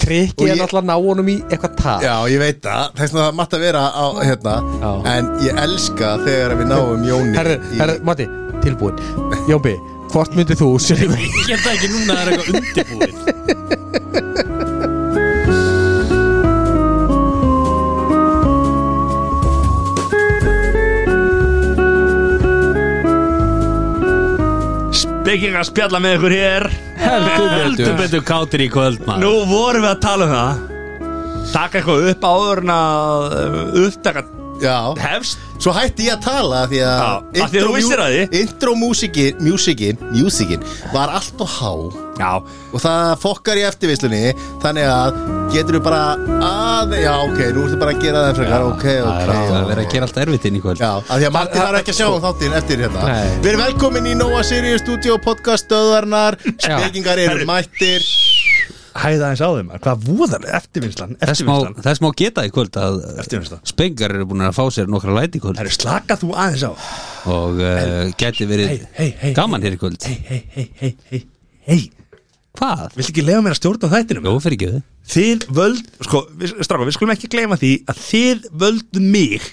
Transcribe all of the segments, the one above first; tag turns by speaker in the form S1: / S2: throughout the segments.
S1: Kriki
S2: Og
S1: er
S2: ég-
S1: náttúrulega að ná honum í eitthvað tap
S2: Já, ég veit það, þess að það matta vera á, hérna,
S1: Já.
S2: en ég elska þegar við náum Jóni
S1: Herru,
S2: í-
S1: herru, Matti, tilbúin Jómbi, hvort myndið þú sér í
S3: Ég get það ekki núna það er eitthvað undirbúið Speking að spjalla með ykkur hér
S1: heldur
S3: Heldur betur kátir í kvöld maður
S4: Nú vorum við að tala um það Takk eitthvað upp áður en að uh, upptaka
S2: Já,
S4: hefst
S2: svo hætti ég að tala því að
S4: Já, af því að þú
S2: intro-
S4: vissir að því.
S2: Intro músikin, músikin, músikin var allt og há
S4: Já,
S2: og það fokkar í eftirvislunni þannig að getur við bara að, já ok, nú ertu bara að gera það frekar, ok,
S3: Það er
S2: ok,
S3: að vera að
S2: ok
S3: gera allt erfitt inn í kvöld
S2: Já, af því að Martin þarf ekki að sjá um þáttinn eftir hérna
S1: Nei.
S2: Við erum velkomin í Nóa Sirius Studio podcast stöðarnar Spekingar eru
S4: Herru.
S2: mættir
S4: hæða eins á þeim maður. Hvað voðalega eftirvinnslan
S3: Þess má,
S4: Eftirvinnslan
S3: þess má geta í kvöld að
S4: Eftirvinnslan
S3: spengar eru búin að fá sér nokkra læti í kvöld
S4: Það eru slakað þú aðeins á
S3: og uh, geti verið
S4: Hey, hey, hey,
S3: gaman hér í kvöld
S4: Hei, hei, hei, hei, hei Hei,
S3: Hvað?
S4: viltu ekki leiða mér að stjórna þættinum?
S3: Jó, fyrir ekki þið
S4: Þið völd, sko, við, stráka, við skulum ekki gleyma því að þið völdu mig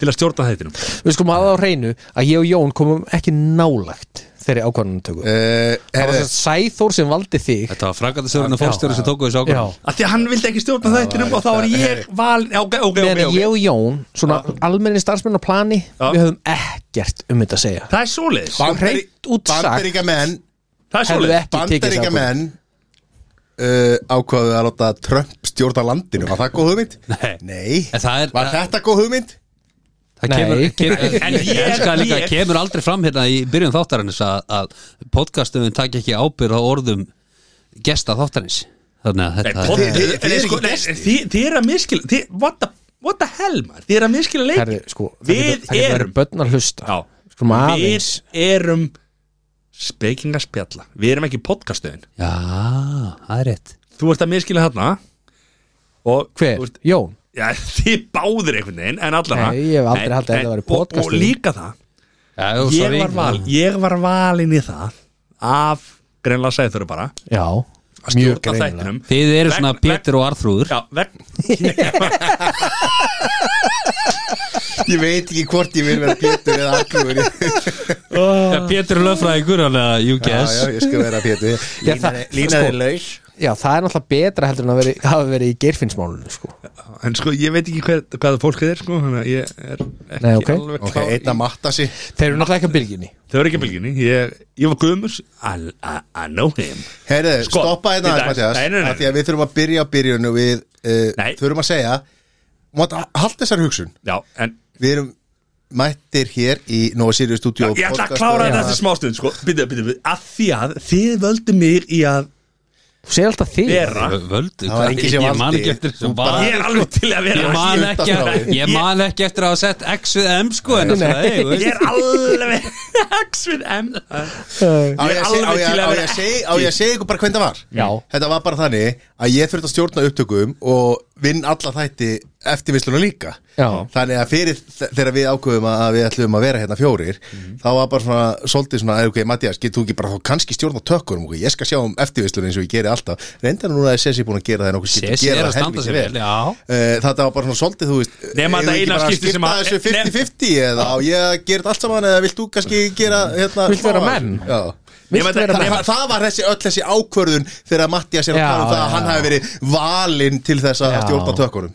S4: til að stjórna þættinum
S1: Við skulum aða á hreinu að ég og Jón komum ekki nálægt þeirri ákvarðanumtöku
S4: Eh,
S1: uh,
S2: uh,
S1: Það var
S2: herri,
S1: þess að Sæþór sem valdi þig
S3: Þetta var frakandasörun og fórstjóri sem tóku þessu
S1: Já,
S3: ákvæm
S4: að Því að hann vildi ekki stjórna þættinum og þá var ég valin Já, Ok, ok, ok,
S1: meðan
S4: ok
S1: ég og Jón, svona almenni starfsmenn á plani
S4: Já.
S1: Við höfum ekkert um þetta að segja
S4: Það er svoleiðis
S1: Bang. hreint út sagt-
S2: Bandaríka menn
S4: Það er
S1: Hefðu
S4: svoleiðis
S1: ekki tekið
S2: Bandaríka
S1: þess ákvarðan
S2: menn uh, ákvaðu að láta Trump stjórna landinu Var það góð hugmynd?
S3: Nei. En
S2: Nei
S3: það er
S2: Var þetta góð hugmynd?
S3: Það
S1: Nei.
S3: kemur, kemur,
S4: En ég-
S3: ég elska líka,
S4: ég-
S3: kemur aldrei fram hérna í byrjun þáttarins að, að podcastum takk ekki ábyrð á orðum gesta þáttarins Þannig að þetta
S2: pod- þið- þið
S4: sko,
S2: eru ekki gestir.
S4: Þið er að miskila þið- What the- what the hell maður Þið er að miskila
S1: Herri,
S4: leikin
S1: sko, það
S4: Við
S1: getur- það getur verið
S4: erum
S1: börn að hlusta
S4: Já.
S1: Skulum
S4: Við
S1: sko, aðeins
S4: erum Speking að spjalla Við erum ekki podcastöðin
S3: Já, það er rétt
S4: Þú ert að miskila þarna Og þú
S1: Hver?
S4: ert-
S1: Jón?
S4: Já, þið báðir einhvern veginn En allavega
S1: Nei, ég hef aldrei
S4: En-
S1: haldið að
S4: en-
S1: þetta væri
S4: og- Og
S1: podcastöðin.
S4: líka það
S3: Já, jú,
S4: Ég
S3: sorry.
S4: var, val, ég var valin í það Af greinlega segið þurru bara
S1: Já,
S4: að
S1: mjög
S4: stjórna
S1: greinilega
S4: þættinum.
S3: Þið eru
S4: Vegna-
S3: svona
S4: vegna-
S3: Pétur og Arþrúður
S4: Já, vegna
S2: Ég veit ekki hvort ég vil vera Pétur eða Arnúr
S3: Já, Pétur er löffræðingur, hann að you
S2: Já, já,
S3: guess
S2: ég skal vera Pétur
S1: Já, það-
S2: Lína
S1: sko-
S2: er laus
S1: Já, það er náttúrulega betra heldur en að veri, hafa verið í geirfinnsmálunum sko.
S4: En sko, ég veit ekki hver, hvað fólkið er sko, þannig að ég er ekki
S1: Nei, ok.
S4: alveg
S2: Ok, einn að matta sig
S1: Þeir eru náttúrulega ekki að bylginni
S4: Þau eru ekki á bylginni, ég, ég var guðmus I, I, I know him
S2: Heyrðu,
S4: Sko,
S2: stoppa þetta
S4: í
S2: aðeins,
S4: dag-
S2: Mattias
S4: Nei, nei, nei.
S2: af Því að við þurfum að byrja á byrjunu Við uh,
S4: Nei.
S2: þurfum að segja Máta, hald þessar hugsun
S4: Já, en
S2: Við erum mættir hér í Nóa Sirius Studio
S4: ég ætla að
S2: podcast-
S1: Já.
S4: klára þetta þessi smástund sko, byrju, byrju, byrju, að því að þið völdu mig í að
S1: Þú segir alltaf þig
S4: vera
S3: Völdu,
S2: Það var
S3: hvað-
S2: enginn sem
S3: ég man
S2: valdi.
S3: ekki eftir
S2: Þú
S3: þessu
S2: bara-
S3: val.
S4: Ég er alveg til að
S3: Ég
S4: vera
S3: man ekki,
S2: undanþágu.
S3: ég man ekki eftir að hafa sett X við M sko en
S1: Nei.
S3: það er
S4: Ég er alveg X við M
S2: Á ég að
S4: Ég
S2: seg-
S4: er
S2: á
S4: alveg
S2: ég-
S4: til að
S2: á ég
S4: vera
S2: að segja- á ég að segja ykkur bara hvernig það var
S1: Já.
S2: Þetta var bara þannig að ég þurfti að stjórna upptökum og vinn alla þætti eftirvisluna líka
S1: Já.
S2: Þannig að fyrir þ- þegar við ákveðum að að við ætlum að vera hérna fjórir þá var bara svona, svolítið svona "Æ, ok, Mattias, getur þú ekki bara þá kannski stjórna tökkurum okay? ég skal sjá um eftirvisluna eins og ég geri alltaf reyndar núna að Sessi búin að gera það en okkur skipti
S3: Sessi
S2: gera
S3: er að
S2: það
S3: standa
S2: helvíti
S3: sig vel, já.
S2: Eh, Þetta var bara svona svolítið, þú veist
S4: Nema
S2: eigum
S4: þetta
S2: við ekki
S4: eina
S2: bara
S4: skipti sem að-
S2: skipta þessu 50-50 eða á ég að gera þetta allt saman eða vilt þú kannski gera hérna,
S1: Viltu vera
S2: smá-
S1: menn?
S2: Já
S1: Vilt
S4: Nema þetta-
S1: vera
S2: Þa,
S1: með
S4: nema-
S2: það, það var þessi, öll þessi ákvörðun þegar Mattias er að
S1: Já,
S2: tala um það að
S1: já,
S2: hann
S1: já.
S2: hafi verið valinn til þess að
S1: Já.
S2: stjórna tökunum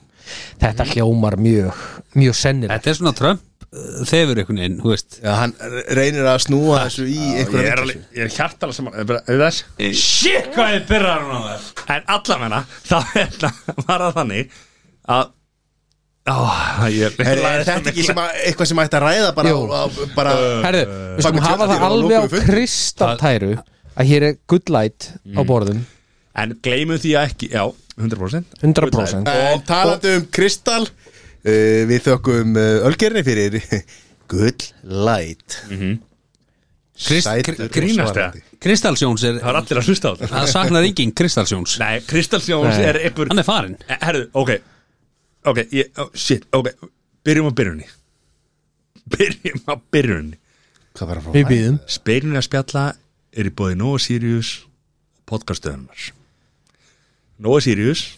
S1: Þetta hljómar mjög, mjög sennilegt
S3: Þetta er svona Trump uh, þefur einhvern veginn, hú veist
S2: Já, hann reynir að snúa þessu í
S4: Ég
S2: einhverja
S4: er
S2: vitleysu.
S4: alveg, ég er hjartala saman er bara- er þess? Shit, hvað ég byrjar hún á þess En allavegna, þá hérna var það þannig að Ó, ég
S2: Er, er þetta ekki sem að, eitthvað sem ætti að ræða bara,
S1: Jú.
S2: á, á, bara
S1: Herðu, við skulum
S2: Bak við
S1: hafa það
S2: tjöldin og
S1: alveg á
S2: lokuðu fundi.
S1: kristaltæru að hér er good light á borðum
S4: En gleymum því að ekki, já, 100%
S1: 100%
S2: En talandi um Kristal uh, Við þökkum uh, Ölgerinni fyrir Good Light
S3: Krist-
S2: Sætur og
S4: grínast
S2: svarandi.
S3: Kristalsjóns er,
S4: Það var allir að hlusta á þetta
S3: það saknar engin Kristalsjóns
S4: Nei, Kristals Jóns
S1: Nei.
S4: er einhver Eh,
S3: Hann er farinn
S4: Herðu, ok Ok, ég, oh, shit, ok Byrjum á byrjunni Byrjum á byrjunni
S2: Hvað var að
S1: Við
S2: fá?
S1: býðum
S4: Speirinu að spjalla er í bóði Nóa Sirius podcastöðunars Nóa Sirius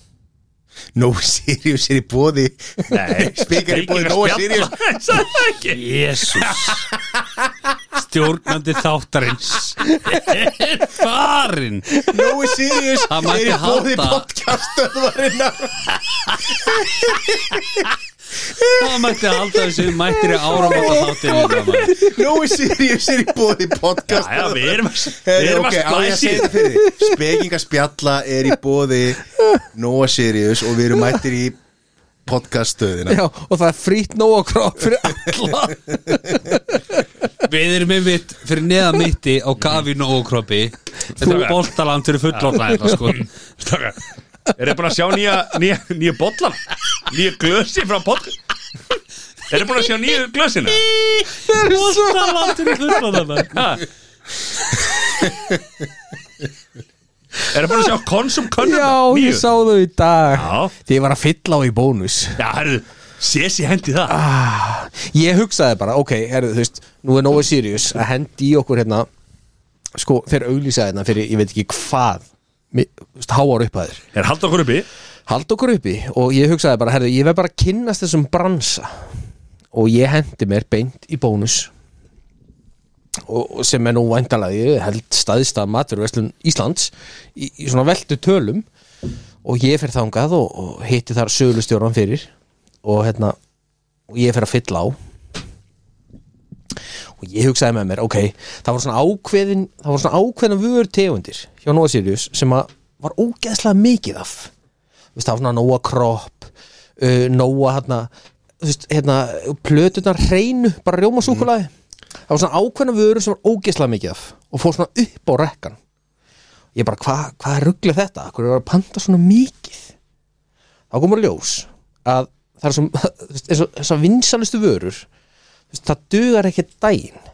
S2: No Sirius er í bóði
S4: Nei,
S2: Spikar í búði, Nóa Sirius.
S4: Sæði það ekki
S3: Jésús Stjórnandi þáttarins Er Farinn
S2: No Sirius
S3: Það mætti
S2: er í bóði
S3: halda-
S2: podcastöðvarinnar
S3: Það mætti að halda þessu mættir í áramóta þáttirinn
S2: No Sirius er í bóði
S4: Já,
S2: podcastöðvarinnar
S4: við erum að Við
S2: Heri,
S4: erum
S2: ok, á
S4: að
S2: ég að
S4: splæsi
S2: segja þetta fyrir þig. Spekingaspjalla er í bóði Nóa Sirius og við erum mættir í podcaststöðina
S1: Já, og það er frýtt nóg á kropp fyrir alla
S3: Við erum einmitt fyrir neða mitti á Gavin og Okropi Þú
S4: Strákar.
S3: boltaland fyrir fullorna þetta sko
S4: Staka Er þið búin að sjá nýja, nýja, nýja bollan? Nýja glösi frá podcast? Er þið búin að sjá nýju glösina?
S3: Boltaland fyrir hérna. fullorna
S4: Ha? Er þið búin að sjá konsum könnum?
S1: Já, ég sá þau í dag
S4: Já.
S1: Því ég var að fylla á í bónus Ah,
S4: Já, herru, sési hendi það
S1: Ég hugsaði bara, ok, herðu, þú veist Nú er Nóa Sirius að hendi í okkur hérna Sko, þeir auglýsa hérna fyrir, ég veit ekki hvað mi- þú veist, Háar upphæður
S4: Er haldið okkur uppi
S1: Hald okkur uppi og ég hugsaði bara, herðu, ég verð bara að kynnast þessum bransa Og ég hendi mér beint í bónus og, og sem er nú væntalagi held staðista maturverslun Íslands í, í svona veldu tölum og ég fer þangað og, og hitti þar sölustjóran fyrir og hérna og ég fer að fylla á og ég hugsaði með mér, ok það voru svona ákveðin það voru svona ákveðin vöður tegundir hjá Nóa Sirius sem að var ógeðslega mikið af Þú veist, það var svona Nóa Kropp uh, Nóa hérna, þú veist, hérna plötunar hreinu, bara rjómasúkulaði það var svona ákveðna vöru sem var ógeðslega mikið af og fór svona upp á rekkan ég bara, hva, hvað ruggli þetta? Hvað er að panta svona mikið? þá komur ljós að það er sem, þú veist, eins og þessar vinsalustu vörur þú veist, það dugar ekki daginn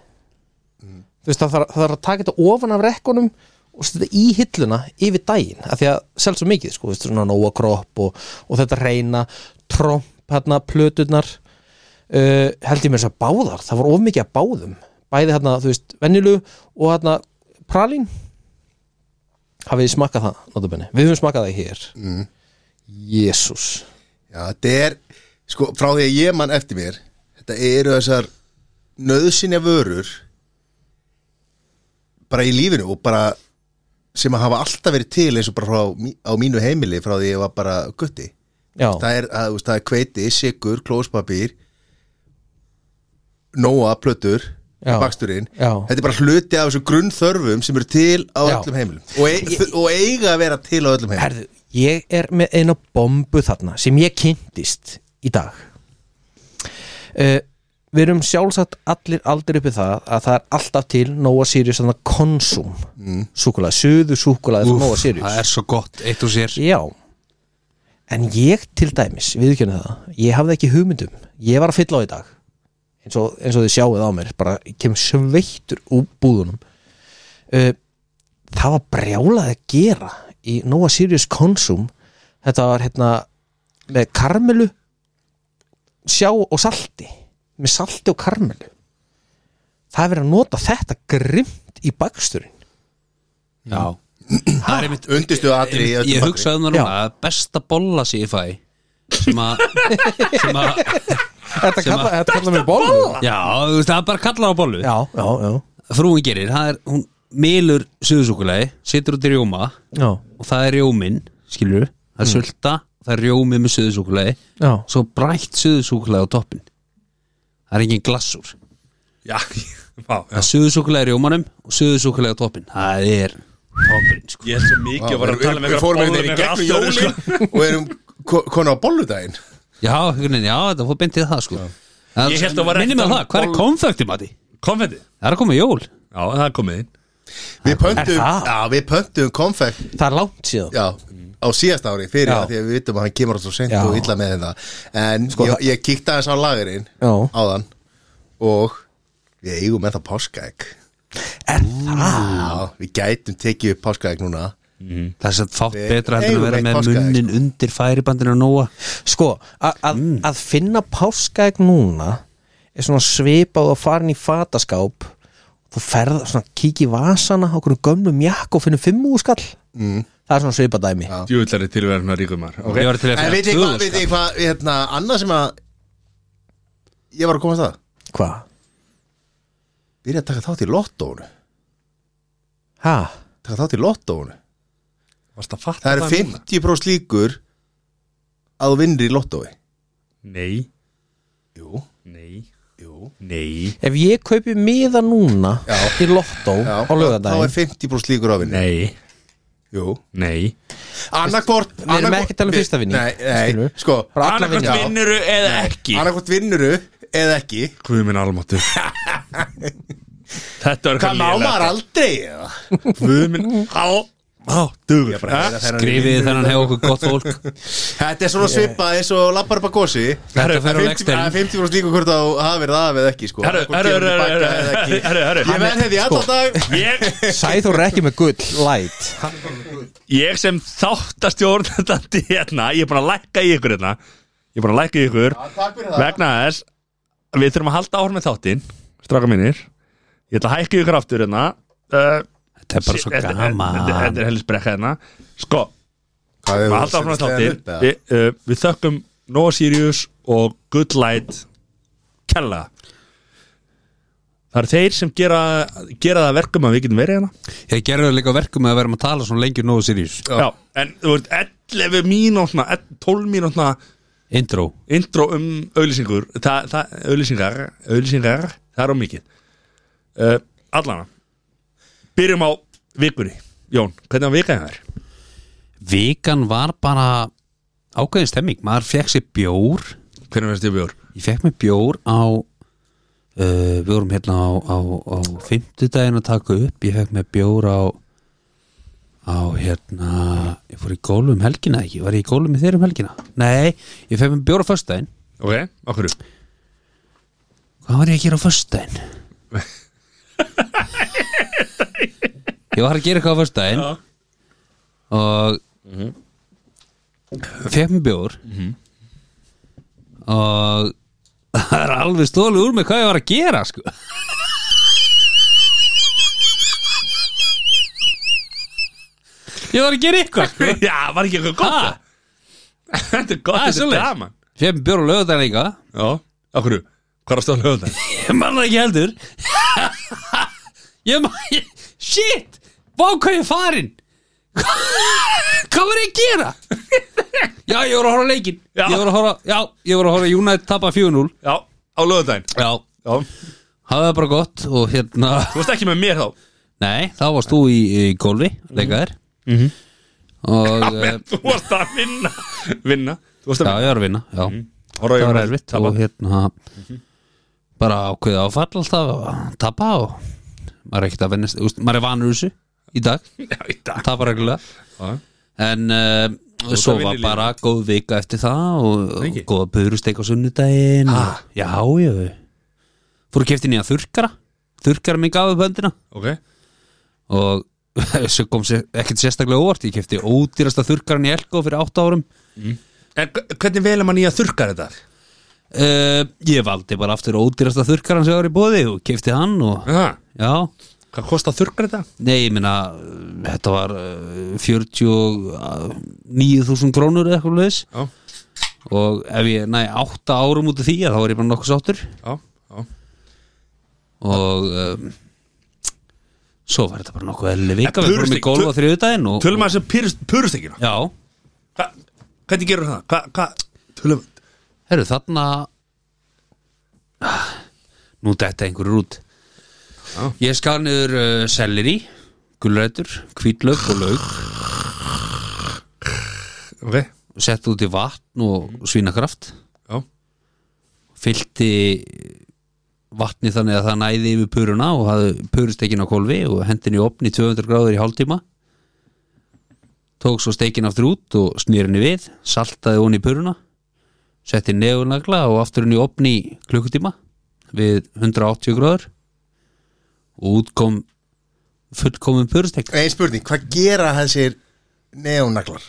S1: þú veist, það þarf það þarf að taka þetta ofan af rekkunum og setja í hilluna yfir daginn af því að selst svo mikið, sko, þú veist, svona nóa kropp og, og þetta reyna tromp hérna, plöturnar uh, held ég mér þess að báðar það var of mikið að báðum bæði hérna, þú veist, vennilu og hérna pralín hafið þið smakkað það, notabenni við höfum smakkað það hér mm. Jésús
S2: Já, þetta er, sko, frá því að ég mann eftir mér Þetta eru þessar nöðsynja vörur bara í lífinu og bara sem að hafa alltaf verið til eins og bara frá, mí- á mínu heimili frá því ég var bara gutti
S1: Já,
S2: það er, að, þú veist, það er kveiti, sigur, klóspapír nóa, plötur
S1: Já.
S2: baksturinn,
S1: Já.
S2: þetta er bara hluti af þessum grunnþörfum sem eru til á
S1: Já.
S2: öllum heimilum og, e og eiga að vera til á öllum heimilum
S1: herðu, ég er með eina bombu þarna sem ég kynntist í dag uh, Við erum sjálfsagt allir aldrei uppið það að það er alltaf til Nóa Sirius þannig konsum mm. súkulaði, söðu súkulaði frá Nóa Sirius
S3: Það er svo gott, eitt og sér
S1: Já En ég til dæmis, viðkjörna það Ég hafði ekki hugmyndum, ég var að fylla á í dag eins og, eins og þið sjáuð á mér bara ég kem sveittur úr búðunum uh, Það var brjálað að gera í Nóa Sirius Consum Þetta var hérna með karmelu sjá og salti með salti og karmelu Það er verið að nota þetta grimt í baksturinn
S3: Já Það er einmitt
S2: undistu aðri
S3: Ég, ég hugsaði um það núna
S1: Já.
S3: að besta bolla sem ég fæ sem að sem að,
S1: Þetta
S3: Sem að-
S1: kallar kalla mig bólu
S3: já, þú veist, það er bara kallar á bollu
S1: Já, já, já
S3: frúin gerir, það er, hún melur suðusúkulegi, situr út í rjóma
S1: Já,
S3: og það er rjómin, skilur það er
S1: Mm.
S3: sulta, það er rjómi með suðusúkulegi
S1: já,
S3: svo brætt suðusúkulegi á toppin það er engin glassúr
S4: Já, já, já.
S3: það er suðusúkulegi rjómanum og suðusúkulegi á toppin það er toppin, sko
S4: Ég er svo mikið að fara að tala með
S2: við fórum einhvern veginn í gegnum jólin og erum ko- konu á bolludaginn
S3: já, hvernig, já, þetta fór beintið það, sko
S4: Ég hélt að var
S3: Minnir mig á
S4: rétt
S3: það, hvað er
S4: boll-
S3: konfekti, Mati?
S4: Konfetti Já,
S3: Það er að koma jól
S4: það er komið inn
S2: við pöntum,
S1: það?
S2: já, við pöntum konfekt
S1: það er langt síðan
S2: já, á síðast ári fyrir
S1: Já.
S2: það því að við vitum að hann kemur alltaf sent
S1: Já. Sko,
S2: og illa með þetta en ég, ég kíkti aðeins á lagerinn
S1: Já.
S2: áðan og við eigum með það páskaegg
S1: Er það?
S2: já, við gætum tekið upp páskaegg núna
S3: Það er satt fátt
S2: Við
S3: betra heldur en
S2: eigum
S3: að
S2: eitt sko.
S3: vera með
S2: páskaegg,
S3: munnin undir færibandinu og nóa
S1: Sko, að, að, að finna páskaegg núna er svona svipað og farin í fataskáp þú ferð svona kík í vasana á okkur gömlum jakk og finnum fimm úskall mm. það er svona svipadæmi já.
S4: Djúvillari tilverðna ríkumar
S3: Ég
S4: okay.
S3: var til að sko.
S2: En
S3: finna
S2: veit ég hvað,
S3: flugvél,
S1: sko.
S2: veit ég hvað, hérna, annað sem að Ég var að komast að
S1: Hvað?
S2: Byrja að taka þátt í lottónu
S1: Ha?
S2: Taka þátt í lottónu
S4: Varst að fatta
S2: Það eru
S4: það núna?
S2: 50% líkur að þú vinnir í lottói
S4: Nei,
S2: Jú,
S4: nei,
S2: jú
S4: nei,
S1: Ef ég kaupi miða núna
S2: Já.
S1: í lottó á
S2: Já, Þá
S1: laugardaginn
S2: er 50% líkur á að vinna
S4: nei,
S2: Jú
S4: nei
S2: Annarkvort
S1: Við erum ekki að tala um fyrsta vinning,
S2: Nei, nei,
S1: skilurðu?
S2: sko
S1: Bara alla
S4: Annarkvæmt
S1: vinninga.
S4: vinnuru eða ekki
S2: Annarkvort vinnuru eða ekki
S4: Guð minn almáttu Þetta var
S2: Hvað má maður aldrei eða?
S4: alveg Guð minn almáttu
S3: Skrifið þennan hefur okkur gott fólk
S2: Þetta er svona svipað eins og lappar upp að gósi
S3: Þetta fer á
S2: 50%
S3: legstein.
S2: það er 50% líka hvort að hafa verið af eða ekki sko.
S4: Herru,
S2: Hvort
S4: herru,
S2: kemur til
S4: herru,
S2: baka
S4: herru,
S2: eða ekki.
S4: herru, herru,
S2: Ég
S4: hann er-
S2: verð hefði allan dag
S4: Ég,
S1: Sæþór er ekki með gull light
S4: ég sem þáttastjórnandandi hérna Ég er búin að lækka í ykkur hérna Ég er búin að lækka í ykkur
S2: Takk fyrir það
S4: Vegna þess að Við þurfum að halda áhrum með þáttinn Straka mínir Ég ætla að hækka í ykkur aftur hérna uh,
S3: Þetta er bara svo
S4: þetta- þetta- Þetta
S3: gaman
S4: er helst brekka hérna Sko,
S2: Hvað
S4: Við halda áfram að þáttir Vi, uh, Við þökkum Noah Sirius og Good Light Kella Það eru þeir sem gera, gera það að verkum að við getum verið hérna
S3: Ég gerði það líka verkum með að vera að tala svona lengi um nógu sirjus
S2: Já.
S4: Já, En þú veist 11 mínútna 12 mínútna
S3: Intro
S4: intro um auðlýsingur það, það, auðlýsingar, auðlýsingar það er á mikið uh, Allana Byrjum á vikunni Jón, hvernig var vikaðið þær?
S3: Vikan var bara ákveðin stemming Maður fekk sér bjór
S4: Hvernig verðist ég bjór?
S3: Ég fekk mér bjór á uh, Við vorum hérna á, á, á Fimmtudaginn að taka upp Ég fekk mér bjór á Á hérna Ég fór í gólf um helgina ekki Var ég í gólf með þeir um helgina? Nei, ég fekk mér bjór á föstudaginn
S4: Ok, okkur
S3: Hvað var ég að gera á föstudaginn? ég var að gera eitthvað á föstudaginn
S4: Já.
S3: og Mhm. fekk mér bjór og það er alveg stólið úr mig hvað ég var að gera sko Ég var að gera eitthvað sko
S4: Já, var ekki eitthvað gott
S3: Ha?
S4: það? Þetta er gott,
S3: Það er
S4: þetta er
S3: svoleiðis.
S4: gaman
S3: Fekk mér bjór á lögudaginn líka
S4: Já, okkur, hvað er að stóða lögum það?
S3: Ég man það ekki heldur Ég man ég, Shit, vá hvað ég er farin Hvað var ég að gera? Já, ég voru að horfa á leikinn
S4: Já.
S3: Ég voru að horfa, já, ég voru að horfa á United tapa 4-0
S4: Já, á lögudaginn
S3: Já,
S4: Já,
S3: hafði það bara gott og hérna
S4: þú veist ekki með mér þá
S3: Nei, þá varst þú í, í golfi, leikaðir Og eh,
S4: Þú varst að vinna Vinna, þú varst
S3: Já,
S4: að vinna
S3: ég var að vinna, já
S4: Horra
S3: Það
S4: Jónas
S3: var erfitt
S4: tapa.
S3: og hérna bara ákveðið áfall alltaf að tapa og maður er ekkert að vennast, úst, maður er vanur þessu í dag
S4: Já, í dag
S3: tapar reglulega
S4: Já.
S3: en uh, svo
S4: það
S3: var
S4: vinnur
S3: bara góð vika eftir það og, og
S4: Ekki?
S3: góða böðurusteik á sunnudaginn og, já, já fór að kefti nýja þurrkara þurrkara minn gafið böndina
S4: Ok,
S3: og svo kom sér, ekkert sérstaklega óvart ég kefti ódýrasta þurrkaran í Elko fyrir 8 árum
S4: en h- hvernig velum að nýja þurrkar þetta?
S3: uh, ég valdi bara aftur ódýrasta þurrkaran sem var í bóði og kefti hann og
S4: Aha.
S3: já,
S4: Hvað kostar þurrkar þetta?
S3: nei, ég minna þetta var uh, 49.000 krónur eða eitthvað leðis
S4: Já,
S3: og ef ég næ átta árum út af því að þá er ég bara nokkuð sáttur
S4: já, já
S3: og um, svo var þetta bara nokkuð eðlileg vika
S4: En
S3: við fórum í
S4: purustig-
S3: golf á þriðudaginn og,
S4: Tölum um að þessu purustekina
S3: já,
S4: Hvernig gerur það? Hvað, hvað? Tölum
S3: herru þarna Ah, nú detta einhverjur út
S4: Já.
S3: ég skar niður uh, selleri gulrætur, hvítlaug og laug
S4: Ok, já,
S3: sett út í vatn og svínakraft fyllti vatni þannig að það næði yfir puruna og hafði purustekin á kolvi og hendin í opni 200 gráður í hálftíma tók svo stekin aftur út og snýr henni við saltaði hún í puruna setti nefnagla og aftur henni í opni í klukkutíma við 180 gráður og útkom fullkomin purustek
S2: Ein spurning, hvað gera þessir neónaglar?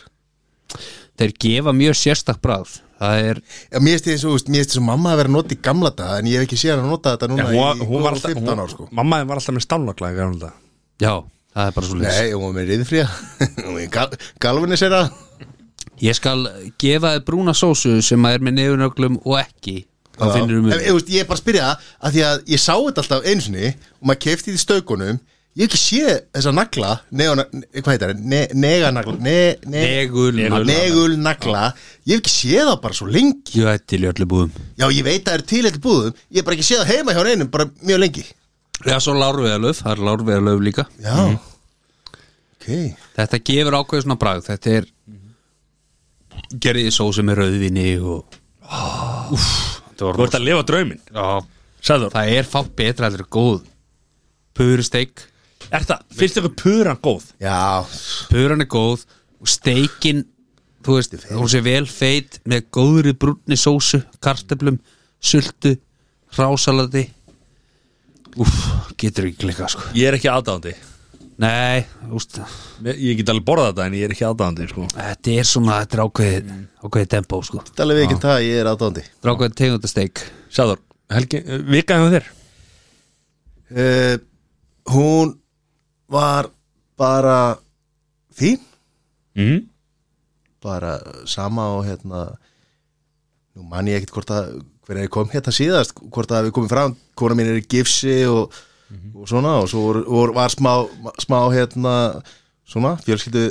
S3: þeir gefa mjög sérstak bráð það er
S2: Já, Mér finnst þið eins og, þú veist, mér finnst þið svo mamma að vera að nota í gamla dag en ég hef ekki séð hann að nota þetta núna
S4: hún,
S2: í
S4: hún var
S2: góð
S4: alltaf
S2: 15
S4: hún,
S2: ár sko
S4: Mamma þín var alltaf með stálnagla í gamla daga.
S3: Já það er bara svo
S2: Nei, hún var með riðfría Hún var í gal galvanisera
S3: Ég skal gefa þið brúna sósu sem að er með nefnöglum og ekki þá finnir
S2: En,
S3: um
S2: ég, veist, ég er bara að spyrja það, af því að ég sá þetta alltaf einu sinni og maður kefti því stökunum ég hef ekki sé þessa nagla neona, ne- hvað heitar það, ne, neganagla ne, ne,
S3: Negul
S2: negulnagla ég hef ekki sé það bara svo lengi
S3: Jú, þetta er til í öllu búðum
S2: já, ég veit að það er til eitthvað búðum ég hef bara ekki sé það heima hjá reynum bara mjög lengi
S3: Já, svo lárveðalöf, það er lárveðalöf líka
S2: já, ok
S3: Þetta gefur ákveð svona bragð Þetta er gerðið sósu með rauðvinni og
S4: Þú ert að lifa drauminn
S3: Já,
S4: Sæður,
S3: það er fátt betra þetta er góð Purusteik
S4: er það, finnst ykkur puran góð?
S2: já,
S3: Puran er góð og steikin þú veist, hún sé vel feit með góðri brúnni sósu, kartöflum sultu, rásalati Úff, getur ekki klikka sko
S4: Ég er ekki aðdáðandi
S3: Nei, úst,
S4: Ég get alveg borðað þetta en ég er ekki aðdáðandi sko.
S3: þetta er svona, þetta er ákveðið ákveðið tempo sko,
S2: þetta er alveg ekki um það að ég er aðdóndi
S3: þetta er ákveðið tegundasteik
S4: Sæður, Helgi, eh, vika hjá þér
S2: uh, hún var bara fín
S4: mm.
S2: bara sama og hérna nú man ég ekkert hvort að hver er kom hérna síðast, hvort að við komum fram kona mín er í gifsi og, og svona og svo voru, voru, var smá smá hérna svona fjölskyldu,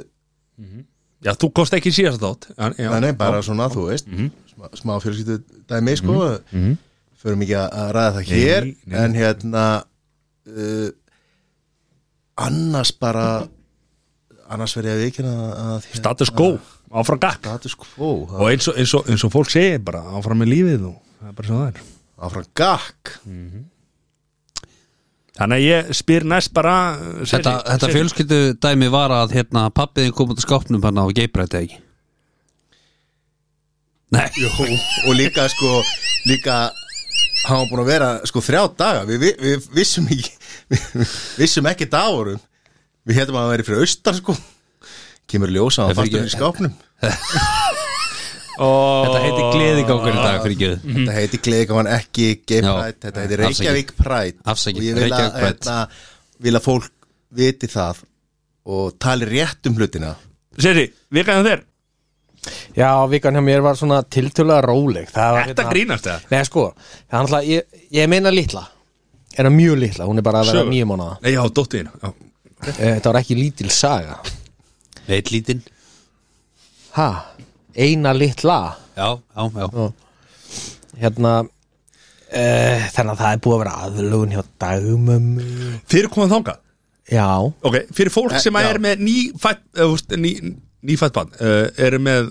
S4: Já, þú komst ekki í síðast þátt en, já, Mhm.
S2: nei nei bara svona þú veist, smá, smá fjölskyldu dæmi sko, förum ekki að að ræða það hér,
S4: nei.
S2: en hérna uh, annars bara annars verið að vikina að hérna,
S4: Status quo, áfram gakk
S2: status quo, það
S4: Og eins og, eins, og, eins og fólk segir bara áfram með lífið og það er bara svo það er
S2: áfram gakk
S4: Þannig að ég spyr næst bara eh, seri-
S3: Þetta, þetta
S4: seri-
S3: fjölskyldu dæmi var að hérna, pappiðin kom út af skápnum hann á geibræti ekki Nei,
S2: Jú, og líka sko líka hann var búin að vera sko þrjá daga við, við, við vissum ekki við vissum ekki dagorum við hættum að hann væri fyrir austan sko kemur ljósa hann
S3: Það fyrir
S2: fastur í
S3: ekki-
S2: skápnum
S4: Ó,
S3: þetta heiti gleðigangur í dag fyrir ekki
S2: þetta heiti Gleðigaman ekki Gay
S3: Mhm. Já,
S2: Pride, þetta heiti
S3: afsakið.
S2: Reykjavík Pride
S3: Afsakið,
S2: og ég vil að,
S3: Reykjavík Pride.
S2: hérna, vil að fólk viti það og tali rétt um hlutina
S4: Seri, vika hjá þér
S1: Já, vikan hjá mér var svona tiltölulega róleg Það var hérna-
S4: Þetta grínast það
S1: Nei, sko, það er alltaf, ég, ég meina litla Er það mjög litla, hún er bara að vera
S4: Sögur.
S1: nýjum mánuða
S4: Nei, já, dóttiðin
S1: Þetta var ekki lítil saga
S3: Veit lítinn
S1: Ha, eina litla
S3: Já, já, já
S1: Hérna uh, Þannig að það er búið að vera aðlugun hjá dagmömmu
S4: Fyrir komað þangað
S1: Já,
S4: Ok, fyrir fólk
S2: Eh,
S4: sem
S2: já.
S4: er með nýfætt eh, þú veist, ný, nýfætt bann uh, eru með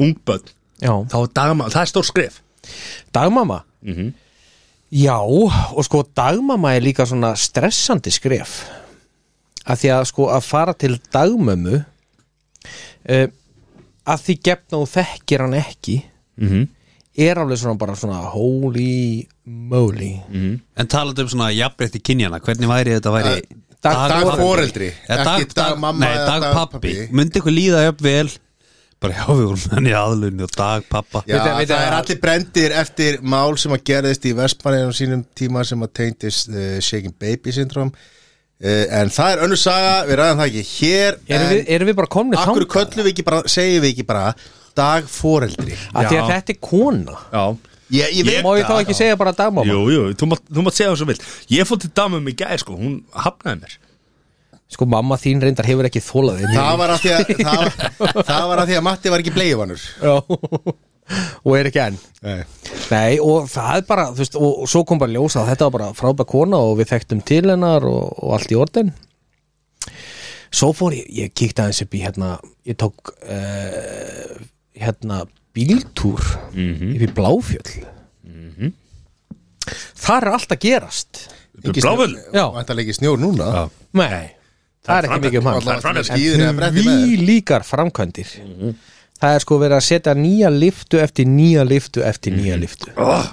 S4: ungbönn
S1: já
S4: þá er dagmann, það er stór skref
S1: Dagmamma
S4: Mhm.
S1: Já, og sko dagmamma er líka svona stressandi skref að því að sko að fara til dagmömmu uh, að því gefna og þekkir hann ekki
S4: Mhm.
S1: er alveg svona bara svona holy moly
S4: Mhm.
S3: En talandi um svona jafnbreytti kynjana Hvernig væri þetta væri
S1: Dag-
S2: dagforeldri,
S3: ja, dag,
S2: ekki dagmamma
S3: Nei,
S2: eða
S3: dagpappi
S2: dagpabbi.
S3: Myndi ykkur líða jafn vel Bara já, við vorum hann í aðlunni og dagpappa
S2: Já,
S1: Veit- veit-
S2: það er
S1: að-
S2: allir brendir eftir mál sem að gerðist í Vestmanninum sínum tíma sem að teyndist uh, Shaking Baby Syndrome uh, en það er önnur saga, við ræðum það ekki hér
S1: Erum
S2: en
S1: við, erum við bara komni
S2: akkur
S1: þangað?
S2: köllum við ekki bara, segjum við ekki bara dagforeldri
S1: Að því að
S4: Já.
S1: þetta er kona
S4: Já,
S2: ég, ég veit
S1: Má ég þá
S2: það
S1: ekki segja bara dagmamma?
S4: jú, jú, þú mátt, þú mátt segja það svo vilt Ég fór til dagmann í gæði, sko, hún hafnaði mér
S1: Sko mamma þín reyndar hefur ekki þólað þig
S2: það var að því að það, var- það var að því að Matti var ekki bleiðvanur
S1: Já Og er ekki enn Nei og það er bara þú veist, og, og svo kom bara ljósa að þetta var bara frábæð kona og við þekktum til hennar og, og allt í orðin Svo fór ég, ég kíkti aðeins upp í hérna ég tók uh, hérna bíltúr upp í Bláfjöll Mhm. Þar er allt að gerast
S4: Bláfjöll?
S1: Já.
S2: vantar ekki snjór núna
S4: Já.
S1: Nei, það, er ekki mikið um hann
S4: Það er
S2: allavega
S4: framleiðsla.
S2: skýðir eða bretti með
S1: því
S2: þér
S1: líkar framkvæmdir það er sko verið að setja nýja liftu eftir nýja liftu eftir nýja liftu
S4: oh,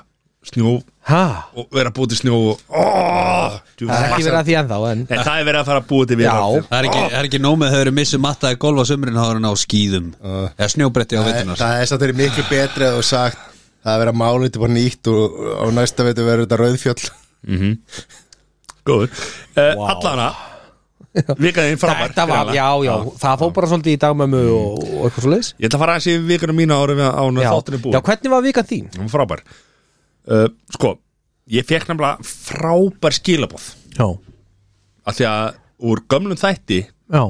S4: Snjó,
S1: ha,
S4: og vera að búið til snjó og, oh, djú,
S1: það er ekki verið að því ennþá en
S4: Nei, það er verið að fara að búið til við
S1: Já.
S3: Það er ekki, það er ekki nóg með að þau eru missum mattaði golfa sömurinn háðurinn á skýðum Eða snjóbretti á
S2: Það,
S3: vettunar
S2: það er satt verið miklu betri að þú sagt það er verið að mála þetta bara nýtt og á næsta veitu verður þetta rauðfjöll
S4: Eh, Góður uh, Allana, Vikaði þín Hérna. framar
S1: Þetta var, já, já, það fór bara svolítið í dagmömmu og, og eitthvað svo leiðis
S4: Ég ætla að fara aðeins yfir vikunum mína árum á hún
S1: já.
S4: þáttinu búið
S1: já, hvernig var vikan þín?
S4: Hún var frábær uh, Sko, ég fekk nefnilega frábær skilabóð
S1: Já,
S4: Af því að úr gömlum þætti
S1: já,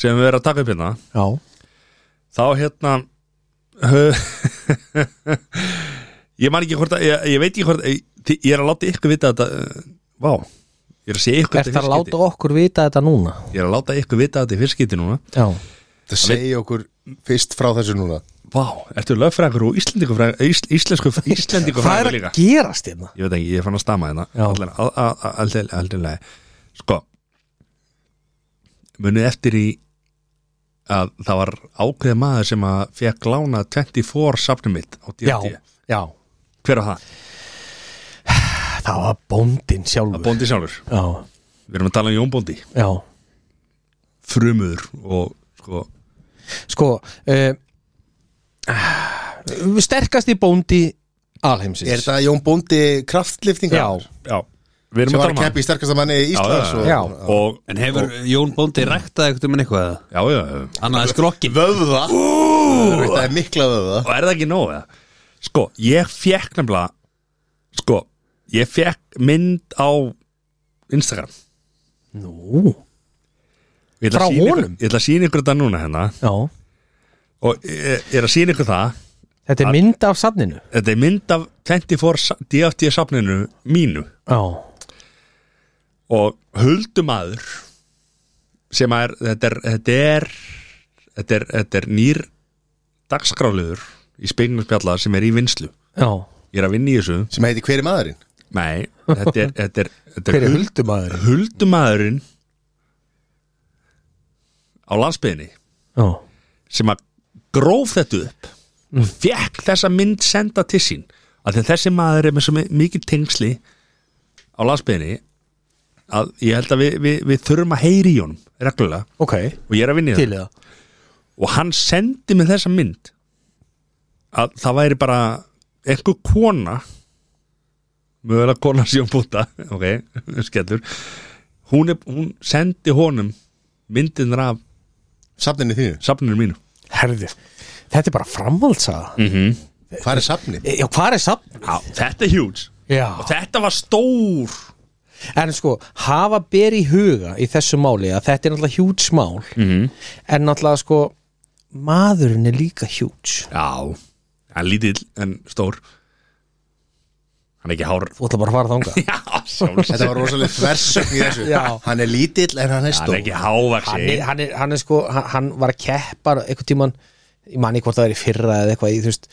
S4: sem við erum að taka upp hérna
S1: já
S4: þá hérna ég man ekki hvort að ég, ég veit ekki hvort ég, ég er að láta ykkur vita þetta uh, vá, ég er að segja ykkur
S1: Er það að
S4: fyrst
S1: láta okkur vita þetta núna?
S4: skipti. ég er að láta ykkur vita þetta í fyrst skipti núna
S1: Já,
S2: Það segja okkur fyrst frá þessu núna
S4: vá, ertu lögfræðingur og íslendingur fræðingur- ís, íslensku íslendingur
S1: hvað er
S4: fræðingur líka
S1: að gerast hérna?
S4: ég veit ekki, ég fann að hérna. stama
S1: Já.
S4: þetta allilega sko munið eftir í að það var ákveð maður sem að fekk lána 24 safnum mitt á
S1: Já,
S4: DFD
S1: já,
S4: hver á það?
S1: það var bóndin
S4: að
S1: sjálfur
S4: bóndi sjálfur
S1: Já,
S4: við erum að tala um Jón Bóndi
S1: já
S4: frumur og sko
S1: Sko, uh, sterkasti bóndi alheimsins
S2: Er þetta Jón Bóndi kraftliftingar?
S1: Já,
S4: já, við erum
S2: Sem
S4: að
S2: var
S4: tala
S2: að
S4: um hann.
S2: keppi í sterkasta manni í Íslands
S4: já,
S2: og-
S1: já.
S4: og
S3: En hefur Jón Bóndi ræktað eitthvað um eitthvað eða?
S4: já, já, já.
S3: Annað er skrokkin
S2: Vöðva Þetta er mikla vöðva
S4: og er það ekki nóg eða? sko, ég fekk nefnilega sko, ég fekk mynd á Instagram
S1: nú
S4: Ég ætla
S1: Frá
S4: að sýna ykkur-
S1: honum?
S4: ég ætla að sína ykkur þetta núna hérna
S1: Já,
S4: og ég ég er að sína ykkur það
S1: þetta er mynd af safninu
S4: þetta er mynd af 24 sa- DFT safninu mínu
S1: Já,
S4: og huldumadur sem er þetta er þetta er, þetta er, þetta er nýr dagskráliður í spegnaspjalla sem er í vinslu
S1: já
S4: ég er að vinna í þessu
S2: Sem heiti Hver er maðurinn?
S4: nei, þetta er, þetta er, þetta
S1: Hver
S4: er
S1: er
S4: huld,
S1: huldumadur?
S4: huldumadurinn á landsbyðinni
S1: Já,
S4: sem að gróf þetta upp og fekk þessa mynd senda til sín af því að þessi maður er með svo mi- mikið tengsli á landsbyðinni að ég held að við, við, við þurfum að heyri í honum reglulega
S1: ok,
S4: og ég er að vinna í
S1: til
S4: það
S1: í það
S4: og hann sendi mig þessa mynd að það væri bara einhver kona mögulega kona síðan búta ok, skellur hún, er, hún sendi honum myndinir af
S2: Safninu þínu
S4: safninu mínu
S1: Herði, þetta er bara framhaldsaða mm.
S2: Hvað er safnið?
S1: Já, hvað er safn?
S4: Já, þetta er huge
S1: Já,
S4: og þetta var stór
S1: en sko, hafa ber í huga í þessu máli að þetta er náttúrulega hjúts mál mm.
S4: Mhm.
S1: en náttúrulega sko maðurinn er líka hjúts
S4: já, hann lítill en stór hann er ekki hár
S1: Þú ætla bara að fara þangað
S4: já, sjálfs
S2: Þetta var rosalega versögn í þessu
S1: Já.
S2: Hann er lítill en hann er
S4: hann
S2: stór
S4: er ekki hávaxi
S1: hann er, hann, er, hann er sko, hann, hann var að keppa eitthvað tíman, ég manni hvort það er í fyrra eða eitthvað, í, þú veist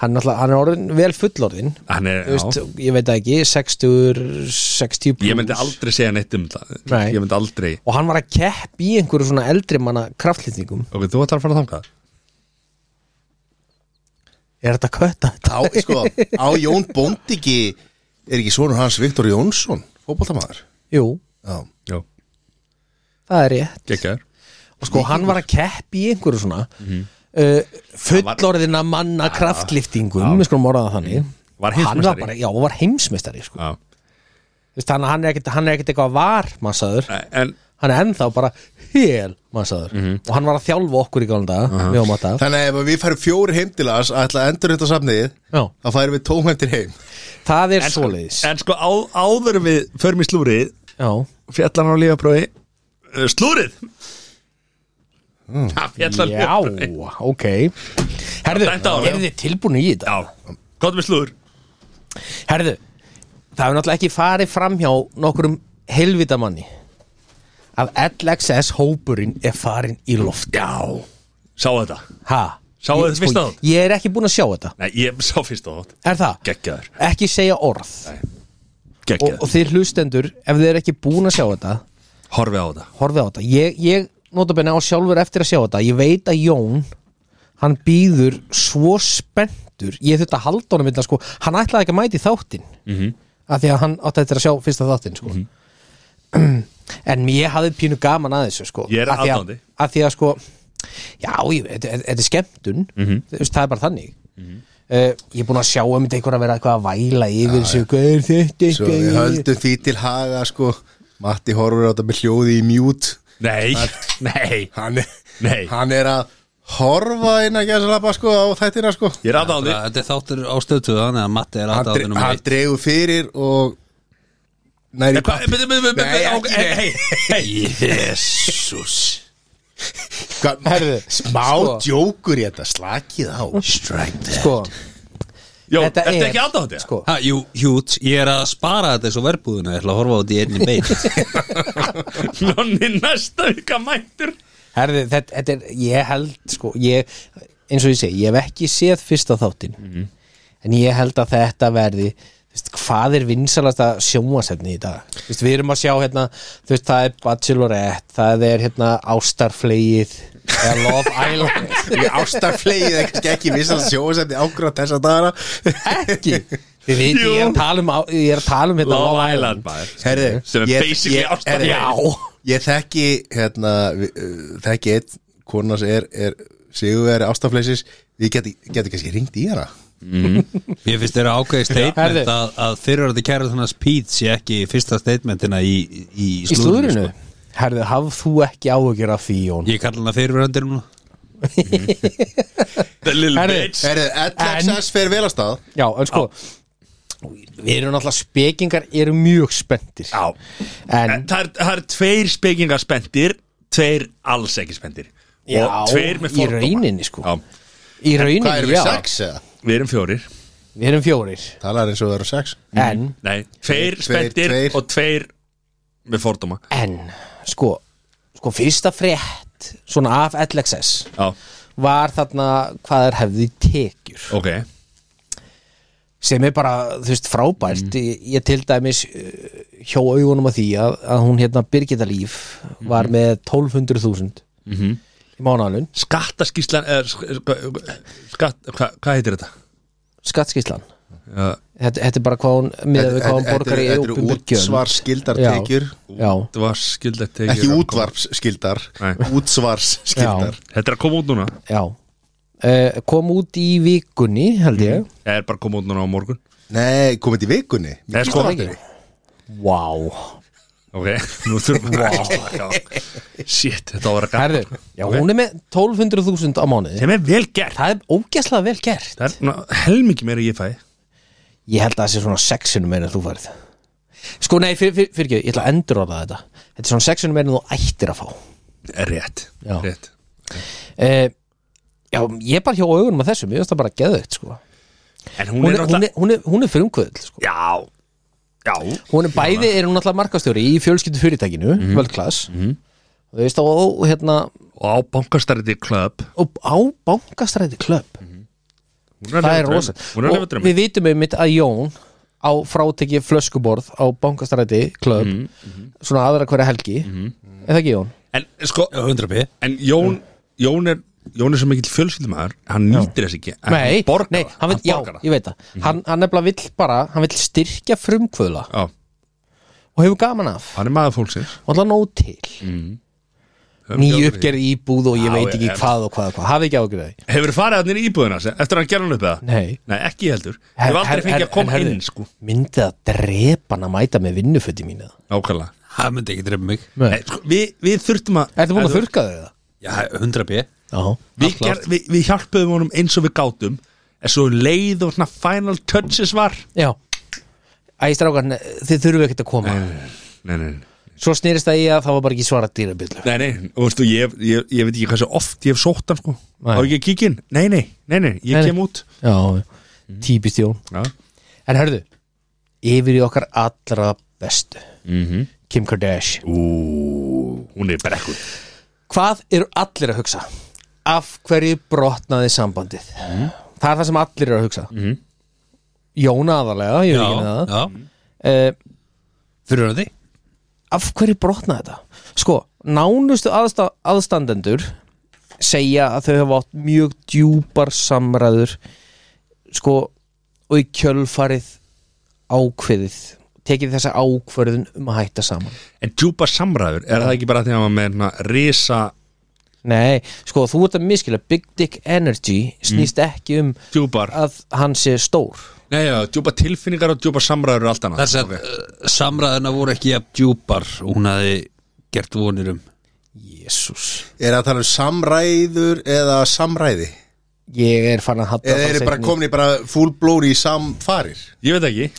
S1: hann, náttúrulega- hann er orðin vel fullorðin
S4: hann er,
S1: þú veist,
S4: já,
S1: ég veit það ekki, 60 60 plus
S4: ég myndi aldrei segja neitt um það
S1: Nei.
S4: ég myndi aldrei
S1: og hann var að keppa í einhverju svona eldri manna kraftlýtningum
S4: ok, þú ætlar að fara þangað
S1: er þetta að kötta þetta?
S2: á, sko, á Jón Bóndi ekki er ekki sonur hans Viktor Jónsson fótboltamaður
S1: Jú,
S2: já.
S4: já,
S1: það er ég
S4: geggjaður
S1: og sko hann var að keppa í einhverju svona
S4: Mhm.
S1: uh, fullorðina manna kraftlýftingum, við skulum orðaða þannig
S4: Mhm. Var
S1: Og hann
S4: heimsmeistari.
S1: bara, já, og var heimsmeistari sko.
S4: já.
S1: Þú veist, hann, hann er ekkert hann er ekkert eitthvað var massaður
S4: en
S1: hann er ennþá bara hel massaður
S4: Mhm.
S1: og hann var að þjálfa okkur í galanda uh -huh. við á matta
S2: þannig að ef við færum fjóri heim til hans að ætla að endur þetta safnið
S1: Já.
S2: þá færum við tómhæmtir heim
S1: það er svoleiðis
S4: en sko á, áður en við förum í slúrið
S1: já,
S4: fjallan á lífaprófi uh, slúrið það fjallan
S1: Mm. já ok herðu,
S4: Dæmt á hann, já.
S1: eru þið tilbúinu í þetta?
S4: já, gott með slúr
S1: herðu, það hefur náttúrulega ekki farið fram hjá nokkurum helvita manni að LXS hópurinn er farin í loft
S4: já, sá þetta
S1: ha?
S4: Sáu
S1: Ég- sko,
S4: þið fyrsta þátt?
S1: ég er ekki búin að sjá þetta
S4: Nei, ég sá fyrst á þátt
S1: er það?
S4: geggjaður,
S1: ekki segja orð og, og
S4: geggjaður,
S1: þið hlustendur, ef þið er ekki búin að sjá þetta
S4: horfið á þetta
S1: horfið á þetta ég, ég notabenni á sjálfur eftir að sjá þetta ég veit að Jón hann býður svo spenntur ég þurfti að halda honum illa sko hann ætlaði ekki að mæti þáttin mm
S4: Mhm.
S1: -hmm. af því að hann átti eftir að sjá fyrsta þáttin sko. en ég hafði pínu gaman að þessu sko
S4: Mhm. Ég er
S1: Af því að-
S4: aðdáandi.
S1: af því að sko já, ég, þetta, þetta- þetta er skemmtun mm
S4: Mhm.
S1: -hmm. það er bara þannig Uh, ég er búin að sjá um þetta einhver að vera eitthvað að væla yfir þessu, hvað er þetta
S2: svo við höldum því til haga sko Matti horfur á þetta með hljóði í mjút
S4: Nei, nei,
S2: hann er,
S4: nei
S2: hann er að horfa inn að gæsa labba sko á þættina sko
S4: Ég er aðdáðandi
S3: Þetta er þáttur á stöðtöðu þannig að Matti er
S2: hann,
S3: alltaf
S2: dre
S3: áttunum
S2: hann dregur fyrir og næri
S4: Hvað-
S2: pappi
S4: byrju, byrju, byrju,
S2: Nei,
S4: byrju,
S2: ekki
S4: ok,
S2: neitt.
S4: hei, hei.
S3: Jésús
S1: Herðu,
S2: smá
S1: sko.
S2: djókur í þetta, slakið á
S1: sko,
S4: Jó,
S1: Þetta
S4: ertu
S1: er-
S4: ekki aðdáðandi?
S1: sko
S3: Jú, hjút, ég er að spara þetta eins og verbúðuna Ég ætla að horfa á þetta í einni beit
S4: Nonni næsta vika mættur
S1: Herði, þetta, þetta er, ég held sko, ég, eins og ég segi, ég hef ekki séð fyrsta þáttin
S4: Mhm.
S1: en ég held að þetta verði þú veist, hvað er vinsalasta sjónvasefni í dag Þú veist, við erum að sjá hérna þú veist, það er Bachelorette, það er hérna Ástarflegið eða Love Island
S2: ástarflegið er kannski ekki vissan sjóðsefni ágrátt þessa dagana
S1: ekki, við veitum, ég er að tala um á- ég er að tala um hérna
S4: Love
S1: Love
S4: Island
S1: Island
S4: maður
S2: Herðu,
S4: Sem er
S2: ég-
S4: basically
S2: ég-
S4: ástarflegið.
S2: herðu,
S1: Já.
S2: Ég þekki hérna, vi- uh, þekki einn konas er, er sigurveri ástafleisis við getum geti kannski ringt í hana
S3: Ég finnst þeirra ákveði
S1: Herðu.
S3: statement að, að fyrirverði kæra þannig að Pete sé ekki fyrsta statementina í, í, sko.
S1: í
S4: sko.
S1: slúðrinu, herði, hafð þú ekki áhugjur af því, Jón?
S3: Ég kalla hana fyrirverðandir núna
S4: The little
S1: Herðu,
S4: bitch
S2: Herðu, LXS fer vel að stað
S1: Já, en sko Við erum náttúrulega spekingar eru mjög spenntir
S4: Já. En
S1: En
S4: Það er, það er tveir spekingar spendir Tveir alls ekki spendir
S1: já,
S4: Og tveir með
S1: í
S4: fordóma
S1: rauninni sko
S4: Já,
S1: Í rauninni,
S2: Hvað erum
S1: já
S2: við, sex eða?
S4: við erum fjórir
S1: Við erum fjórir
S2: Talar eins og það eru sex
S1: En,
S4: Nei, tveir
S2: Tveir,
S4: spendir
S2: tveir.
S4: og tveir með fordóma
S1: en, sko Sko, fyrsta frétt Svona af LXS
S4: Já,
S1: Var þarna hvað er hefði tekjur
S4: ok
S1: Sem er bara, þú veist, frábært
S2: Mhm.
S1: ég, ég til dæmis uh, hjó augunum að því að, að hún hérna Birgitta Líf
S2: Mhm.
S1: Var með 1200.000 Í mánaðalun,
S4: Skattaskíslan er, skatt, hva, Hvað heitir þetta?
S1: skattskíslan
S4: Já,
S1: þetta, þetta er bara hvað hún miðað við hvað hún borgar í
S2: eru
S1: opinber gjöld.
S2: útsvarsskildar
S1: Já.
S2: tekjur
S1: já,
S4: þetta var skildegt
S2: Ekki útvarpsskildar
S4: Nei.
S2: Útsvarsskildar
S4: Þetta er að koma út núna
S1: já. Uh, kom út í vikunni held ég
S4: Það er bara að koma út núna á morgun
S2: Nei, komið til vikunni
S4: Nei, sko,
S2: Gíslavatni.
S1: wow
S4: Ok, nú þurfum við að slaka á Shit, þetta var að
S1: Herðu, já, hún er með 1200.000 á mánuði
S4: Sem er vel gert
S1: það er ógæslega vel gert
S4: Það er ná, helmingi meira en ég fæ
S1: ég held að það sé svona sexinu meira en þú færið sko nei, fyrir, fyrir, fyrir ekki, ég ætla að endur á það þetta þetta er svona sexinu meira en þú ættir að fá
S4: Rétt,
S1: Já.
S4: rétt
S1: uh, já, ég bara hjá augunum að þessu mér finnst það bara geðveikt sko
S4: En
S1: hún
S4: hún, er
S1: er, hún
S4: alltaf
S1: er, hún er, hún er frumkvöld sko.
S4: Já, já Mhm.
S1: hún er bæði, er hún alltaf markastjóri í fjölskyldu fyrirtækinu, mm -hmm. völdklass þú veist, og hérna
S4: Og á bankastarði klub
S1: og á bankastræti klöpp það er rosa
S4: Mm. Hún er að lifa
S1: og
S4: drömmi
S1: við vitum einmitt að Jón á frátekið flöskuborð á bankastræti klöpp
S4: Mm,
S1: svona aðra hverja helgi er það ekki Jón?
S4: En sko,
S3: 100 p
S4: en Jón, Jón er Jón er sem mikill fjölskyldumæður Hann nýtir þess ekki en
S1: nei,
S4: hann borgar
S1: nei,
S4: það,
S1: hann vill, já,
S4: borgar það. Mm.
S1: ég veit það hann, hann nefnilega vill bara, hann vill styrkja frumkvöðla
S4: Já,
S1: og hefur gaman af,
S4: hann er maður fólksins
S1: og alltaf nóg til
S4: Mm. Höfum
S1: ný
S4: ekki áhyggjur.
S1: uppgerð íbúð og ég
S4: Já,
S1: veit
S4: ég-
S1: ekki hvað og hvað og hvað, hafið ekki ágjörð það
S4: Hefur farið hann inn í íbúðina sem- Eftir að hann gerði hann upp eða?
S1: nei
S4: Nei, ekki heldur Ég hef aldrei fengið að koma inn sko
S1: myndið að drepa hann að mæta með vinnuföti mín eða?
S4: Ákvæmlega
S3: Það myndi ekki drepa mig
S4: Nei, sko, við, við þurftum að
S1: ertu búin að þurrka þau það?
S3: Já, 100 p
S1: já,
S4: við, ger, við, við hjálpuðum honum eins og við gátum en svo um leið og svona final touches var
S1: já æ, strákar, ne- þið þurfum ekkert að koma
S4: Nei, nei, nei,
S1: svo snýrist það í að það var bara ekki svara dýrabillu
S4: nei, nei. og veistu, ég, hef- ég, ég veit ekki hvað svo oft ég hef sótt hann sko
S1: Nei.
S4: Á ekki að kíkja inn? Nei, nei, nei, nei, ég
S1: Nei, nei.
S4: kem út
S1: já, típist Jón
S4: Já,
S1: Mhm. en hörðu, yfir í okkar allra bestu
S4: mhm
S1: Kim Kardashian
S4: Ú, hún er brekkur
S1: hvað eru allir að hugsa? af hverju brotnaði sambandið? það er það sem allir eru að hugsa mm. Jón aðalega, ég veit ekki með það
S3: já
S1: Eh,
S3: Fyrirverði
S1: af hverju brotnaði þetta sko, nánustu aðsta, aðstandendur segja að þau hafa átt mjög djúpar samræður sko og í kjölfarið ákveðið tekið þessa ákverðin um að hætta saman
S4: En djúpa samræður, er það ekki bara því að maður með hérna risa
S1: nei, sko þú ert að miskila Big Dick Energy snýst
S2: Mm.
S1: ekki um
S4: djúpar
S1: að hann sé stór
S4: Nei, já, djúpa tilfinningar og djúpa samræður er allt annað
S3: Þess að
S4: Ok.
S3: okay. samræðina voru ekki jafn djúpar og Hún hafi gert vonir um
S1: Jésús
S2: Er það að tala um samræður eða samræði?
S1: Ég er fann að hatta
S2: Eða eru bara komin í bara full blown í samfarir?
S4: Ég veit ekki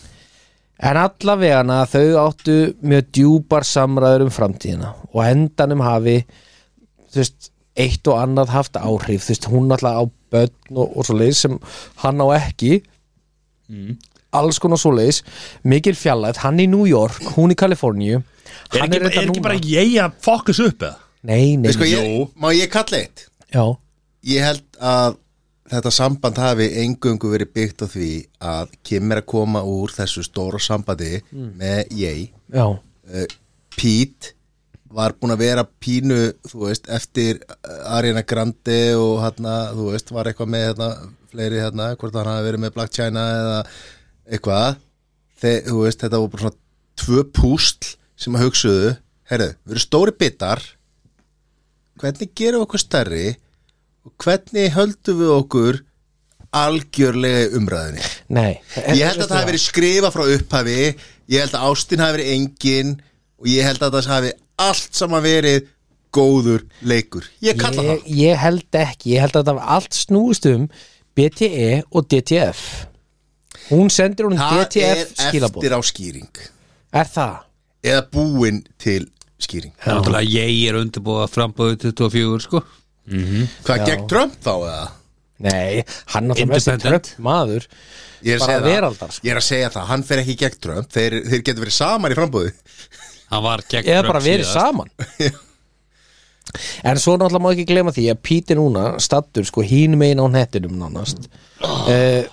S1: En allavegana þau áttu mjög djúpar samræður um framtíðina og á endanum hafi þú veist, eitt og annað haft áhrif þú veist, hún alltaf á börn og, og svo leis sem hann á ekki alls konar svo leis mikil fjallæð, hann í New York hún í Kaliforníu
S4: Er
S1: hann
S4: ekki, er
S1: reyndar
S4: ekki
S1: núna-
S4: bara ég að fokkus upp eða?
S1: Nei, nei,
S2: Sko, ég,
S4: Jú.
S2: má ég kalla eitt?
S1: já
S2: Ég held að þetta samband hafi engungu verið byggt á því að Kim er að koma úr þessu stóra sambandi með ég
S1: Já,
S2: Pete var búin að vera pínu þú veist, eftir eh, Ariana Grande og hérna, þú veist, var eitthvað með hérna, fleiri hérna, hvort hann hafi verið með Black China eða eitthvað Þe, þú veist, þetta voru bara svona tvö púsl sem að hugsuðu herðu, við erum stóri bitar hvernig gerum við okkur stærri og hvernig höldum við okkur algjörlega í umræðinni
S1: nei
S2: Ég held að það hafi verið skrifa frá upphafi Ég held að ástin hafi verið engin Og ég held að það hafi allt saman verið Góður leikur Ég kalla
S1: ég, ég held ekki, ég held að það var allt snúist um BTE og DTF hún sendir hún
S2: það Það er
S1: DTF skilabóð
S2: eftir á skýring
S1: er það?
S2: Eða búin til skýring
S3: Það er náttúrulega ég er undirbúið að frambúið 24 sko
S2: Hvað gegn Trump þá eða?
S1: Nei, hann náttúrulega mest er
S3: Independent.
S1: tröpp maður
S2: Ég er, að
S1: Bara
S2: segja það.
S1: veraldar, sko.
S2: ég er að segja það, hann fer ekki gegn Trump Þeir, þeir getur verið saman í frambúði
S3: Hann var gegn
S1: eða
S3: Trump
S1: bara verið
S3: síðast.
S1: saman En svo náttúrulega má ekki glema því að Píti núna stattur sko hín megin á hnettinum nánast uh,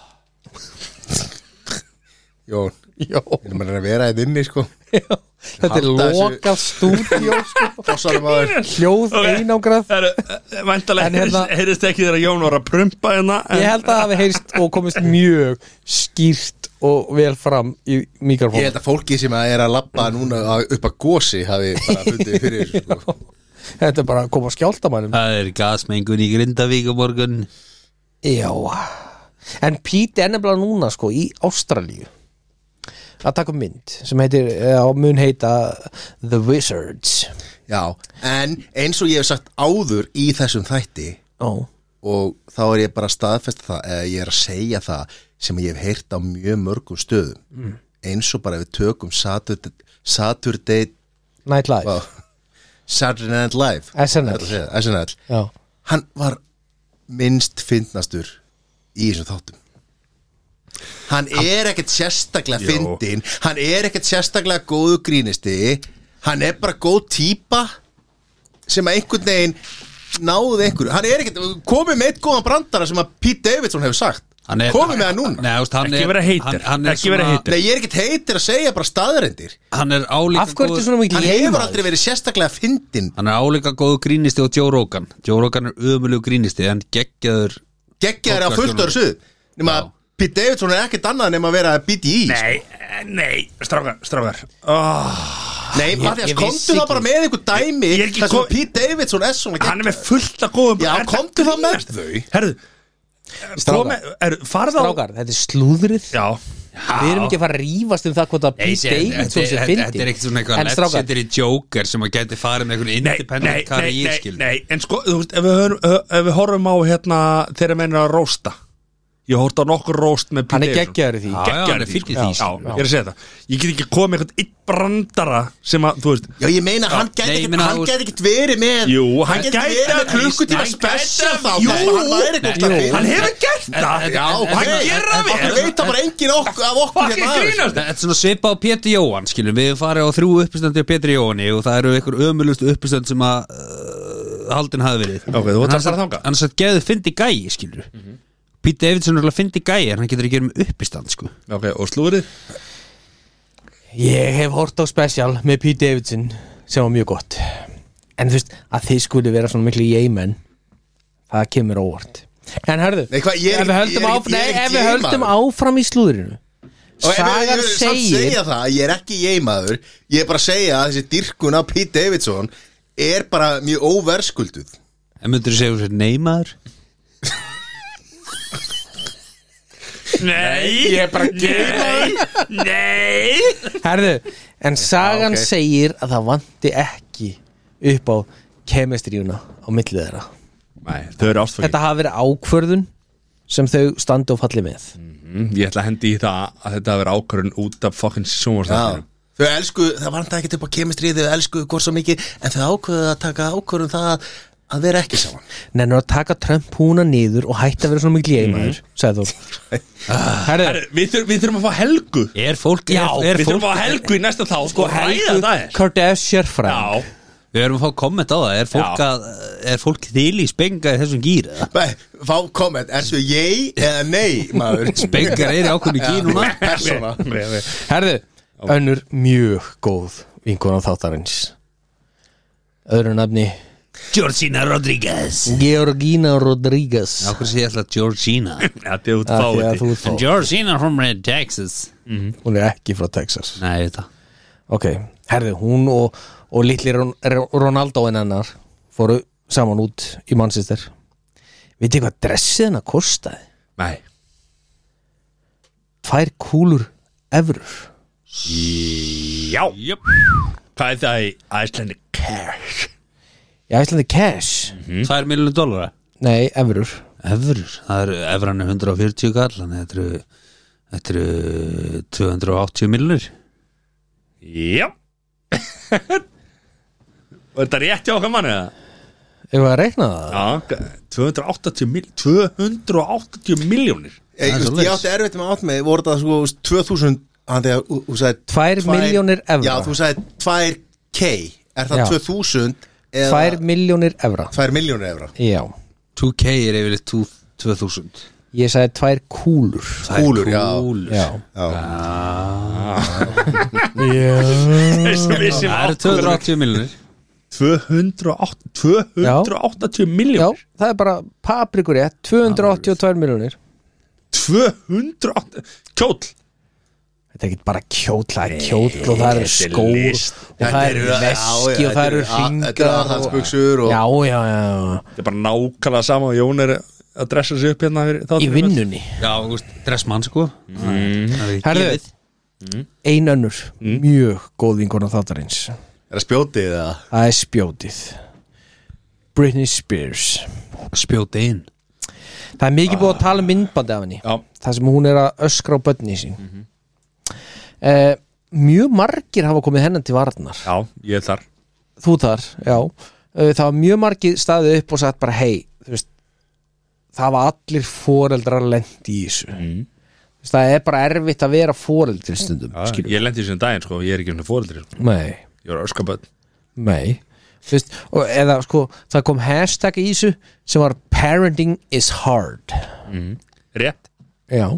S2: Jón, ég meina að vera eða inni sko
S1: Þetta er
S2: Halda þessu-
S1: lokað stúdíó sko,
S2: Fossanum að
S1: hljóð einangrað
S4: Það eru
S1: En
S4: Væntalega
S1: hérna-
S4: heyrist ekki þegar Jón var að prumpa hérna
S1: Ég held að það hafi heyrst og komist mjög skýrt og vel fram í
S2: Ég
S1: mikrofónu
S2: held að fólki sem að er að labba núna að- upp að gósi hafi bara fundið fyrir þessu, sko.
S1: Þetta er bara að koma að skjálta mannum
S3: Það er gasmengun í Grindavík á morgun
S1: Já En Pete er nefnilega núna sko í Ástralíu að taka upp mynd sem heitir, eða mun heita The Wizards
S2: Já, en eins og ég hef sagt áður í þessum þætti
S1: Ó,
S2: og þá er ég bara að staðfesta það eða ég er að segja það sem ég hef heyrt á mjög mörgum stöðum eins og bara við tökum Saturday, Saturday
S1: Nightlife
S2: wow, Saturday Night Live
S1: SNL.
S2: Ég ætla að segja það, SNL
S1: Já,
S2: hann var minnst fyndnastur í þessum þáttum hann er ekkert sérstaklega
S4: Jó.
S2: fyndin, hann er ekkert sérstaklega góðu grínisti hann er bara góð típa sem að einhvern veginn náði einhverju, hann er ekkert komið með eitt góðan brandara sem að Pete Davidson hefur sagt
S3: Hann er-
S2: komið með það núna
S3: Nei, þú veist, hann
S4: Ekki
S3: er-
S4: vera heitir.
S3: hann- hann er
S4: Ekki vera
S3: svona-
S4: heitir.
S2: Nei, ég er ekkert heitir að segja bara staðarendir
S3: Hann er álíka
S1: Af hverju
S3: góður-
S1: ertu svona mikil
S2: hann hefur aldrei verið sérstaklega fyndin
S3: Hann er álíka góðu grínisti og Joe Rogan Joe Rogan er ömulegu grínisti en geggjaður
S2: geggjaður á fullt öðru suð nema að
S3: Já.
S2: Pete Davidson er ekkert annað nema að vera BDI sko.
S4: Nei, eh, nei, strákar, strákar oh,
S2: Nei, Mathias,
S1: ég vissi
S2: komdu þá
S1: ekki.
S2: bara með einhver dæmi
S4: Ég er ekki
S2: þar sem
S4: kom-
S2: Pete Davidson er svona
S4: Hann er með fullt að góðum
S2: Já,
S4: Er þetta
S2: komdu þá með
S4: grínast?
S2: þau.
S4: Herðu,
S1: Strákar.
S4: komi, er, farð á
S1: Strákar, þetta er slúðrið
S4: Já,
S1: Við erum ekki að fara að rífast um það hvort að
S3: Nei,
S1: Pete
S3: sé-
S1: Davidson sem
S3: þetta- þetta- Þetta er
S1: fyndi
S3: ekkert svona eitthvað
S1: En strákar,
S3: legendary joker sem að geti farið með einhvern
S4: nei, nei,
S3: independent
S4: nei,
S3: karriér
S4: nei,
S3: skil
S4: nei En sko, þú veist, ef við, hörum, ef við horfum á hérna þeirra mennir að rósta Ég hórt á nokkur róst með Pete
S1: hann er
S4: Davidson.
S1: geggjaður í því
S3: Já, já, hann er fyrir því
S4: Já, ég er að segja það Ég get ekki komið eitthvað eitt brandara sem að, þú veist
S2: Já, ég meina, hann gæti
S3: Nei, ég
S2: ekkert
S3: meina,
S2: hann
S3: þú-
S2: gæti ekkert verið með hann
S4: Jú, hann
S2: gæti
S4: gæti
S2: verið með
S4: að-
S2: klukkutíma
S4: hann gæti
S2: special
S4: að-
S2: þá
S4: Jú,
S2: hann væri ekkert að
S1: jú.
S2: finna
S4: Hann hefur gert það
S2: Já,
S3: En- en-
S2: hann
S3: en-
S2: gerir
S3: en-
S2: það
S3: en-
S2: vel veit það bara enginn okkur af okkur
S4: Fucking
S2: hérna aðeins.
S4: grínast
S3: Þetta er svona svipa á Pétur Jóhann skilur Við farið á þrjú uppistandi á Pétur Jóhanni og það eru einhver ömulust uppistand sem að uh, haldin hafi verið
S4: Ok, þú ert að fara þangað.
S3: Hann satt geðið fyndi gæi skilur mm
S4: Mhm.
S3: -hmm. Pete Davidson er alveg fyndi gæi en hann getur ekki verið með uppistand sko
S4: Ok, og slúrið
S1: Ég hef hort á special með Pete Davidson sem var mjög gott En þú veist, að þið skuli vera svona miklu jæmen það kemur óvart En hörðu,
S2: Nei, hvað, ég er
S1: ef við
S2: ekki-
S1: höldum,
S2: ég er
S1: áf
S2: ekki- ég er
S1: nei,
S2: ekki
S1: ef við
S2: gay-maður.
S1: höldum áfram í slúðrinu
S2: Og ef- ef-
S1: Sagan
S2: ef- samt
S1: segir
S2: segja það, ég er ekki ég maður Ég er bara að segja að þessi dyrkun á Pete Davidson er bara mjög óverskulduð
S3: En myndur þú segja þessi neymaður?
S4: Nei, ég er bara geimaður Nei
S1: Herðu, en sagan
S2: ok.
S1: segir að það vanti ekki upp á kemestríuna á millið þeirra
S4: Nei, þau eru ástfangin
S1: Þetta hafi verið ákvörðun sem þau standi og falli með
S4: Mm, Ég ætla að hendi í það að þetta hafi verið ákvörðun út af fucking
S2: Já,
S4: sjónvarstæðinu
S2: þau elsku, það var þetta ekkert upp á kemistrið þau elsku hvort svo mikið, en þau ákveðu að taka ákvörðum það að vera ekki saman
S1: Nennur að taka Trump húna niður og hætti að vera svona mikil eiginmaður sagði þú Ah, Herðu,
S4: Eh, Við þurfum, við þurfum að fá helgu
S3: Er fólk,
S1: Já,
S3: er, er
S4: Við þurfum
S3: fólk
S4: að fá helgu í næsta þá Sko
S1: Helgu Kardashian fræng
S4: Já,
S3: Við erum að fá komment á það Er fólk,
S4: Já.
S3: að, er fólk þýli spenga í þessum gýr eða?
S2: Nei, Fá komment, er þau ég eða nei, maður
S3: Spengar er í ákveðinu gýr núna
S2: Persóna
S1: Herðu, önnur mjög góð vinkona þáttarins Öðru nafni
S3: Georgina Rodriguez
S1: Georgina Rodríguez
S3: Akkur sé ég alltaf Georgina
S4: þetta er
S1: Af
S4: út
S1: því að
S4: fáið
S1: þú ert fá-
S3: Georgina from Texas
S1: Hún er ekki frá Texas
S3: Nei, þetta
S1: Ok, herðu, hún og, og litli Ron- Ro- Ronaldo en hennar fóru saman út í Manchester Vitið þið hvað dressið hennar kostaði?
S4: Nei
S1: Tvær kúlur evrur
S4: Já yep. Hvað er það í Icelandic Cash?
S1: Í Æslandi cash?
S3: 2 miljonur dólara
S1: Nei, evrur
S3: Hmm? Evrur, það eru evran er 140 kall Þannig þetta eru Þetta eru 280 miljonur
S4: Já Og þetta er rétt hjá okkar manni eða?
S1: Ef við að reikna það?
S4: Já, 280 mil 280 miljónir
S2: Ég,
S3: Það er
S2: ég,
S3: svoleiðis.
S2: ég átti erfitt með átt með, voru það sko þú veist, 2000, hann þegar þú- þú sagði
S1: Tvær milljónir evra.
S2: Já, þú sagði 2K, er það
S1: Já.
S2: 2000 eða
S1: Tvær miljónir evra
S2: 2 miljónir evra
S1: Já,
S3: 2K er yfirleitt 2 2000
S1: ég sagði tvær kúlur
S3: Það er
S2: Kúlur, já.
S3: kúlur.
S1: Já,
S2: Já,
S4: Það
S3: Það eru 280 miljonir
S4: 208 280
S1: Já
S4: miljónir
S1: það er bara paprikur rétt 282 miljónir
S4: 208 Kjóll
S1: Þetta er ekki bara kjóll, það er kjóll og það eru
S4: þetta er
S1: skór
S4: list.
S1: og það eru
S2: já,
S1: veski og það
S2: þetta
S1: eru
S2: eru- þetta
S1: hringar
S2: eru aðhaldsbuxur og-
S1: Já, já, já,
S4: Þetta er bara nákvæmlega sama og Jón er að dressa sig upp hérna fyrir,
S1: í vinnunni
S3: Já, úst, dressmann sko mm.
S1: Herðu. Ein önnur,
S2: Mm.
S1: mjög góð vinkona þáttarins
S2: er það spjótið eða
S1: Það er spjótið Britney Spears
S3: Spjóti inn
S1: Það er mikið búið að tala um myndbandi af henni
S4: Já,
S1: Það sem hún er að öskra á börni sín mm
S4: Mhm.
S1: Mjög margir hafa komið hennan til varnar
S4: já, ég er þar
S1: þú þar, já Uh, það var mjög margir staðið upp og sagt bara hei, þú veist það var allir foreldrar lent í þessu mm.
S4: Mhm.
S1: það er bara erfitt að vera foreldri stundum
S4: Já, Ég lendi í þessum daginn sko, ég er ekki um fóreldri sko.
S1: nei,
S4: Ég var um öskaböld
S1: nei þú veist, og eða sko það kom hashtag í þessu sem var parenting is hard
S4: Rétt,
S1: já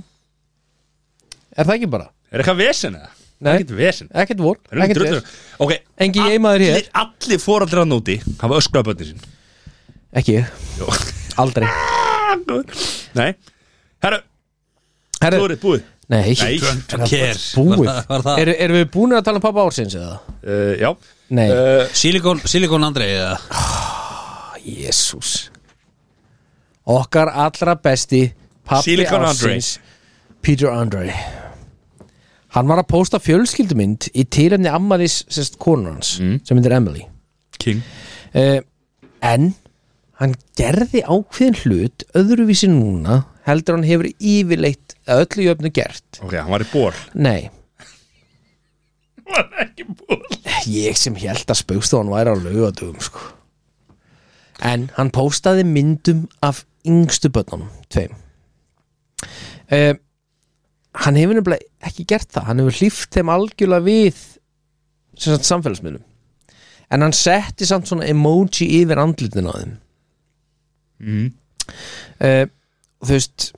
S1: er það ekki bara?
S4: er eitthvað vesen eða?
S1: Nei.
S4: Ekkert vesen
S1: ekkert vor,
S4: Það er
S1: ekkert
S4: drullur.
S1: ver
S4: Ok,
S1: Engin eiginmaður hér.
S4: allir- Allir fóreldrar að nóti hafa öskaböldin sín
S1: ekki ég,
S4: Jó.
S1: aldrei
S4: Ah, Nei, herru, þú
S1: Herru,
S4: er búið
S1: nei,
S4: Nei,
S3: Kér
S1: búið
S3: Var það, var það?
S1: Eru er við búin að tala um pappa ársins eða?
S4: uh, já
S1: Nei, uh,
S4: uh,
S3: Silikon, Silikon Andrei eða?
S1: Jésús Okkar allra besti Pappi
S4: Silicon Andre.
S1: ársins Peter Andre Hann var að pósta fjölskyldumynd í tilefni ammalis sérst konur hans sem myndir Emily
S4: King
S1: uh, En hann gerði ákveðin hlut öðruvísi núna heldur hann hefur yfirleitt að öllu jöfnu gert
S4: Ok, hann var í ból
S1: Nei,
S4: Hann var ekki í ból
S1: ég sem held að spaukstofan væri á laugardögum sko. en hann póstaði myndum af yngstu börnunum tveim uh, hann hefur nefnilega ekki gert það, hann hefur hlýft þeim algjörlega við sem sagt samfélagsmiðlum en hann setti samt svona emoji yfir andlitin á þeim mm. þú veist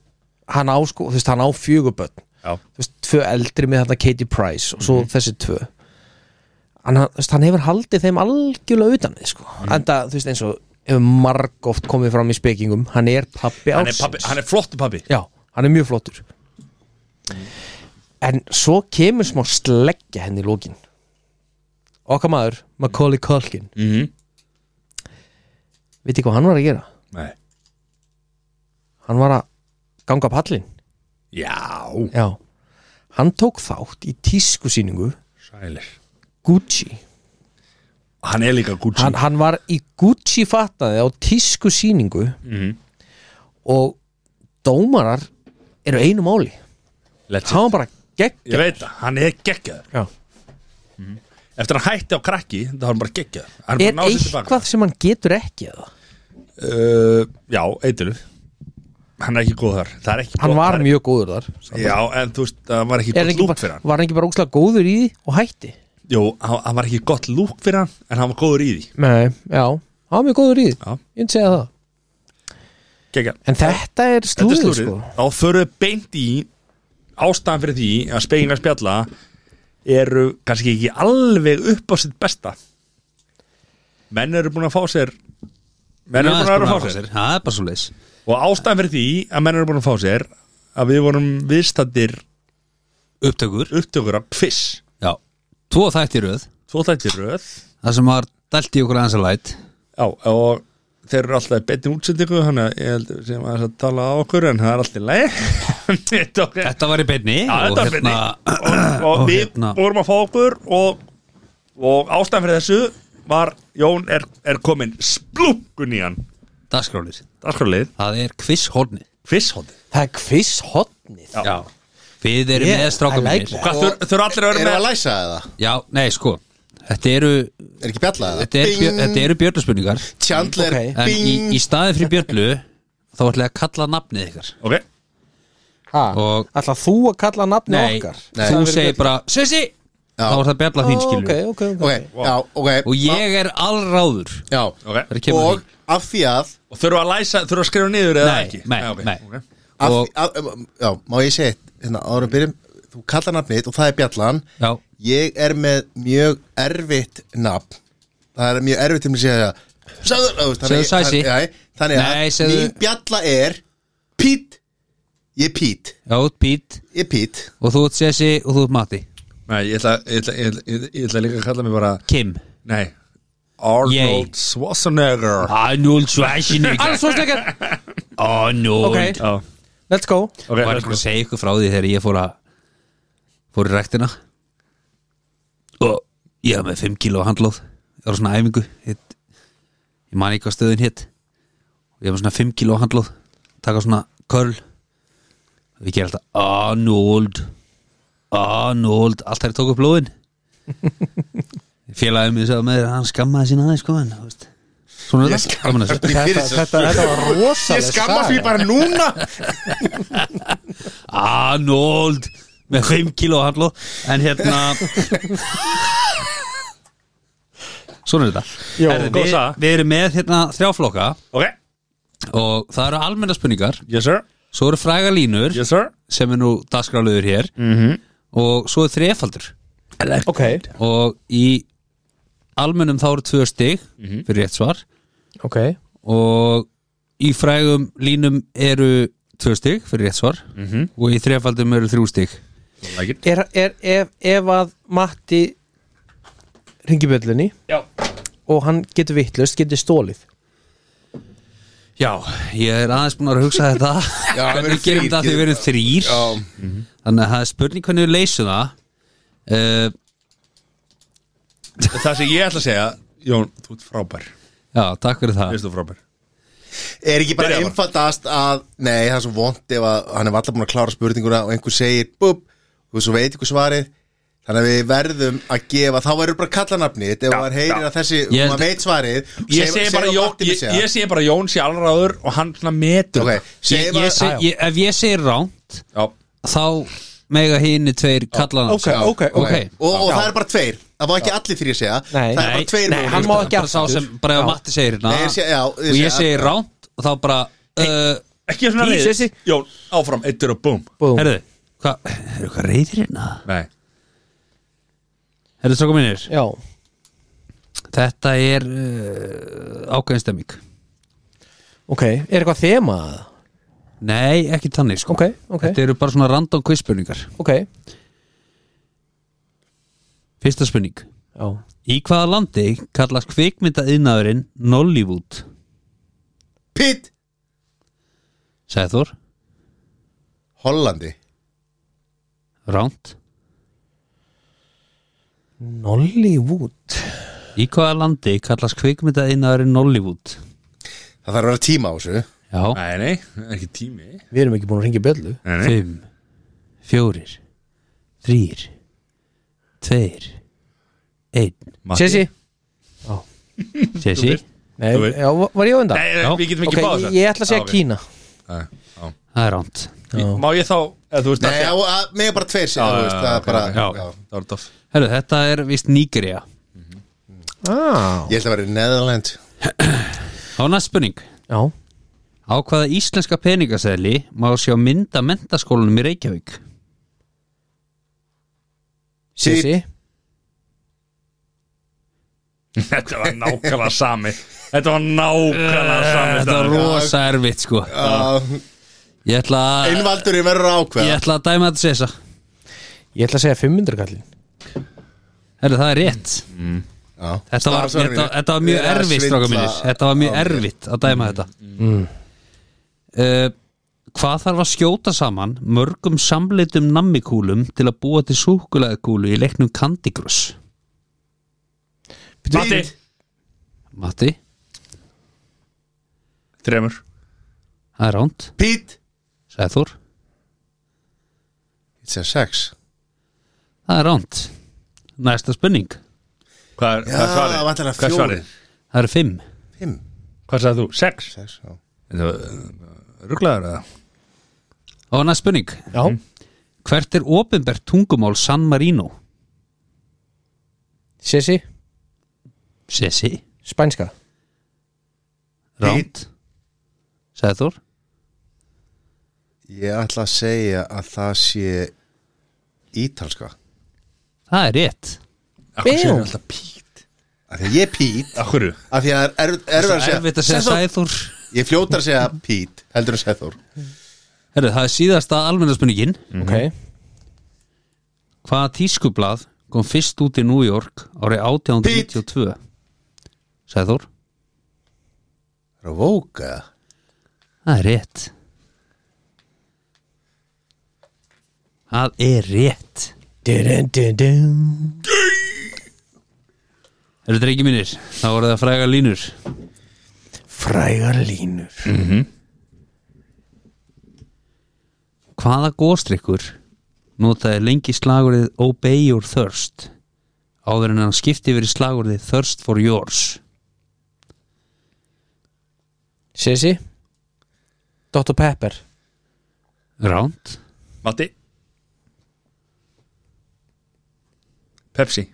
S1: hann á, sko, þú veist, hann á fjögubönn
S4: Já,
S1: þú veist, tvö eldri með þetta Katie Price og svo
S4: Mhm.
S1: þessi tvö hann, hann- þú veist, hann hefur haldið þeim algjörlega utan við sko.
S4: Mhm.
S1: mm. enda, þú veist, eins og hefur marg oft komið fram í spekingum hann er pappi
S4: hann er,
S1: ársins
S4: pappi, hann er flottu pappi
S1: já, hann er mjög flottur en svo kemur smá sleggja henni í lókin okkar maður, Macaulay Culkin
S4: mm -hmm.
S1: veit ég hvað hann var að gera?
S4: Nei
S1: hann var að ganga pallin
S4: Já,
S1: já, hann tók þátt í tískusýningu
S4: sælir
S1: Gucci
S4: Hann er líka Gucci
S1: hann, hann var í Gucci fatnaði á tísku sýningu og dómarar eru einu máli
S4: Let's
S1: hann var bara gegn
S4: Ég veit það, hann er geggjaður
S1: Já.
S4: Eftir að hann hætti á krakki, þá var hann bara geggjaður Hann
S1: er
S4: bara náði sér tilbaka.
S1: eitthvað sem hann getur ekki eða?
S4: uh, Já, eitlu Hann er ekki góð þar Það er ekki
S1: hann
S4: gott-
S1: var
S4: það er-
S1: mjög góður þar
S4: Já, en þú veist, það var ekki
S1: Er hann
S4: gott
S1: ekki
S4: lúk fyrir
S1: bara,
S4: hann
S1: var hann ekki bara óslega góður í því og hætti
S4: Jú, hann hann var ekki gott lúk fyrir hann En hann var góður í því
S1: Nei, já, hann var mjög góður í því
S4: Já.
S1: ég myndi segja það
S4: Geggjaður
S1: en þetta er
S4: Þetta er
S1: slúður
S4: slúrið
S1: sko.
S4: Þá förum við beint í Ástæðan fyrir því að speglingar spjalla Eru kannski ekki alveg upp á sitt besta Menn eru búin að fá sér Menn eru
S1: sko,
S4: búin að vera að fá sér
S3: það er bara svo leis
S4: Og ástæðan fyrir því að menn eru búin að fá sér að við vorum viðstættir
S3: upptökur,
S4: upptökur af kviss
S3: já, tvo þættir röð
S4: Svo þætti röð
S3: það sem var dælt í okkur aðeins að læt
S4: Já, og þeir eru alltaf betni útsendingu þannig að ég held að sem að tala á okkur en það er alltaf leið Þetta ok.
S3: þetta var í beinni hérna
S4: Já, þetta var í beinni. og, og
S3: og
S4: við
S3: hérna-
S4: vorum að fá okkur og, og ástæðan fyrir þessu var Jón er, er komin splúkun í hann
S3: dagskrálir,
S4: Dagskrálið,
S3: það er kvisshorni
S4: kvisshóti
S1: það er kviss hotnið
S4: Já.
S3: við erum
S1: Yeah, I
S3: með strákum
S1: like
S3: mínir.
S1: that.
S4: Hvað þur- þurfa allir að
S2: Erum við
S4: vera
S2: að
S4: með?
S2: læsa eða?
S3: já, nei sko, þetta eru
S2: Er ekki bjallað
S3: þetta, er, björ- þetta eru björnarspunningar
S2: Chandler,
S1: Ok.
S3: en í,
S2: bing
S3: í staði fyrir björlu þá ætla ég að kalla nafnið ykkar
S4: Ok,
S3: Og-
S1: ætla þú að kalla nafni
S3: Nei,
S1: okkar
S2: Nei.
S3: þú
S2: Það
S3: segir bara Sessi, þá er það bjalla þín skilur
S1: ok, ok, ok,
S2: Ok, já, ok
S3: og ég er allráður
S2: Já,
S4: ok
S3: þegar kemur að
S2: og
S3: því.
S2: af því að
S4: Og þurfa að læsa, þurfa að skrifa niður eða
S3: Nei,
S4: ekki
S3: nei,
S4: ok,
S3: nei.
S4: ok.
S2: af,
S3: Og-
S2: af, um, já, má ég segja eitt, hérna, árum byrjum þú kallar nafn mitt og það er Bjallan
S3: Já.
S2: ég er með mjög erfitt nafn það er mjög erfitt til mig að segja sagður, þú veist, þannig,
S3: Segðu Sæsi.
S2: þannig, þannig að
S3: Nei, segðu-
S2: mín Bjalla er Pít ég er Pít,
S3: Já, þú ert Pít
S2: ég er Pít
S3: og þú ert Sessi og þú ert Matti
S4: Nei, ég ætla, ég, ætla, ég, ætla, ég ætla- ég ætla líka að kalla mig bara
S3: Kim
S4: Nei Arnold Schwarzenegger
S3: Arnold Schwarzenegger
S1: Arnold Schwarzenegger
S3: Arnold
S1: Ok,
S4: Já,
S1: let's go
S4: ok,
S3: Var
S4: let's
S3: ekki
S4: go.
S3: að segja ykkur frá því þegar ég fór að fór í rektina og ég var með 5 kilo handlóð það var svona æfingu hitt, ég man ekki hvað stöðin hitt ég var með svona 5 kilo handlóð taka svona curl við gerum alltaf Arnold Arnold allt þær tók upp blóðin félagið mér sagði með þér hann skammaði sína aðeins sko en þú veist. svona er það gaman að þessu.
S1: Þetta, þetta, þetta var rosalega
S2: ég skammast mér bara núna
S3: Arnold með 5 kilo handló en hérna svona er þetta
S1: Jó.
S3: Herðu,
S4: Góð
S3: við,
S4: saga.
S3: við erum með hérna þrjáflokka
S4: Ok,
S3: og það eru almenna spurningar
S4: yes sir,
S3: svo eru fræga línur
S4: yes Mhm. sir
S3: sem er nú dagskráluður hér -hmm. og svo er þrefaldur
S1: Ok,
S3: og í almennum þá eru tvö stig
S4: Mhm.
S3: fyrir rétt svar
S1: ok
S3: og í frægum línum eru tvö stig fyrir rétt svar
S4: Mhm.
S3: -hmm. og í þrefaldum eru þrjú stig
S4: like it.
S1: er, er, ef, ef að Matti ringi bjöllunni
S4: Já.
S1: og hann getur vittlust, getur stólið
S3: Já, ég er aðeins búin að hugsa þetta
S2: Já, við erum
S3: Hvernig gerum
S2: þrír,
S3: þetta því við erum þrýr
S2: já,
S3: Þannig að það er spurning hvernig við leysum það uh,
S4: Það sem ég ætla að segja Jón, þú ert frábær
S3: Já, takk fyrir það
S4: Veist þú frábær
S2: er ekki bara
S4: Byrja bara.
S2: einfaldast að nei, það er svo vond ef að hann er vallar búin að klára spurninguna og einhver segir búb og svo veit ykkur svarið þannig að við verðum að gefa þá verður bara kallanafni ef maður heyrir að þessi,
S3: Ég
S2: og
S3: held-
S2: maður veit svarið
S4: Ég segi bara, Jón, ég, ég segi bara Jón sé allraður og hann svona metur
S2: Ok,
S3: ég,
S2: segi
S3: ég,
S2: bara
S3: seg, ég, Ef ég segir ránt
S4: Já,
S3: Þá mega hini tveir kallana
S1: Ok, ok, ok
S3: ok.
S2: og, og það er bara tveir, það má ekki allir þrjir segja
S1: Nei.
S2: það er bara tveir
S1: nei,
S2: sko. möguleikar.
S1: hann má ekki
S3: Bara sá
S1: aftur.
S3: sem, bara
S1: Já.
S3: ef Matti segir hérna
S2: Nei, ég seg- já, ég
S3: Og ég
S2: seg-
S3: segir ránt Og þá bara uh,
S4: ekki svona
S1: Please,
S4: reyðis
S1: Jesse.
S4: Jón, áfram, eittur og búm
S1: Búm.
S3: Herðu, hvað, er eitthvað reyðir hérna?
S4: Nei,
S3: Herðu, strákum minnir
S1: Já,
S3: Þetta er uh, ákveðinstemming
S1: ok, er eitthvað þema að það?
S3: Nei, ekki tannig sko
S1: Ok, ok.
S3: Þetta eru bara svona random quizspurningar
S1: Ok,
S3: Fyrsta spurning
S1: já
S3: Í hvaða landi kallast kvikmynda yðnaðurinn Nollywood?
S2: Pitt,
S3: Segði Þór,
S2: Hollandi
S3: ránt
S1: Nollywood
S3: Í hvaða landi kallast kvikmyndaðinaðurinn Nollywood?
S2: Það þarf að vera tíma á þessu
S3: Já,
S4: Nei, nei, það er ekki tími Nei,
S1: Við erum ekki búin að ringja bjöllu
S4: nei,
S3: fimm, fjórir, þrýr, tveir, einn
S4: Matti.
S1: Sessi
S3: Sessi,
S1: Nei,
S4: Þú veist.
S1: já, var ég á undan?
S4: Nei, nei,
S3: Já.
S4: við getum ekki
S1: Ok,
S4: báða
S1: ég ætla að segja Kína
S4: Kína
S3: það er ránt
S4: Má ég þá, eða þú veist
S2: Nei,
S4: að-
S2: á, að, mig er bara tveir sér,
S4: Já,
S2: þú veist,
S4: já,
S2: það er
S4: ok,
S2: bara
S4: ok.
S2: já.
S4: Það var tóf
S3: Herru, þetta er vist Nígeria
S1: ah.
S2: Ég held að vera í Netherland
S3: Þá er næst spurning
S1: Já,
S3: Á hvaða íslenska peningaseðli má sjá mynda mentaskólanum í Reykjavík?
S1: Sessi
S4: Þetta var nákvæmlega sami Þetta var nákvæmlega sami
S3: Þetta er
S4: staður.
S3: rosa erfitt sko
S2: Já,
S3: Ég ætla að,
S2: Einvaldurinn verður að
S3: ég
S2: ákveða
S3: ætla að dæma þetta Sessa
S1: Ég ætla að segja 500 kallin
S3: Herru, það er rétt
S2: Já.
S3: Þetta var,
S2: Staðarsvörin
S3: þetta,
S2: mínu.
S3: þetta var mjög
S2: Ég er að
S3: erfitt,
S2: svindla Mm.
S3: stráka mínir Þetta var mjög erfitt að dæma þetta uh, Hvað þarf að skjóta saman mörgum samleitum nammikúlum til að búa til súkulaðkúlu í leiknum Candy Crush?
S4: Matti,
S3: Matti,
S4: þremur
S3: það er ránt
S2: Pít
S3: Sæður,
S2: It's a sex
S3: það er ránt Næsta spenning,
S4: Hvað er,
S2: Já,
S4: hvað er svarið?
S2: vantarlega
S4: Hvað er
S2: fjórir.
S4: svarið?
S3: það er fimm
S2: Fimm,
S4: Hvað sagði þú? Sex?
S2: sex, já
S4: eh, Ruglaður eða?
S3: Og næsta spenning,
S1: Já,
S3: hvert er opinbert tungumál San Marino?
S1: Sessi
S3: Sessi,
S1: Spænska
S3: ránt Sæður,
S2: Ég ætla að segja að það sé ítalska
S3: það er rétt
S4: Akkur séu
S1: Bum.
S4: alltaf pít
S2: Af því að ég er Pít
S4: Akkur
S2: Af því að það er erf- erfitt að segja
S3: Erfitt að segja
S2: Sæþór.
S3: Sæður
S2: Ég fljótar að segja Pít heldur en Sethor
S3: Herru, það er síðasta almennarspurningin
S1: Ok
S3: Hvaða tískublað kom fyrst út í New York árið 1892? Sæður?
S2: Róka
S3: Það er rétt Það er rétt
S1: dun, dun, dun.
S3: Herru, drengi mínir, þá voru það fræga línur
S1: Frægar línur
S3: Hvaða góðstrykkur notaði lengi slagurðið Obey Your Thirst áður en hann skipti yfir í slagurðið Thirst for Yours
S1: Sessi Dr. Pepper
S3: Ránt
S4: Matti Pepsi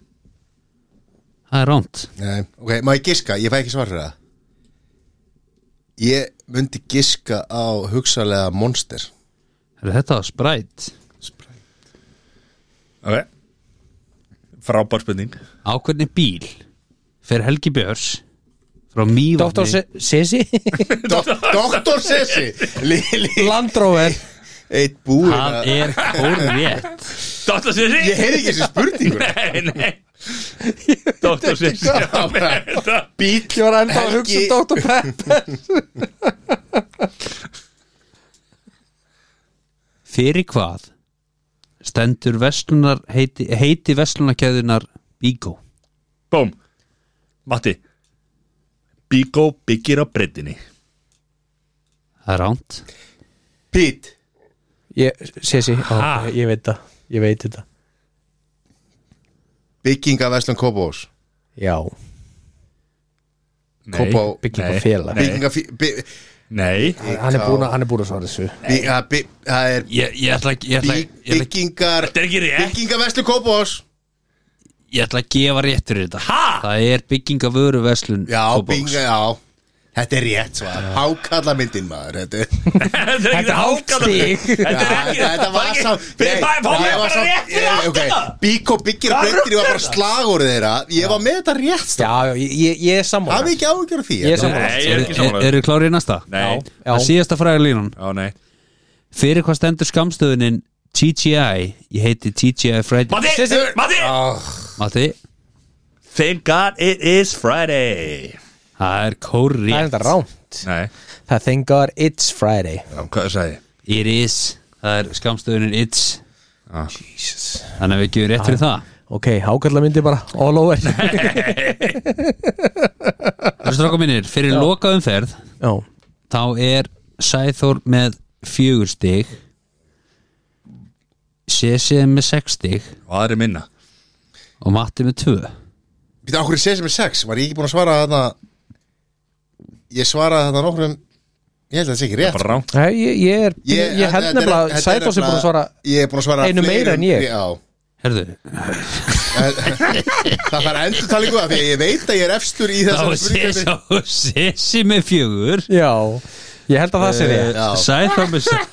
S3: Það er ránt
S2: Nei, ok, má ég giska, ég fæ ekki svar fyrir það Ég myndi giska á hugsalega Monster
S3: Herru, þetta var sprætt
S4: Ok Frábær spurning
S3: á hvernig bíl fer Helgi Björs frá
S1: Dr.
S3: Mývatni
S1: Se Sessi
S2: Doktor Sessi Lili
S1: Land Rover
S2: Eitt búin
S3: það
S2: að
S3: er korrétt
S4: Dóttar Sissi
S2: Ég heyri ekki þessi spurningur
S4: Nei, nei Dóttar Sissi
S1: Ég
S2: Já,
S1: var enda að hugsa
S2: Helgi-
S1: um Dr. Pepper
S3: fyrir hvað stendur verslunar heiti, heiti verslunarkeðunar Bíkó
S4: Bóm Matti Bíkó byggir á breytinni
S3: það er ránt
S2: Pít
S1: Ég- Sessi, já,
S4: Ha?
S1: ég veit það Ég veit þetta
S2: Bygginga Veslan Kópavós
S1: Já,
S2: Kópavó
S1: byggjum
S4: Nei.
S1: að fela
S4: Nei.
S2: Bygginga fí- by-
S4: Nei
S1: Hann er búin að- hann er búin að svara þessu
S2: bí- að by- Það er
S3: ég, ég, ætla, ekki- ég, ætla,
S2: bí-
S3: ég, ætla,
S2: Byggingar
S4: Þetta er ekki rétt
S2: Bygginga Veslan Kópavós
S3: ég ætla að gefa rétt fyrir þetta
S4: Ha?
S3: það er bygging af vöru verslun
S2: Já,
S3: Kópavogs.
S2: bygginga, já Þetta er rétt svar Hákalla myndin maður Þetta er
S4: Þetta er ekki
S1: hálft
S4: ákallandi.
S1: stig.
S4: Þetta er ekki
S2: Þetta var
S4: ekki-
S2: samt
S4: Fyrir
S2: Nei, ég
S4: það er fólk
S2: var
S4: bara
S2: samt-
S4: rétt fyrir
S2: ég-
S4: allt
S2: ok,
S4: þetta
S2: Bíkó byggir
S4: Hvað
S2: breytir var
S4: rugl er
S2: bara slagorðið þeirra Ég var með þetta rétt
S1: Já,
S2: strax.
S1: já, ég, ég, ég er sammála
S2: Hafið ekki áhugjur af því
S1: Ég er sammála.
S4: Nei, ég er ekki
S3: eru
S4: samanlega
S3: er, er klárið í næsta?
S4: Nei
S1: Já.
S3: það er síðasta fræða línan
S4: Já, nei
S3: fyrir hvað stendur skamstöðunin TGI ég heiti TGI Friday
S4: Matti,
S1: Sissi.
S4: Matti
S3: Matti
S4: Thank God it is Friday
S3: það er korrétt
S1: Það er þetta rámt
S4: Nei
S1: Það þengar It's Friday
S4: Já, Hvað sagði ég?
S3: It is, það er skamstöðunin It's
S4: Ah.
S3: Jesus. Þannig að við gefum rétt fyrir það
S1: Ó, ok, hákalla bara all over
S3: Það er stráka mínir, fyrir lokaumferð
S1: já,
S3: þá er Sæþór með fjögur stig Sesi er með sex stig
S4: og aðri minna
S3: og Matti með tvö
S2: Býta, okkur er sér sem er sex, var ég ekki búin að svara þarna Ég svaraði þarna nokkrum Ég held að það sé ekki rétt
S4: bara rá
S1: Nei, ég, ég er ég, ég held
S2: þetta- þetta er-
S1: nefnilega
S2: þetta er
S1: Sæþór sem búin að
S2: nefnilega-
S1: svara
S2: Ég er búin að svara
S1: einu meira
S2: fleirum-
S1: en ég.
S2: Já,
S3: Herðu,
S2: það þarf endur talið góða Því að ég veit að ég er efstur í
S3: þá
S2: þessari
S3: er Sesi,
S2: spurningu
S3: þá er Sesi með fjögur
S1: já, ég held að það sé þið
S2: Já.
S3: Sæþór með sex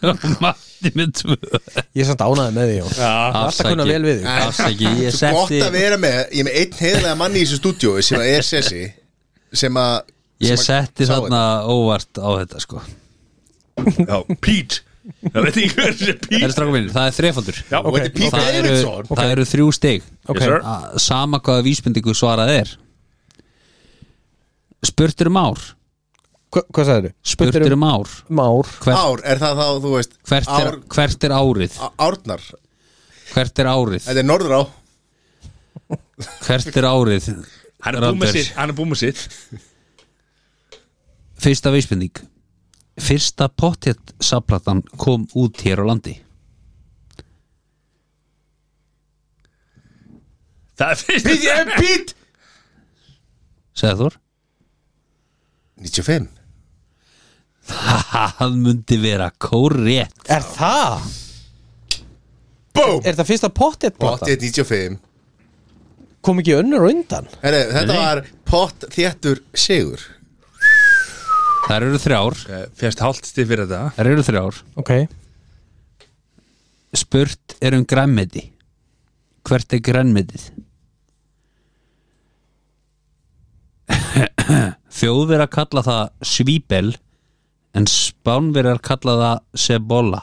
S3: og Matti með tvö
S1: ég er samt ánæði með því Jón. alltaf kunna vel við þig
S3: Afsaki, ég
S2: Svo gott
S3: setti
S2: að vera með, ég er með einn heiðlega manni í þessu stúdíói sem að er sessi sem að sem
S3: Ég
S2: að-
S3: setti
S2: sá
S3: þarna óvart á þetta sko
S4: já, Pete það veit ekki hver sem
S3: Það
S4: Pete
S3: er stráka mínir, það er þrefaldur
S4: já,
S2: Og
S4: ok
S2: þetta er Pete
S3: það eru,
S2: Davidson
S3: það eru þrjú stig
S1: Ok.
S4: Yes, sir.
S3: Að- Sama hvaða vísbendingu svarað er Spurtur um ár
S1: Hva, hvað sagðið
S3: Spurtur um ár
S1: már
S3: hvert,
S2: Ár, er það þá, þú veist
S3: hvert, er,
S2: ár,
S3: hvert er árið?
S2: á- Árnar,
S3: Hvert er árið?
S2: þetta er norður á
S3: Hvert er árið?
S4: hann er búið með
S3: Randers?
S4: sitt hann er búið með sitt
S3: Fyrsta vísbending Fyrsta pottet saplatan kom út hér á landi
S4: það er fyrst
S2: Ég er Pete
S3: Segðu Þór
S2: 95
S3: Það myndi vera kórétt
S1: er það,
S2: Búm,
S1: er það fyrsta pottet plata
S2: potið 95
S1: kom ekki önnur á undan
S2: Herri, þetta var pott þéttur sigur
S3: Það eru þrjár
S4: fyrst hálft stið fyrir þetta
S3: Það eru þrjár
S1: ok,
S3: Spurt er um grænmeti Hvert er grænmetið? Þjóðverjar kalla það svíbel en spánverjar kalla það sebola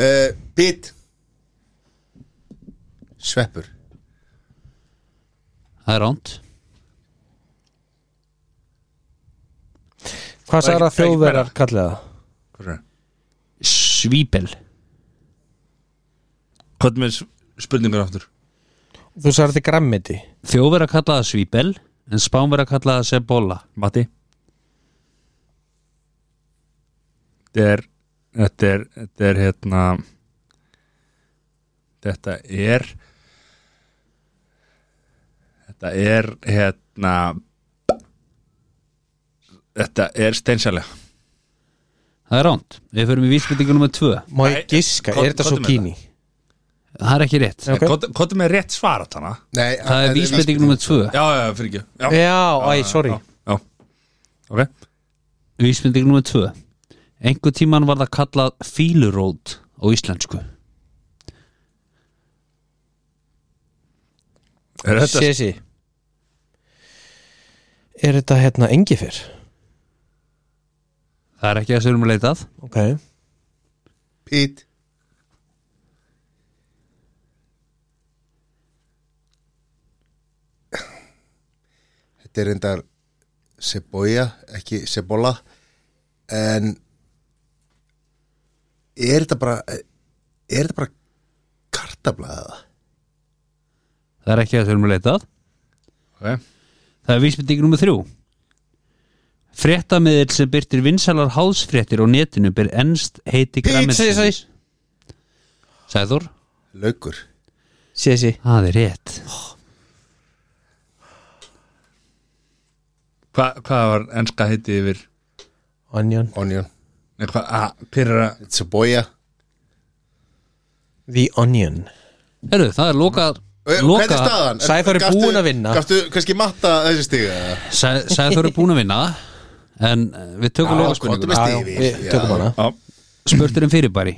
S2: uh, Pete Sveppur
S3: Það er ránt
S1: hvað
S4: Það er
S1: sagði að
S4: ekki- það er ekki meira.
S1: þjóðverðar kallið það
S4: Hvað er það?
S3: Svíbel
S4: hvað er með s- spurningar aftur
S1: þú sagði þetta er grammiti
S3: Þjóðverjar kalla það svíbel en spánverjar kalla það sebola
S4: Matti þetta er þetta er, þetta er hérna þetta er þetta er hérna þetta er steinsælega
S3: Það er ránt Við förum í vísbendingu nummer tvö
S1: má ég
S4: Nei,
S1: giska,
S4: hvað-
S1: er þetta
S4: hvað er
S1: svo
S4: með
S1: kíni
S3: Það er ekki rétt
S1: Ok.
S4: hvað hvað er með rétt svara þarna?
S2: Nei,
S3: Það er vísbendingu nummer tvö
S4: já, já, já, fyrir ekki já,
S1: já, æ, sorry
S4: já, já. ok
S3: Vísbending nr. 2 Engu tíman var það kallað fílurót á íslensku
S4: er þetta
S1: Sessi Er þetta hérna engifir?
S3: Það er ekki að sögurum að leitað
S1: Ok
S2: Pete Þetta er reyndar Seboja, ekki Sebola en er þetta bara er þetta bara kartablaða
S3: Það er ekki að sögurum að leitað
S4: ok
S3: Það er vísbending nr. 3 Fréttamiðil sem byrtir vinsalar hálsfréttir á netinu byr ennst heiti
S1: Pete, segi-
S3: græmmetis Sæður
S2: laukur
S1: Sessi
S3: Það er rétt
S4: Hva, hvað var enska heiti yfir
S1: Onion
S2: onion,
S4: Nei, hvað, að, pyrra
S2: Seboja
S1: The Onion
S3: Herru, það er loka,
S2: Hvernig er
S3: loka
S2: staðan?
S1: Sæþór er
S2: Gafstu-
S1: búinn að vinna.
S2: Gafstu kannski matta þessi stiga?
S3: Sæður er búin að vinna En eh, við tökum loka
S2: komdu
S3: spurningu
S2: með
S1: Já, já,
S2: stifi
S1: Við tökum hana
S4: á,
S3: Spurtur um fyrirbæri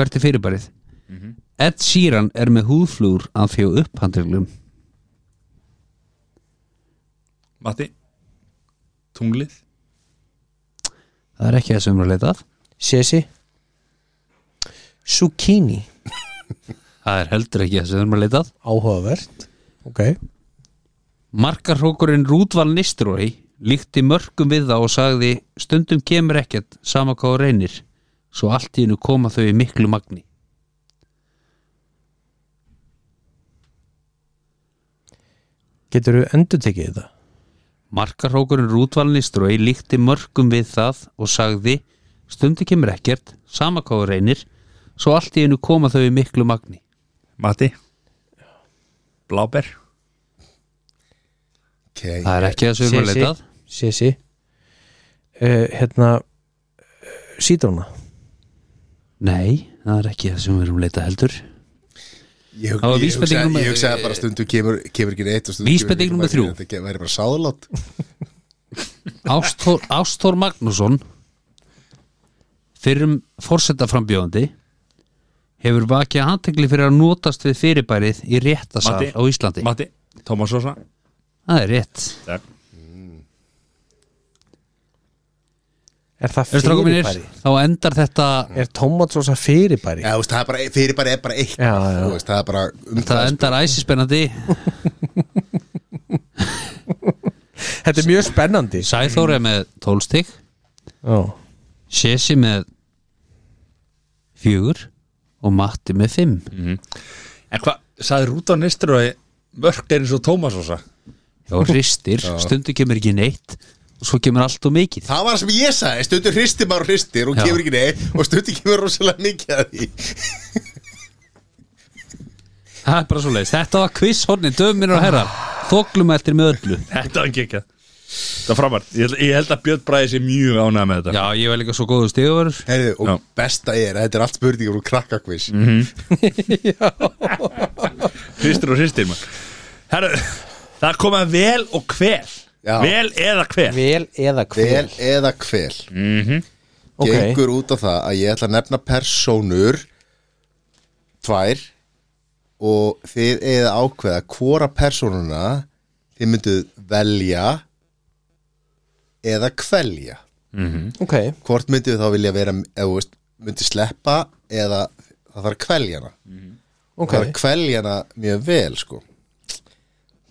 S3: Hvert er fyrirbærið? Mhm. Ed Sheeran er með húðflúr að fjó upp handtöglum
S4: Matti tunglið
S3: Það er ekki að sömur að leitað
S1: Sessi Zucchini
S3: Það er heldur ekki að sömur að leitað
S1: Áhugavert Ok
S3: Markarhókurinn Rúdval Nistrói líkti mörgum við það og sagði stundum kemur ekkert sama hvað þú reynir svo allt í hennu koma þau í miklu magni
S1: Getur þú endur tekið þetta?
S3: Markarhókurinn rútvalin í strói líkti mörgum við það og sagði stundi kemur ekkert, sama hvað þú reynir svo allt í einu koma þau í miklu magni
S4: Matti Bláber
S2: okay.
S3: Það er ekki að sögum
S1: Sí,
S3: að
S1: sí.
S3: leitað
S1: Sí, sí uh, Hérna uh, Sítróna
S3: Nei, það er ekki það sem við erum að leita heldur
S2: Ég, hug-
S3: Það var
S2: ég,
S3: vísbending
S2: hugsaði,
S3: númer-
S2: ég hugsaði bara stundum kemur, kemur ekki neitt og stundum
S3: Vísbending
S2: kemur
S3: númer
S2: ekki
S3: þrjú.
S2: neitt. Þetta væri bara sáðlátt
S3: Ástór, Ástór Magnússon fyrrum fórsetaframbjóðandi hefur vakið aðtekli fyrir að notast við fyrirbærið í réttasal
S4: Matti.
S3: á Íslandi
S4: Matti Tómas Sosa
S3: Það er rétt
S4: Takk.
S1: Er það
S3: Er strákum mínir,
S1: fyrirbæri?
S3: þá endar þetta
S1: Er tómatsósa fyrirbæri?
S2: Já, þú veist, það er bara, fyrir bara, er bara eitt
S1: Já, já.
S2: Þú Veist, það er bara um
S3: það endar æsispennandi
S1: Þetta er mjög spennandi
S3: Sæþór er með 12 stig
S1: Já.
S3: Sessi með 4 og Matti með 5
S4: En hvað, sagði Rúta Niströi mörk er eins og Tómas Sosa
S3: og hristir, stundu kemur ekki neitt og svo kemur allt og mikið
S2: Það var það sem ég sagði, stundum hristir bara og hristir og
S3: Já.
S2: kemur ekki neitt og stundum kemur rosalega mikið að því
S3: Það er bara svo leiðis, þetta var quiz hornin, döminur og herrar Þoklum eftir með öllu
S4: Þetta var ekki ekki Það er framar ég, held- ég held að Björn Bræði sé mjög ánægð með þetta
S3: Já, ég var líka svo góðu stigavörður
S2: Heyrðu, Og
S4: Já.
S2: besta er, að þetta er allt spurningar úr krakkakviss
S3: Mhm.
S4: Hristir og hristir maður. Herru, það koma vel og hver
S2: Já.
S4: Vel eða hver
S1: Vel eða
S2: Vel
S1: hver
S2: eða kvel
S1: Ok.
S2: Gengur út á það að ég ætla að nefna persónur Tvær Og þið eða ákveða hvora persónuna Þið mynduð velja Eða kvelja
S1: Ok
S2: Hvort mynduð þá vilja vera Eða þú veist, mynduð sleppa Eða það þarf að kvelja hana
S1: Ok
S2: Það þarf að kvelja hana mjög vel sko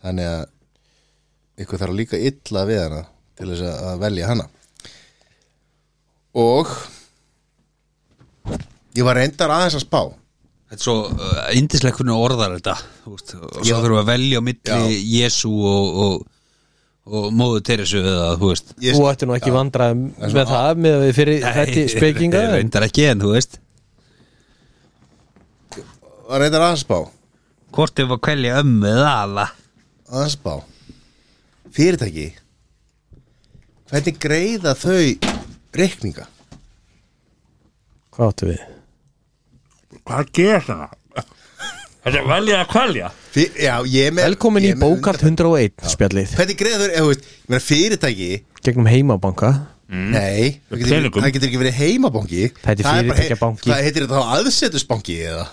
S2: Þannig að ykkur þarf líka illa við hana til þess að- að velja hana Og ég var reyndar aðeins að spá
S3: Þetta er svo uh, indislega hvernig orðar þetta úst, og svo
S2: Já.
S3: þurfum við að velja á milli
S2: Já.
S3: Jésu og, og, og móðu Teresu eða þú veist
S2: ég,
S1: Þú ætti nú ekki vandrað með það með við fyrir þetta spekinga
S3: Þetta er reyndar ekki en þú veist
S2: var reyndar aðeins að spá
S3: Hvort ef að kvelja ömmu eða alla
S2: Aðeins að spá Fyrirtæki Hvernig greiða þau reikninga?
S1: Hvað áttu við?
S4: Hvað ger það? Þetta er velja að kvelja
S2: Fyr, já, ég er með
S1: Velkomin
S2: ég
S1: í
S2: er með
S1: bókart
S2: undanfæ-
S1: 101 spjallið
S2: Hvernig greiða þau, eða, þú veist, ég meina fyrirtæki
S1: Gegnum heimabanka
S2: Nei, það getur,
S4: Mm. peningum.
S2: það getur ekki verið heimabangi
S1: Það heitir
S2: er bara-
S1: fyrirtækjabanki.
S2: Hvað heitir þetta þá aðsetusbanki eða?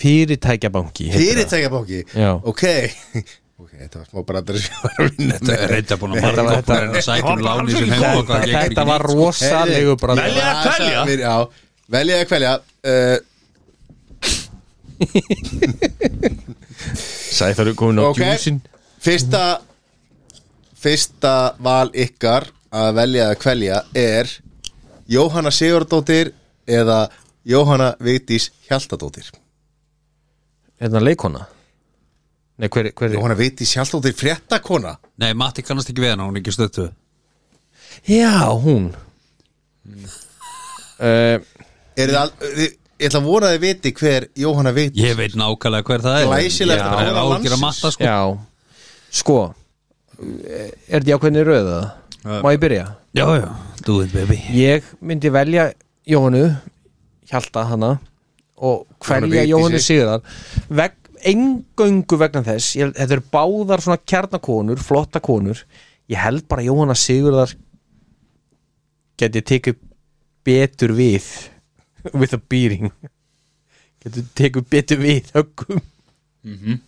S1: Fyrirtækjabanki heitir það.
S2: Fyrirtækjabanki?
S1: Já.
S2: Ok Ok, þetta var smá brandar sem ég var að vinna
S3: Þetta er reynda búin að
S1: Þetta
S3: marga
S1: var-
S3: okkur en að sækja um láni sem heim og hvað gengur
S1: Þetta
S3: ekki
S1: var
S3: neitt
S2: sko.
S1: rosalegu bara
S4: Velja að kvelja?
S2: Já, velja að kvelja uh,
S1: Sæði það eru komin á
S2: Ok.
S1: djúsin
S2: Fyrsta Fyrsta val ykkar að velja að kvelja er Jóhanna Sigurdóttir eða Jóhanna Vigdís Hjaltadóttir
S1: Hérna leikona Nei, hver, hver
S2: Jóhanna Vigdís Hjaltadóttir fréttakona
S3: Nei, Matti kannast ekki við hana, hún er ekki stöttu
S1: Já, hún Mm. uh,
S2: Er þið, al- þið- ég ætla að vona að þið viti hver Jóhanna Vigdís
S3: Ég veit nákvæmlega hver það er
S2: Glæsilegt
S3: Það er
S2: ráða
S3: ágjur
S2: landsins.
S3: að matta sko
S1: Já Sko eh, Er þetta jákveðni rauða? Má ég byrja?
S3: Já, já, do it baby
S1: Ég myndi velja Jóhannu Hjalta hana og hverja
S2: Jóhannu
S1: Jóhannu
S2: Vigdísi.
S1: Sigurðar veg, engöngu vegna þess ég, þetta eru báðar svona kjarnakonur flotta konur, ég held bara Jóhanna Sigurðar geti tekið betur við with a bearing geti tekið betur við höggum
S2: Mhm.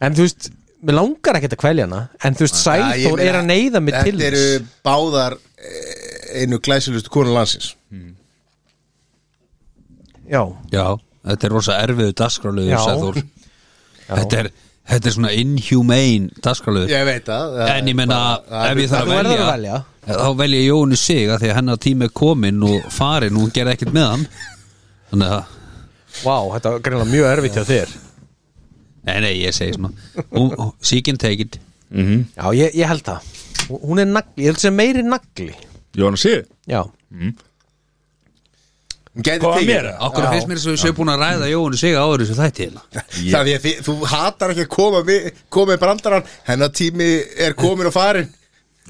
S1: en þú veist mér langar ekkert að kvelja hana en þú veist
S2: Já, ég
S1: Sæþór
S2: meina,
S1: er að neyða mig til
S2: Þetta
S1: þess
S2: eru báðar eh, einu glæsilustu konu landsins
S1: já,
S3: Já, þetta er rosa erfiðu
S1: Já.
S3: dagskráluður Sæþór þetta, er- þetta er svona inhumane dagskráluður
S2: Ég veit það það
S3: En
S2: er
S3: ég menna,
S2: bara-
S3: ef ég
S1: þú
S3: þarf að
S1: verður
S3: velja,
S1: að velja.
S3: Þá velja ég Jónu sig að því að hennar tími er komin og farin og hún gerði ekkert með hann Þannig að
S1: Vá, þetta var greinlega mjög erfitt hjá þér
S3: Nei, nei, ég segi svona Hún- hún- She can take it
S4: Mhm.
S1: Já, ég, ég held það Hún- Hún er nagli, ég held sem meiri nagli
S4: Jónas Sigur
S1: Já,
S2: Hún gæti
S4: Hvað var
S2: tekið
S4: mér
S2: það.
S4: það?
S3: Okkur
S1: Já.
S3: finnst mér svo séu búin að ræða Jóhannu sig áður þessu þætti hérna
S2: Það er því að þið- þú hatar ekki að koma við, koma í brandarann hennar tími er komin og farin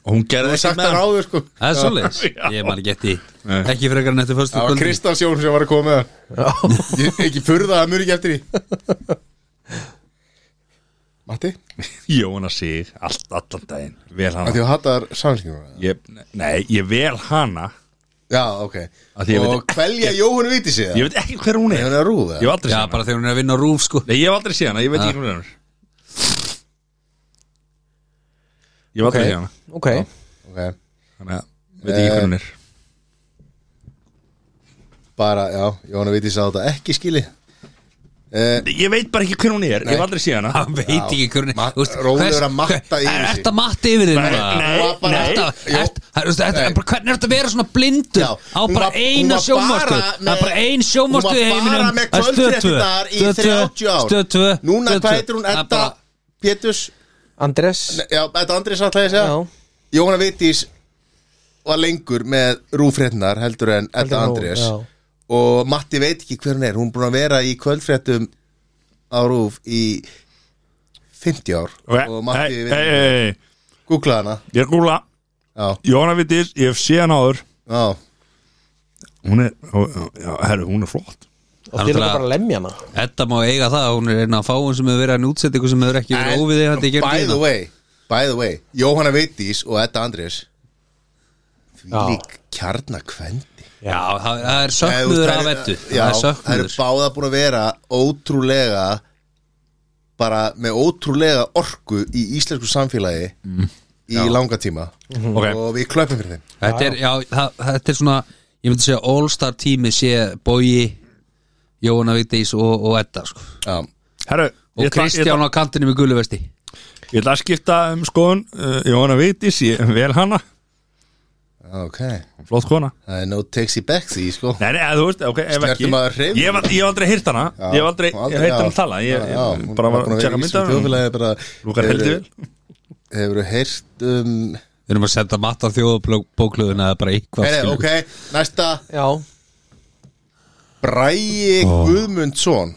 S4: Og hún
S2: Þú
S4: gerði
S2: hefur
S4: ekki
S2: sagt það
S4: með
S2: ráður sko
S3: Það er svoleiðis, ég man geti Ekki frekar en þetta fyrstu
S2: Það var
S3: kvöldi
S2: Kristans Jón sem var að koma með það Ég- Ekki furða að mjög ekki eftir því Matti,
S4: Jónas Sigur allt, Allan daginn Vel
S2: að
S4: hana
S2: því að hattar samlingum
S4: ég, Nei, ég vel hana
S2: Já, ok
S4: Af því ég veit
S2: Og kvelja Jóhann viti sig
S4: Ég veit ekki hver hún
S2: Ég
S4: er
S2: hann er að rúða
S4: Ég hef aldrei séð
S3: Já,
S4: hana Ah.
S3: bara þegar hún er að vinna á rúf sko
S4: Nei, ég hef aldrei séð hana, ég veit ekki hún er Ég hef aldrei séð hana
S1: ok
S2: Ok,
S4: Þannig að, veit ekki hún er
S2: bara, já, Jóhann viti sig á þetta ekki skili Eh,
S4: Ég veit bara ekki hver hún er, ég hef aldrei séð hana
S3: Hann veit ekki hvernig
S2: Ma- Rólegur að matta yfir sig.
S3: Þetta matta yfir þig núna
S4: Nei,
S2: Hún var bara-
S4: nei.
S3: Þetta-
S2: Jú.
S3: ert- það- þú veist, þetta-
S2: Nei.
S3: en bara Hvernig er þetta að vera svona blindur
S2: Já,
S3: á
S2: hún
S3: bara
S2: var- hún
S3: eina
S2: var
S3: sjómastu
S2: bara
S3: Það er bara
S2: með-
S3: ein sjómastu
S2: Hún
S3: í
S2: var bara
S3: heiminum
S2: með
S3: Það er Stöð tvö,
S2: kvöldfréttinar í
S3: Stöð tvö,
S2: 30 ár
S3: Stöð tvö,
S2: Núna,
S3: Stöð
S2: hvað
S3: tvö.
S2: heitir hún?
S3: Það er
S2: Edda
S3: bara-
S2: Péturs
S1: Andres
S2: Nei, Já, þetta Andrés alltaf ég að segja
S1: Já.
S2: Jóhanna Vitís var lengur með rúfrétnar heldur en Edda
S1: en hún,
S2: Andrés
S1: já.
S2: og Matti veit ekki hver hún er hún er búin að vera í kvöldfréttum á rúf í 50 ár og Matti
S4: Ei,
S2: veit
S4: ei,
S2: hey,
S4: ei, ei,
S2: googla hana
S4: Ég er gúla
S2: já,
S4: Jóna Vittis, ég hef séð hana áður
S2: já,
S4: Hún er, ó, ó, já, herru, hún er flott
S1: Og þér er
S3: náttúrulega-
S1: bara að lemja hana
S3: Edda má eiga það, hún er einn af fáum sem hefur verið að útsett ykkur sem hefur ekki verið óvið þegar þetta
S2: by the
S3: gerir
S2: way by the way, Jóhanna Vitís og Edda Andrés því
S1: Já.
S2: lík kjarnakvendi
S3: Já, það það er
S2: Nei, þú veist,
S3: söknuður
S2: þær-
S3: af Eddu
S2: Já,
S3: Það er
S2: það eru
S3: söknuður
S2: báða búin að vera ótrúlega bara með ótrúlega orku í íslensku samfélagi
S3: Mm.
S2: í langa tíma
S4: Ok.
S2: og við klöpum fyrir þeim
S3: Þetta er, já, það, þetta er svona ég myndi segja all-star tími sé Bogi, Jóhanna Vigdís og, og Edda sko.
S2: Já,
S4: Herru,
S3: og
S4: ég ætla- ég ætla-
S3: Kristján á kantinum í guluvesti
S4: Ég ætla að skipta um skoðun uh, Jóna Vittis, ég vel hana
S2: ok
S4: Flott kona
S2: Það er no takesy backsy, sko
S4: Nei, nei, eða þú veist, ok, ef
S2: Snertum
S4: ekki
S2: maður hreyfing.
S4: Ég hef aldrei- ég hef aldrei heyrt hana
S2: Já,
S4: Ég hef aldrei,
S2: hún
S4: ég hef heyrt
S2: já.
S4: hana tala Ég,
S2: Já,
S4: ég,
S2: já, hún
S4: bara
S2: er
S4: var
S2: búin
S4: að
S2: vera
S4: tjekka
S2: í íslensku
S4: mynda
S2: þjóðfélagi bara
S4: Lúkar heldur vel
S2: Hefur heyrt um
S3: við erum að senda matta þjóðabóklöðuna eða bara eitthvað
S2: Heri,
S3: skilur.
S2: Ok, næsta
S1: Já,
S2: Bræi Guðmundsson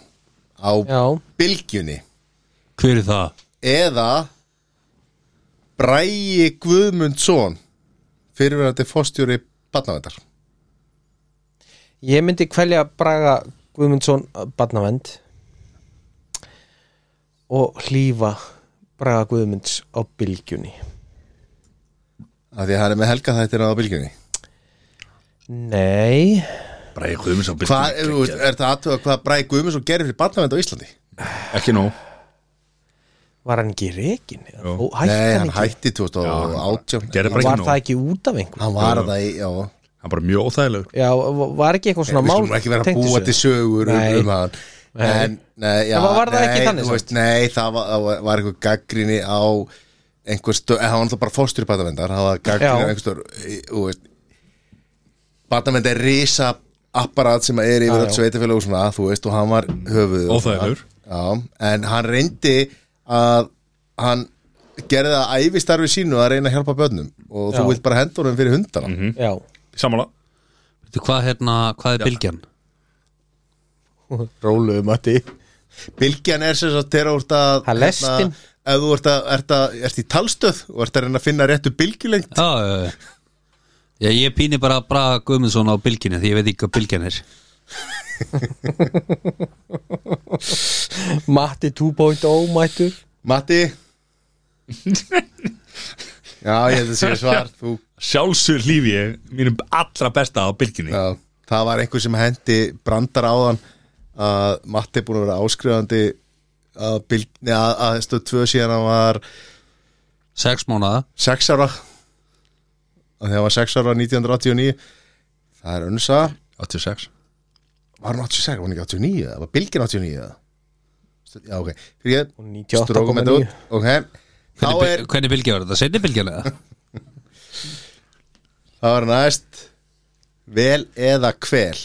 S2: á
S1: já,
S2: Bylgjunni
S3: hver er það?
S2: eða Bræi Guðmundsson fyrirverandi fóstjóri barnavendar
S1: ég myndi kvelja Braga Guðmundsson uh, Badnavend Og hlýfa Braga Guðmunds á bylgjunni
S2: af því að hann er með helga þættina á bylgjunni
S1: Nei,
S4: Bara ég guðum svo
S2: hvað, er, þú veist, er það aðtöða hvað Bræi Guðmundsson gerir fyrir barnavend á Íslandi?
S4: Ekki nóg
S1: var hann ekki reikin?
S4: Jú.
S1: Ó, hætti
S2: Nei,
S1: hann
S2: hann
S1: ekki?
S2: hætti 2018
S4: Gerði bara
S1: Var
S4: ekki nóg
S1: það ekki út af einhver?
S2: hann var það í, já
S4: Hann bara mjög óþægilegur
S1: Já, var ekki eitthvað svona
S2: við
S1: mál
S2: skulum ekki vera að
S1: tengt
S2: búa
S1: þessu?
S2: til sögur um,
S1: Nei.
S2: um hann en, nei, já,
S1: En var- var það
S2: nei,
S1: ekki þannig
S2: þú
S1: samt?
S2: veist, nei, það var, það var- var eitthvað gaggrinni á einhver stöð, það var náttúrulega bara fóstur í batavendar, það var gaggrinni
S1: Já.
S2: á einhver stöð batavend er risa apparat sem er yfir
S1: Já,
S2: allt
S1: já.
S2: sveitafélag og svona, þú veist, og hann var höfuð
S4: Óþægilegur.
S2: já, en hann reyndi að hann gerði það æfistarfi sínu að reyna að hjálpa börnum og þú
S1: Já.
S2: vilt bara hendur honum fyrir hundana
S1: Já,
S4: Samála
S3: Veitu, hvað, hérna, hvað er bylgjan?
S2: Róluðu Matti um Bylgjan er sem sagt þegar þú ert að
S1: Það er lestin.
S2: hérna, Ef þú ert, að, ert, að, ert í talstöð og ert að reyna að finna réttu bylgjulengt
S3: Já, já, já. Já, ég pínir bara Braga Guðmundsson á bylginni því ég veit ekki hvað bylgjan er
S1: Matti 2.0 mættur
S2: Matti Já, ég held að sé svar þú,
S4: Sjálfsögur lífi ég Mínum allra besta á bylginni
S2: já, Það var einhver sem hendi brandar á þann að Matti er búin að vera áskrifandi að, bylg, nei, að, að stöð tvö síðan hann var
S3: sex mánuða
S2: sex ára að þegar hann var sex ára 1989 það er önnsa
S4: 86
S2: var hann 86, var hann ekki 89 eða? var bylgin 89 eða? já ok, fyrir ég
S1: Hún er 98,9.
S2: strókum þetta út. ok, þá
S3: hvernig,
S2: er
S3: er... hvernig bylgja var þetta? Setni bylgjan eða?
S2: þá er næst vel eða kvel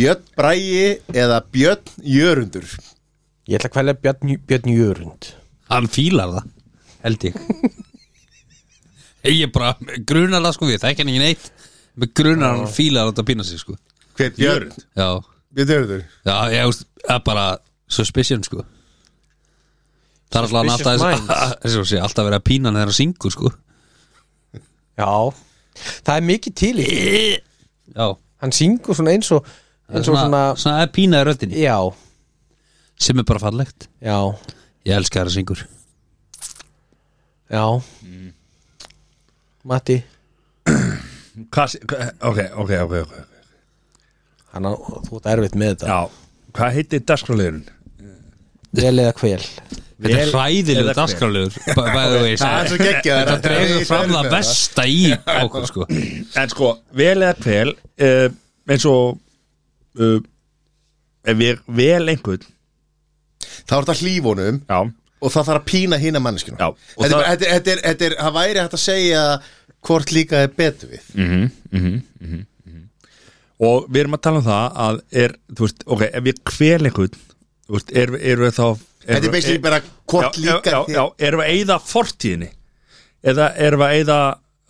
S2: Björn Bræi eða Björn Jörundur
S1: Ég ætla að kvæla Björn, Björn Jörund
S3: hann fílar það, held ég ég er bara grunar það sko við, það er ekki hann ekki neitt með grunar hann fílar þetta að pína sig sko
S2: Hver Björn?
S3: já,
S2: Björn Jörður
S3: já, ég veist það er bara suspicion sko það er alltaf alltaf
S1: Suspicious
S3: þess- þess að sé, alltaf verið að pína hann þegar hann syngur sko
S1: Já, það er mikið til í því.
S3: já,
S1: Hann syngur svona eins og eins og svona,
S3: svona, svona er pína í röddinni
S1: Já,
S3: sem er bara fallegt,
S1: já,
S3: ég elska það að syngur
S1: já Matti
S4: Hvað, hva- ok, ok, ok, ok
S1: hann á, Þú ert erfitt með þetta
S4: Já, hvað heitir dagskrálegurinn?
S1: Vel eða hvel
S3: þetta er
S4: Vel
S3: hræðilegu
S4: eða hver?
S3: dagskrálaugur bæðu veist
S2: Það er svo geggjað
S3: þetta dregur fram það besta í okkur sko
S4: En sko, vel eða kvel uh, eins og uh, ef við er vel einhvern
S2: Það var þetta hlífunum
S4: Já,
S2: og það þarf að pína hína manneskinu
S4: Já, og
S2: Þetta er
S4: það-
S2: bara- þetta er- þetta er- þetta er, það væri hægt að segja hvort líka er betur við
S4: og við erum að tala um það að er, þú veist, ok, ef við kvel einhvern þú veist, erum er við þá er,
S2: Þetta er basically bara hvort
S4: já,
S2: líka
S4: já,
S2: þér-
S4: já, erum við að eyða fortíðinni eða erum við að eyða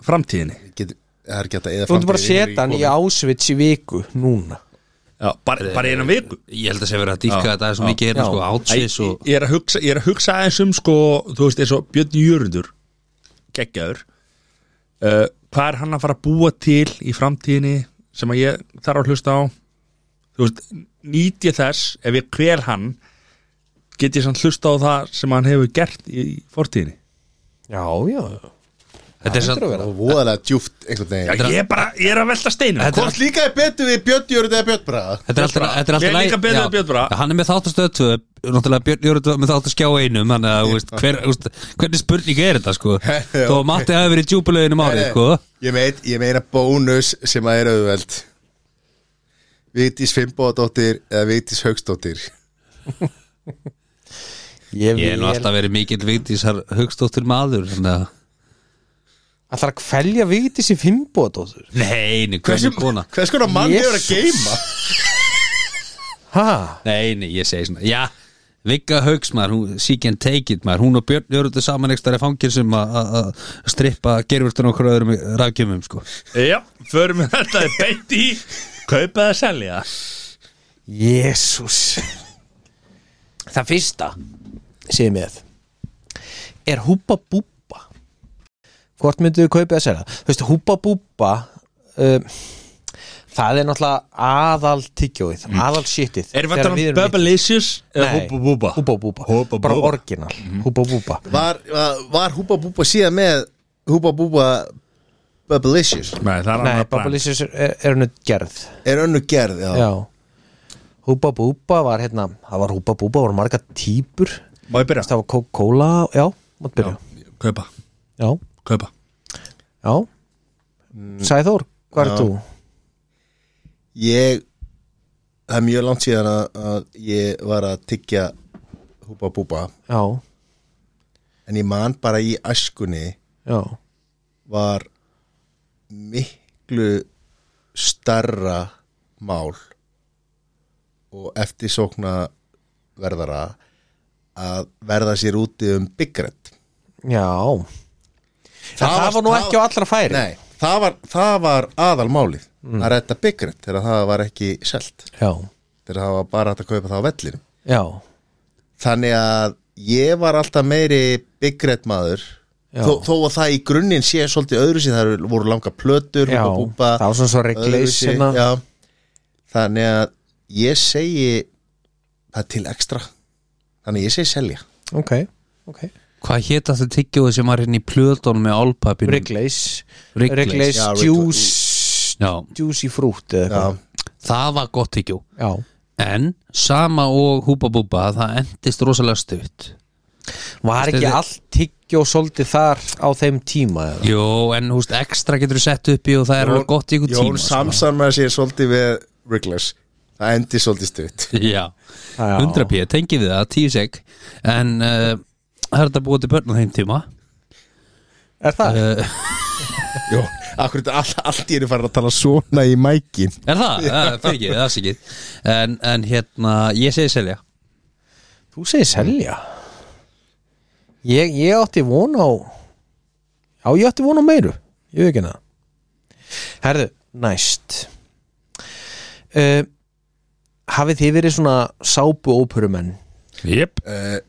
S4: framtíðinni
S2: Getur- Það er ekki hægt að eða
S1: Þú ert bara að setja hann í ásvits í viku núna
S4: já,
S2: Eh,
S4: bara, bara einu viku
S3: ég held að sé verið að dýrka þetta svo mikið hérna
S1: Já.
S3: sko átsins
S4: Æ,
S3: og
S4: ég, er að hugsa, ég er að hugsa aðeins um sko, þú veist, eins og Björn Jörundur geggjaður uh, hvað er hann að fara að búa til í framtíðinni sem að ég þarf að hlusta á þú veist, nýt ég þess ef ég hver hann get ég samt hlusta á það sem hann hefur gert í í fortíðinni
S1: Já, já
S3: þetta er
S1: hlýtur að
S3: samt
S1: vera.
S2: Og voðalega djúft einhvern veginn
S4: ég er bara, ég er að velta steinu
S3: Þetta er-
S2: Hvort líka er betur við Björn Jörður eða Björn Braga
S3: Þetta er alltaf, þetta er alltaf
S4: Mér
S3: læg-
S4: líka betur
S3: já.
S4: en Björn Braga.
S3: Já, Hann er með þáttastöð 2 Náttúrulega Björn Jörgur var með þáttaskjá einum Þannig að, þú veist, hver, þú veist, hvernig spurning er þetta, sko Þó að Matti hafi verið í djúpuleginum árið, sko
S2: Ég meit, ég meina bónus sem að er auðveld Vigdís Fimboðadóttir eða Vigdís Haugsdóttir
S1: Ég
S3: Ég er nú
S1: vil
S3: alltaf verið mikill vigdísar Hugstóttur maður, þannig að
S1: Ætlar að kvelja Vigdís í Fimboðdóttur
S3: Nei, nei, hvernig kona
S2: hvers konar mann hefur að
S1: Jesus.
S2: geima
S1: Ha,
S3: Nei, nei, ég segi svona, já Vigga Hauks maður, hún, she can take it maður Hún og Björn Jörgur saman ekstar í fangilsum að- að að strippa gerfurstun okkur öðrum rafgjumum, sko
S4: já, förum við þetta beint í kaupa eða selja
S1: jésús Það fyrsta segir með er húpa búpa Hvort myndu við kaupið að segja það? Þú veist, húpa búpa uh, Það er náttúrulega aðal tyggjóið, aðal shitið
S4: Mm. Erum við
S1: Þegar
S4: að tala um
S1: erum í-
S4: Bubblicious eða
S1: Nei,
S4: Húpa Búba?
S1: Húpa Búba,
S4: Húpa
S1: bara
S4: Búba.
S1: orginal
S4: Mhm.
S1: Húpa Búba
S2: Var, var, var Húba Búba síðan með Húba Búba Bubblicious
S4: Nei, það er
S1: Nei,
S4: annað brand.
S1: Babbalicious er, er henni gerð
S2: Er önnu gerð, já,
S1: Já Húpa Búba var hérna Það var Húpa Búba, voru marga típur
S4: Má ég byrja?
S1: Það var Coca-Cola, já, mátt byrja
S4: Kaupa,
S1: Já,
S4: kaupa
S1: já Sæþór, hvað er þú?
S2: Ég Það er mjög langt síðan að, að ég var að tyggja Húba Búba
S1: Já,
S2: En ég man bara í æskunni
S1: já,
S2: var miklu starra mál og eftirsókna verðara að verða sér úti um byggrætt
S1: já Það, það var nú ekki á allra færi
S2: Nei, það var, það var aðalmálið
S1: Mm.
S2: að redda byggrætt þegar það var ekki selt
S1: Já,
S2: þegar það var bara hægt að kaupa það á vellinum
S1: já,
S2: þannig að ég var alltaf meiri byggrætt maður
S1: Já.
S2: þó, þó að það í grunninn sé svolítið öðru sér, það voru langa plötur
S1: já
S2: húpa búpa,
S1: Það var svona svo reglais
S2: öðruvísi,
S1: hérna.
S2: já. þannig að ég segi það er til ekstra þannig að ég segi selja
S1: Ok, ok
S3: Hvað hétt að þau tyggjóðu sem var hérna í plötunum með álpapinu?
S1: Reglais
S3: Wrigley's.
S1: Reglais,
S2: Já, Wrigley-
S1: juice
S3: Já,
S1: Juicy fruit eða
S2: já,
S1: eitthvað
S3: það var gott tyggjó
S1: Já,
S3: En sama og húpa búpa það endist rosalega stutt
S1: Var ekki
S3: Stundum-
S1: allt tyggjó svolítið þar á þeim tíma eða?
S3: Jó, en húst ekstra getur þú sett upp í og það er alveg gott í ykkur tíma sko.
S2: Jón samsamar sér svolítið við Riggles það endi svolítið stutt
S3: sko. Já,
S1: Já.
S3: 100 pjö, tengi við það, 10 sek En uh, það er þetta búið til börn á þeim tíma
S1: Er það?
S3: uh,
S2: Jó, akkur þetta all, allt ég er farin að tala svona í mækin
S3: Eh, Er það? Það fyrir ekki, það er ekki en, en hérna, ég segi selja
S1: Þú segir selja ég, ég átti von á Já, ég átti von á meiru Ég veit ekki hana Herðu, næst uh, Hafið þið verið svona sápu óperumenn
S4: Jep
S2: uh,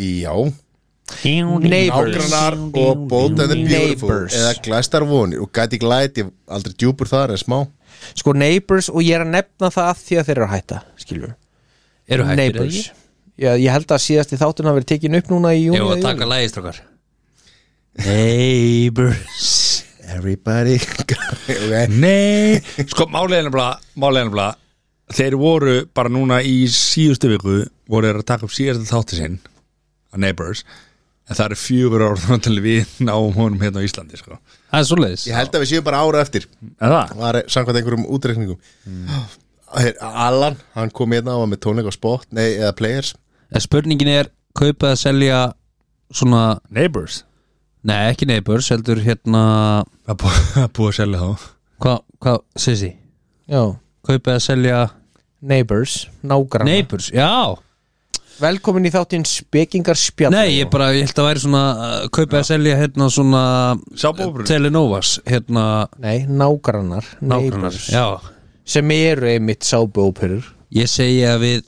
S2: Já,
S1: Neighbors
S2: nágrannar og Bold and the Beautiful
S1: Neighbors.
S2: eða Glæstar vonir og gæti glæti aldrei djúpur þar en smá
S1: Sko Neighbors og ég er að nefna það af því að þeir eru að hætta Skilur
S3: Eru hættir eða
S1: Neighbors
S3: ekki?
S1: Já, ég held að síðasti þáttun hafi verið tekin upp núna í júni
S3: Ég var að
S1: eða
S3: taka lægist okkar Neighbors
S2: Everybody okay.
S4: Nei, sko máleginlega máleginlega, þeir voru bara núna í síðustu viku voru þeir að taka upp síðasta þátti sinn að Neighbors en það eru fjögur ár þannig til við náum honum hérna á Íslandi sko.
S3: Það er svoleiðis
S2: Ég held að við séum bara ára eftir
S4: En það?
S2: var samkvæmt einhverjum útreikningum Her, Alan, hann kom hérna og var með tónleik á spot, nei, eða players
S3: En spurningin er, kaupið að selja svona,
S4: Neighbors
S3: nei ekki Neighbors heldur hérna,
S4: Það er búið- það er búið að selja þá
S3: hvað, hvað, segir því
S1: Já,
S3: Kaupið að selja
S1: Neighbors, nágrannar
S3: Neighbors, já
S1: Velkomin í þáttinn Spekingar spjall
S3: Nei, ég bara, ég held að væri svona uh, kaupið að selja hérna svona
S4: Sápuóperur?
S3: Telenovas, hérna
S1: Nei, nágrannar
S3: nágrannar
S1: neighbors,
S3: Já,
S1: Sem eru einmitt sábuóperur
S3: ég segi að við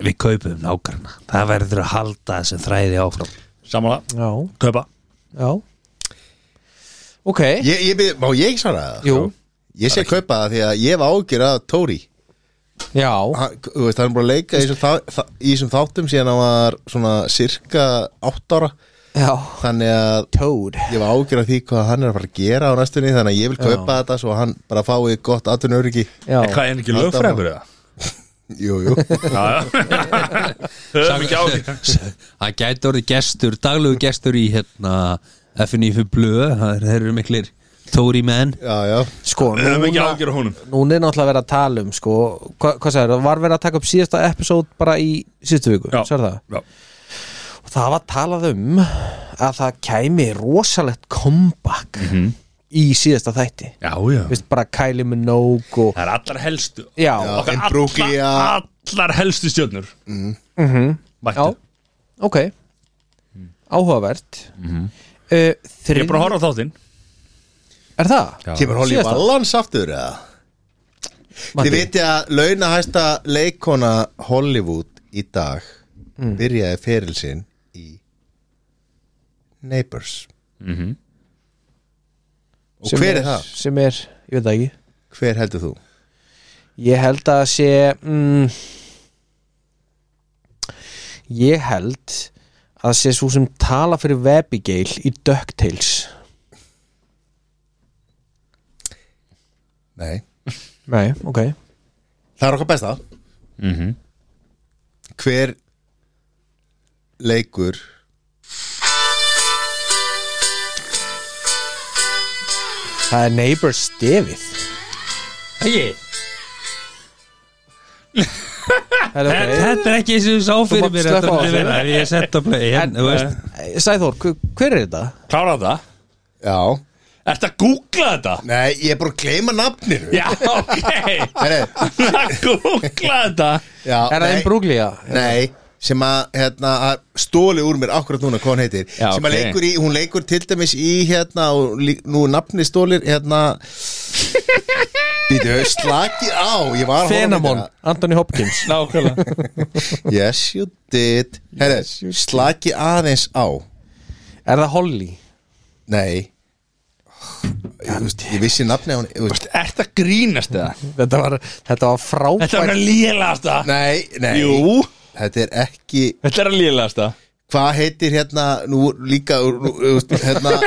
S3: við kaupum nágranna það verður að halda þessi þræði áfram
S4: Samanlega,
S1: Já,
S4: kaupa
S1: já Ok,
S2: ég, ég, bið- Má ég svara það?
S1: jú,
S2: Ég sé kaupa það því að ég var ágjur að Tóri
S1: já
S2: hann, þú veist, hann er bara að leika í þessum, þá, þá, í þessum þáttum síðan hann var svona cirka 8 ára
S1: Já,
S2: þannig að
S1: Toad
S2: ég var ágjur að því hvað hann er að fara að gera á næstunni þannig að ég vil kaupa þetta svo hann bara fái gott atvinnuriki
S1: Já,
S4: En hvað er hann ekki lögfræður eða?
S2: Jú, jú
S4: Já, já Höfum ekki ágjur
S3: það gæti orðið gestur, daglegu gestur í hérna FNF Blöð það þeir eru miklir Tóri menn
S2: Já, já
S1: sko,
S4: Höfum ekki
S1: núna,
S4: ágjur á honum
S1: núna er náttúrulega verið að tala um sko, hva, hvað sagður, það var verið að taka upp síðasta episode bara í síðustu viku
S4: Já.
S1: sagði það?
S4: Já.
S1: Og það var talað um að það kæmi rosalegt comeback
S4: Mhm.
S1: í síðasta þætti
S4: Já, já
S1: Vist bara Kylie Minogue og
S4: Það er allar helstu
S1: Já,
S2: Já.
S4: Okkar
S2: Imbruglia.
S4: allar, allar helstu stjórnur mm. mm
S1: já, ok Áhugavert mm
S2: Mhm.
S1: uh,
S4: Ég
S1: þrið...
S4: er bara að horfa á þáttinn
S1: Er það?
S2: Kemur Holly
S1: Síðasta?
S2: Valans aftur eða?
S1: Matti?
S2: Þið viti að launahæsta leikona Hollywood í dag byrjaði feril sinn í Neighbors Og
S1: Sem
S2: hver er það?
S1: Sem er, ég veit það ekki
S2: Hver heldur þú?
S1: Ég held að sé mm, Ég held að sé svo sem tala fyrir Webigail í DuckTales
S2: Nei
S1: Nei, ok
S2: Það er okkar besta Hver leikur
S1: Það er Neighbors Stefið
S3: Æi,
S1: Það er ok
S3: Þetta er ekki eins og ég sá fyrir
S1: mátt
S3: mér
S1: sleppa eh, á
S3: Þetta er verið ef ég sett að play en, þú veist,
S1: Sæþór, hver, hver er þetta?
S4: Klára það
S2: Já
S4: Ertu að googla þetta?
S2: Nei, ég er bara að gleyma nafninu
S4: Já, ok
S2: Heri,
S4: Að googla þetta
S2: já,
S1: Er það
S2: nei,
S1: einn brúglía?
S2: nei, sem að hérna, að stóli úr mér akkurat núna hvað hann heitir
S4: Já,
S2: sem að
S4: ok.
S2: leikur í, hún leikur til dæmis í hérna og lí- nú er nafni stólir hérna Býtu, slaki á Ég var að horfa á
S1: Fenamon,
S2: myndina.
S1: Anthony Hopkins
S4: Nákvæmlega
S2: Yes, you did Heri, Slaki aðeins á
S1: Er það Holly?
S2: Nei Ég, þú veist, ég vissi nafni á hann þú veist,
S4: Ertu að grínast það?
S1: Þetta var, þetta var frábært
S4: Þetta er að lélast það
S2: Nei, nei
S4: Jú
S2: Þetta er ekki
S4: Þetta er að lélast það
S2: Hvað heitir hérna Nú líka nú, þú veist, hérna,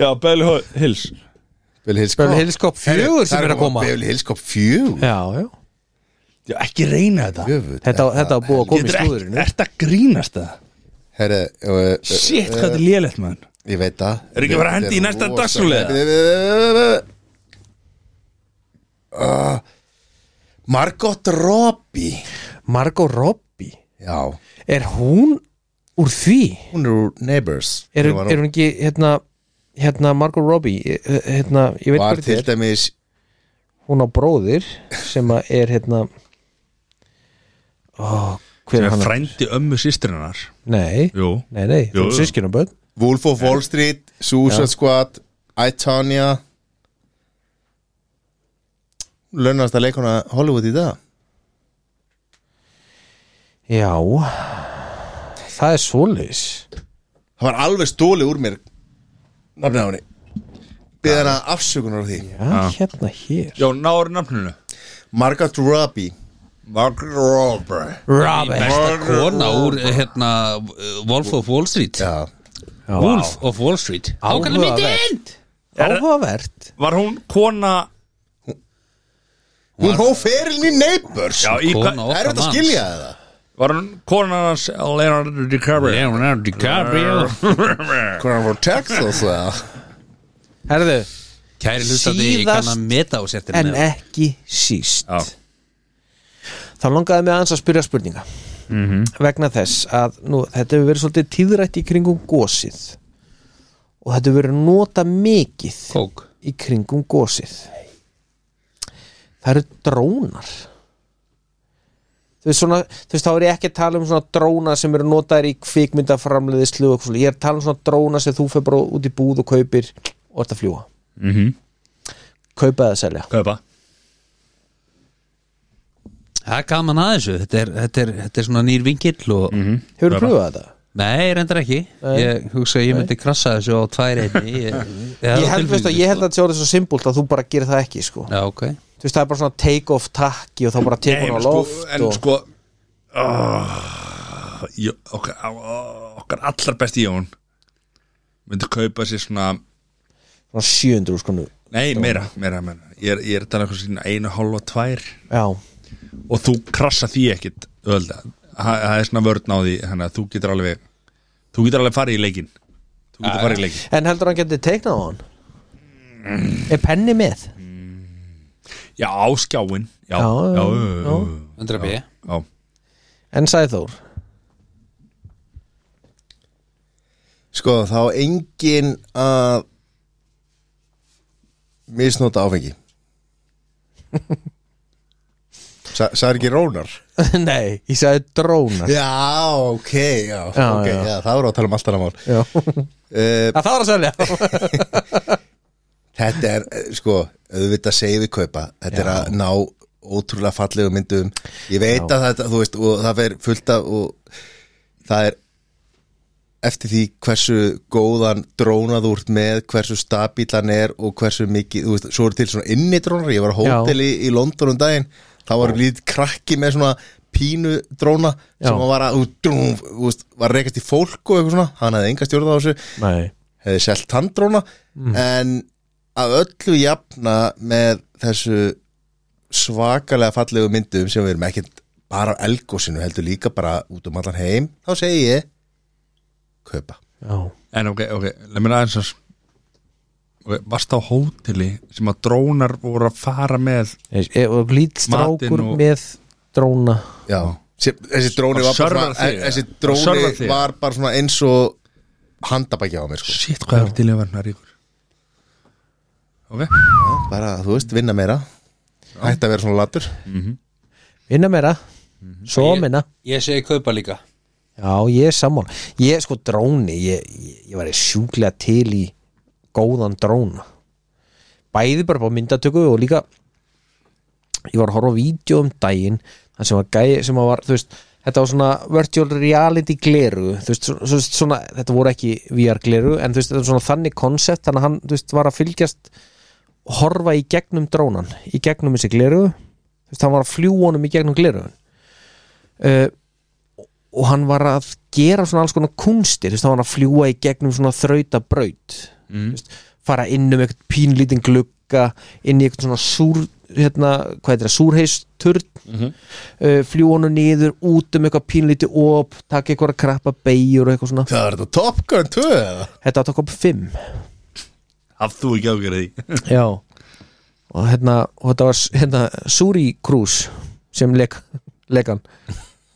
S4: Já, Belly Hills
S2: Bill Hillskop
S1: Böll Hillskop fjögur sem er að koma Já,
S2: Bill Hillskop fjögur
S1: já
S4: Já, ekki reyna þetta
S2: Jöfull,
S1: Þetta, þetta var búið að koma í
S4: Getur ekki
S1: slúðurinu
S4: Ertu að grínast það?
S2: Herre, uh, uh,
S4: Shit, hvað þetta er lélegt mann
S2: Ég veit það
S4: Er ekki bara að hendi í næsta dagskrárliða?
S2: dagsrúlega Margot Robbie
S1: Margot Robbie
S2: Já,
S1: Er hún úr því?
S2: hún er úr Neighbors
S1: Er,
S2: Hún var-
S1: er hún ekki hérna hérna Margot Robbie eh, hérna, ég veit hvað
S2: Var til
S1: þetta er
S2: dæmis
S1: hún á bróðir sem að er hérna ó Hver er hann?
S4: frændi ömmu sýstrinnar
S1: Nei,
S4: Jú,
S1: nei, nei,
S4: Jú,
S1: þú
S4: jú.
S1: sískinu bönn
S2: Wolf of Wall Street, Suicide Squad I, Tonya Lönnast að leikona Hollywood í dag
S1: Já Það er svoleiðis
S2: Það var alveg stólið úr mér Nafnið á henni Beðið hana afsökunar á því
S1: Já, hérna hér
S4: já, náður nafninu
S2: Margot Robbie
S4: Margaret Robbie
S1: Robert
S3: Besta kona úr eh, hérna eh, Wolf of Wall Street
S2: Já
S3: Wolf of Wall Street Ákvæmlega myndin
S1: Áhugavert Áhugavert
S4: Var hún kona
S2: Hún hóf ferilin í Neighbors
S4: já, í, hva,
S3: Kona
S2: Það er
S3: okkar
S2: þetta að
S3: manns
S2: skilja það
S4: Var hún kona hans Leonardo DiCaprio
S3: Leonardo DiCaprio
S2: Hvernig hann voru Texas það
S1: Herðu,
S3: Kæri hlustandi, ég
S1: Síðast
S3: kann að meta á hérna. settir
S1: en ekki síst
S4: Já.
S1: Þá langaði mig aðeins að spyrja spurninga
S4: Mhm.
S1: vegna þess að nú, þetta hefur verið svolítið tíðrætt í kringum gósið og þetta hefur verið nota mikið
S3: Kók
S1: í kringum gósið Það eru drónar Þú veist, svona, þú veist, þá er ég ekki að tala um svona dróna sem eru notaðir í kvikmyndaframleiðislu og eitthvað svoleiðis. ég er að tala um svona dróna sem þú fer bara út í búð og kaupir og ert að fljúa
S4: mm -hmm.
S1: kaupa eða selja
S4: Kaupa
S3: Það er gaman að þessu Þetta er, þetta er, þetta er svona nýr vingill og...
S1: Hefur þú
S4: Kaupa.
S1: pröfað þetta?
S3: Nei, reyndar ekki Ég hugsa að ég myndi krassa þessu á tvær einni Ég,
S1: Ég held, veist, að ég
S4: sko.
S1: held að þetta sé orðið svo simpult að þú bara gerir það ekki sko.
S3: Já, ok
S1: Þú veist það er bara svona take off takki og þá bara tekur hún á
S4: sko,
S1: loft
S4: En
S1: og...
S4: sko oh, ég, okkar, oh, okkar allar besti Jón myndi kaupa sér svona
S1: svona 700 sko nú
S4: Nei, meira, meira, meira Ég er, ég er að tala um eitthvað sína einu hálfa tvær
S1: Já,
S4: og þú krassa því ekkit ölda Það það er svona vörn á því þannig að þú getur alveg þú getur alveg farið í leikinn Þú getur farið í leikinn
S1: en heldur hann getið teiknað á hann? Er penni með?
S4: Já, á skjáin Já,
S1: Já,
S4: já,
S1: já,
S4: já, já,
S3: 100 B
S4: já.
S1: En sagði Þór
S2: Sko þá á engin að misnota áfengi Sa- Sagði ekki Rónar?
S1: Nei, ég sagði drónar
S2: Já, ok, já,
S1: Já,
S2: ok,
S1: já.
S2: já. það voru að tala um allt annað mál
S1: Já,
S2: uh,
S1: það var að selja
S2: Þetta er, eh, sko, auðvitað segjum við kaupa Þetta er að ná ótrúlega fallegu myndum Ég veit að þetta, þú veist, og það fer fullt af og það er eftir því hversu góðan drónað úr með, hversu stabílan er og hversu mikið, þú veist, svo eru til svona inni drónar, ég var á
S1: Já.
S2: hóteli í, í London um daginn, þá var lítið krakki með svona pínu dróna
S1: Já.
S2: sem hann var að, þú veist, þú veist, var að rekast í fólk og eitthvað svona, hann hefði enga stjórn á þessu
S1: Nei
S2: hefði selt tandróna
S4: Mm.
S2: en að öllu jafna með þessu svakalega fallegu myndum sem við erum ekkert bara á elgósinu heldur líka bara út um allan heim þá segi ég kaupa
S1: Já,
S4: En ok, ok, leið mér aðeins að okay, Varst á hóteli sem að drónar voru að fara með
S1: Nei, e- og lít strákur
S4: Matinn og-
S1: með dróna
S2: já Sér, þessi dróni,
S4: Og
S2: var bara,
S4: servar
S2: svona,
S4: þig,
S2: e- þessi
S4: ja. Og servar
S2: dróni
S4: þig.
S2: var bara svona eins og handabækja á mér sko.
S4: Sitt, hvað er til að verna ríkur Ok,
S2: bara, þú veist, vinna meira hætti að vera svona latur
S4: Mm.
S1: Vinna meira,
S4: Mhm.
S1: svo minna
S3: Ég segi kaupa líka
S1: Já, ég er sammál Ég sko dróni, ég, ég, ég var sjúklega til í góðan dróna Bæði bara på myndatöku og líka ég var að horfa á vídeo um daginn þar sem var gæi sem var, þú veist þetta var svona virtual reality gleru þú veist, svo- svo- svona, þetta voru ekki VR gleru, en þú veist, þetta var svona þannig koncept þannig að hann, þú veist, var að fylgjast horfa í gegnum drónan í gegnum þessi gleru þú veist, hann var að fljúa honum í gegnum gleru uh, og hann var að gera svona alls konar kunstir, þú veist, hann var að fljúa í gegnum svona þrauta braut mm. veist, fara inn um eitthvað pínlítinn glugga inn í eitthvað svona súr hérna, hvað heitir það, súrheisturn mm -hmm. uh, fljú honum niður út um eitthvað pínlítið op taka eitthvað krappa beigjur og eitthvað svona
S2: það er þetta Top Gun 2 eða?
S1: þetta tók upp fimm
S4: hafð þú ekki ágjörði því
S1: Já og hérna, og þetta var s- hérna, Suri Cruz sem leik, leikan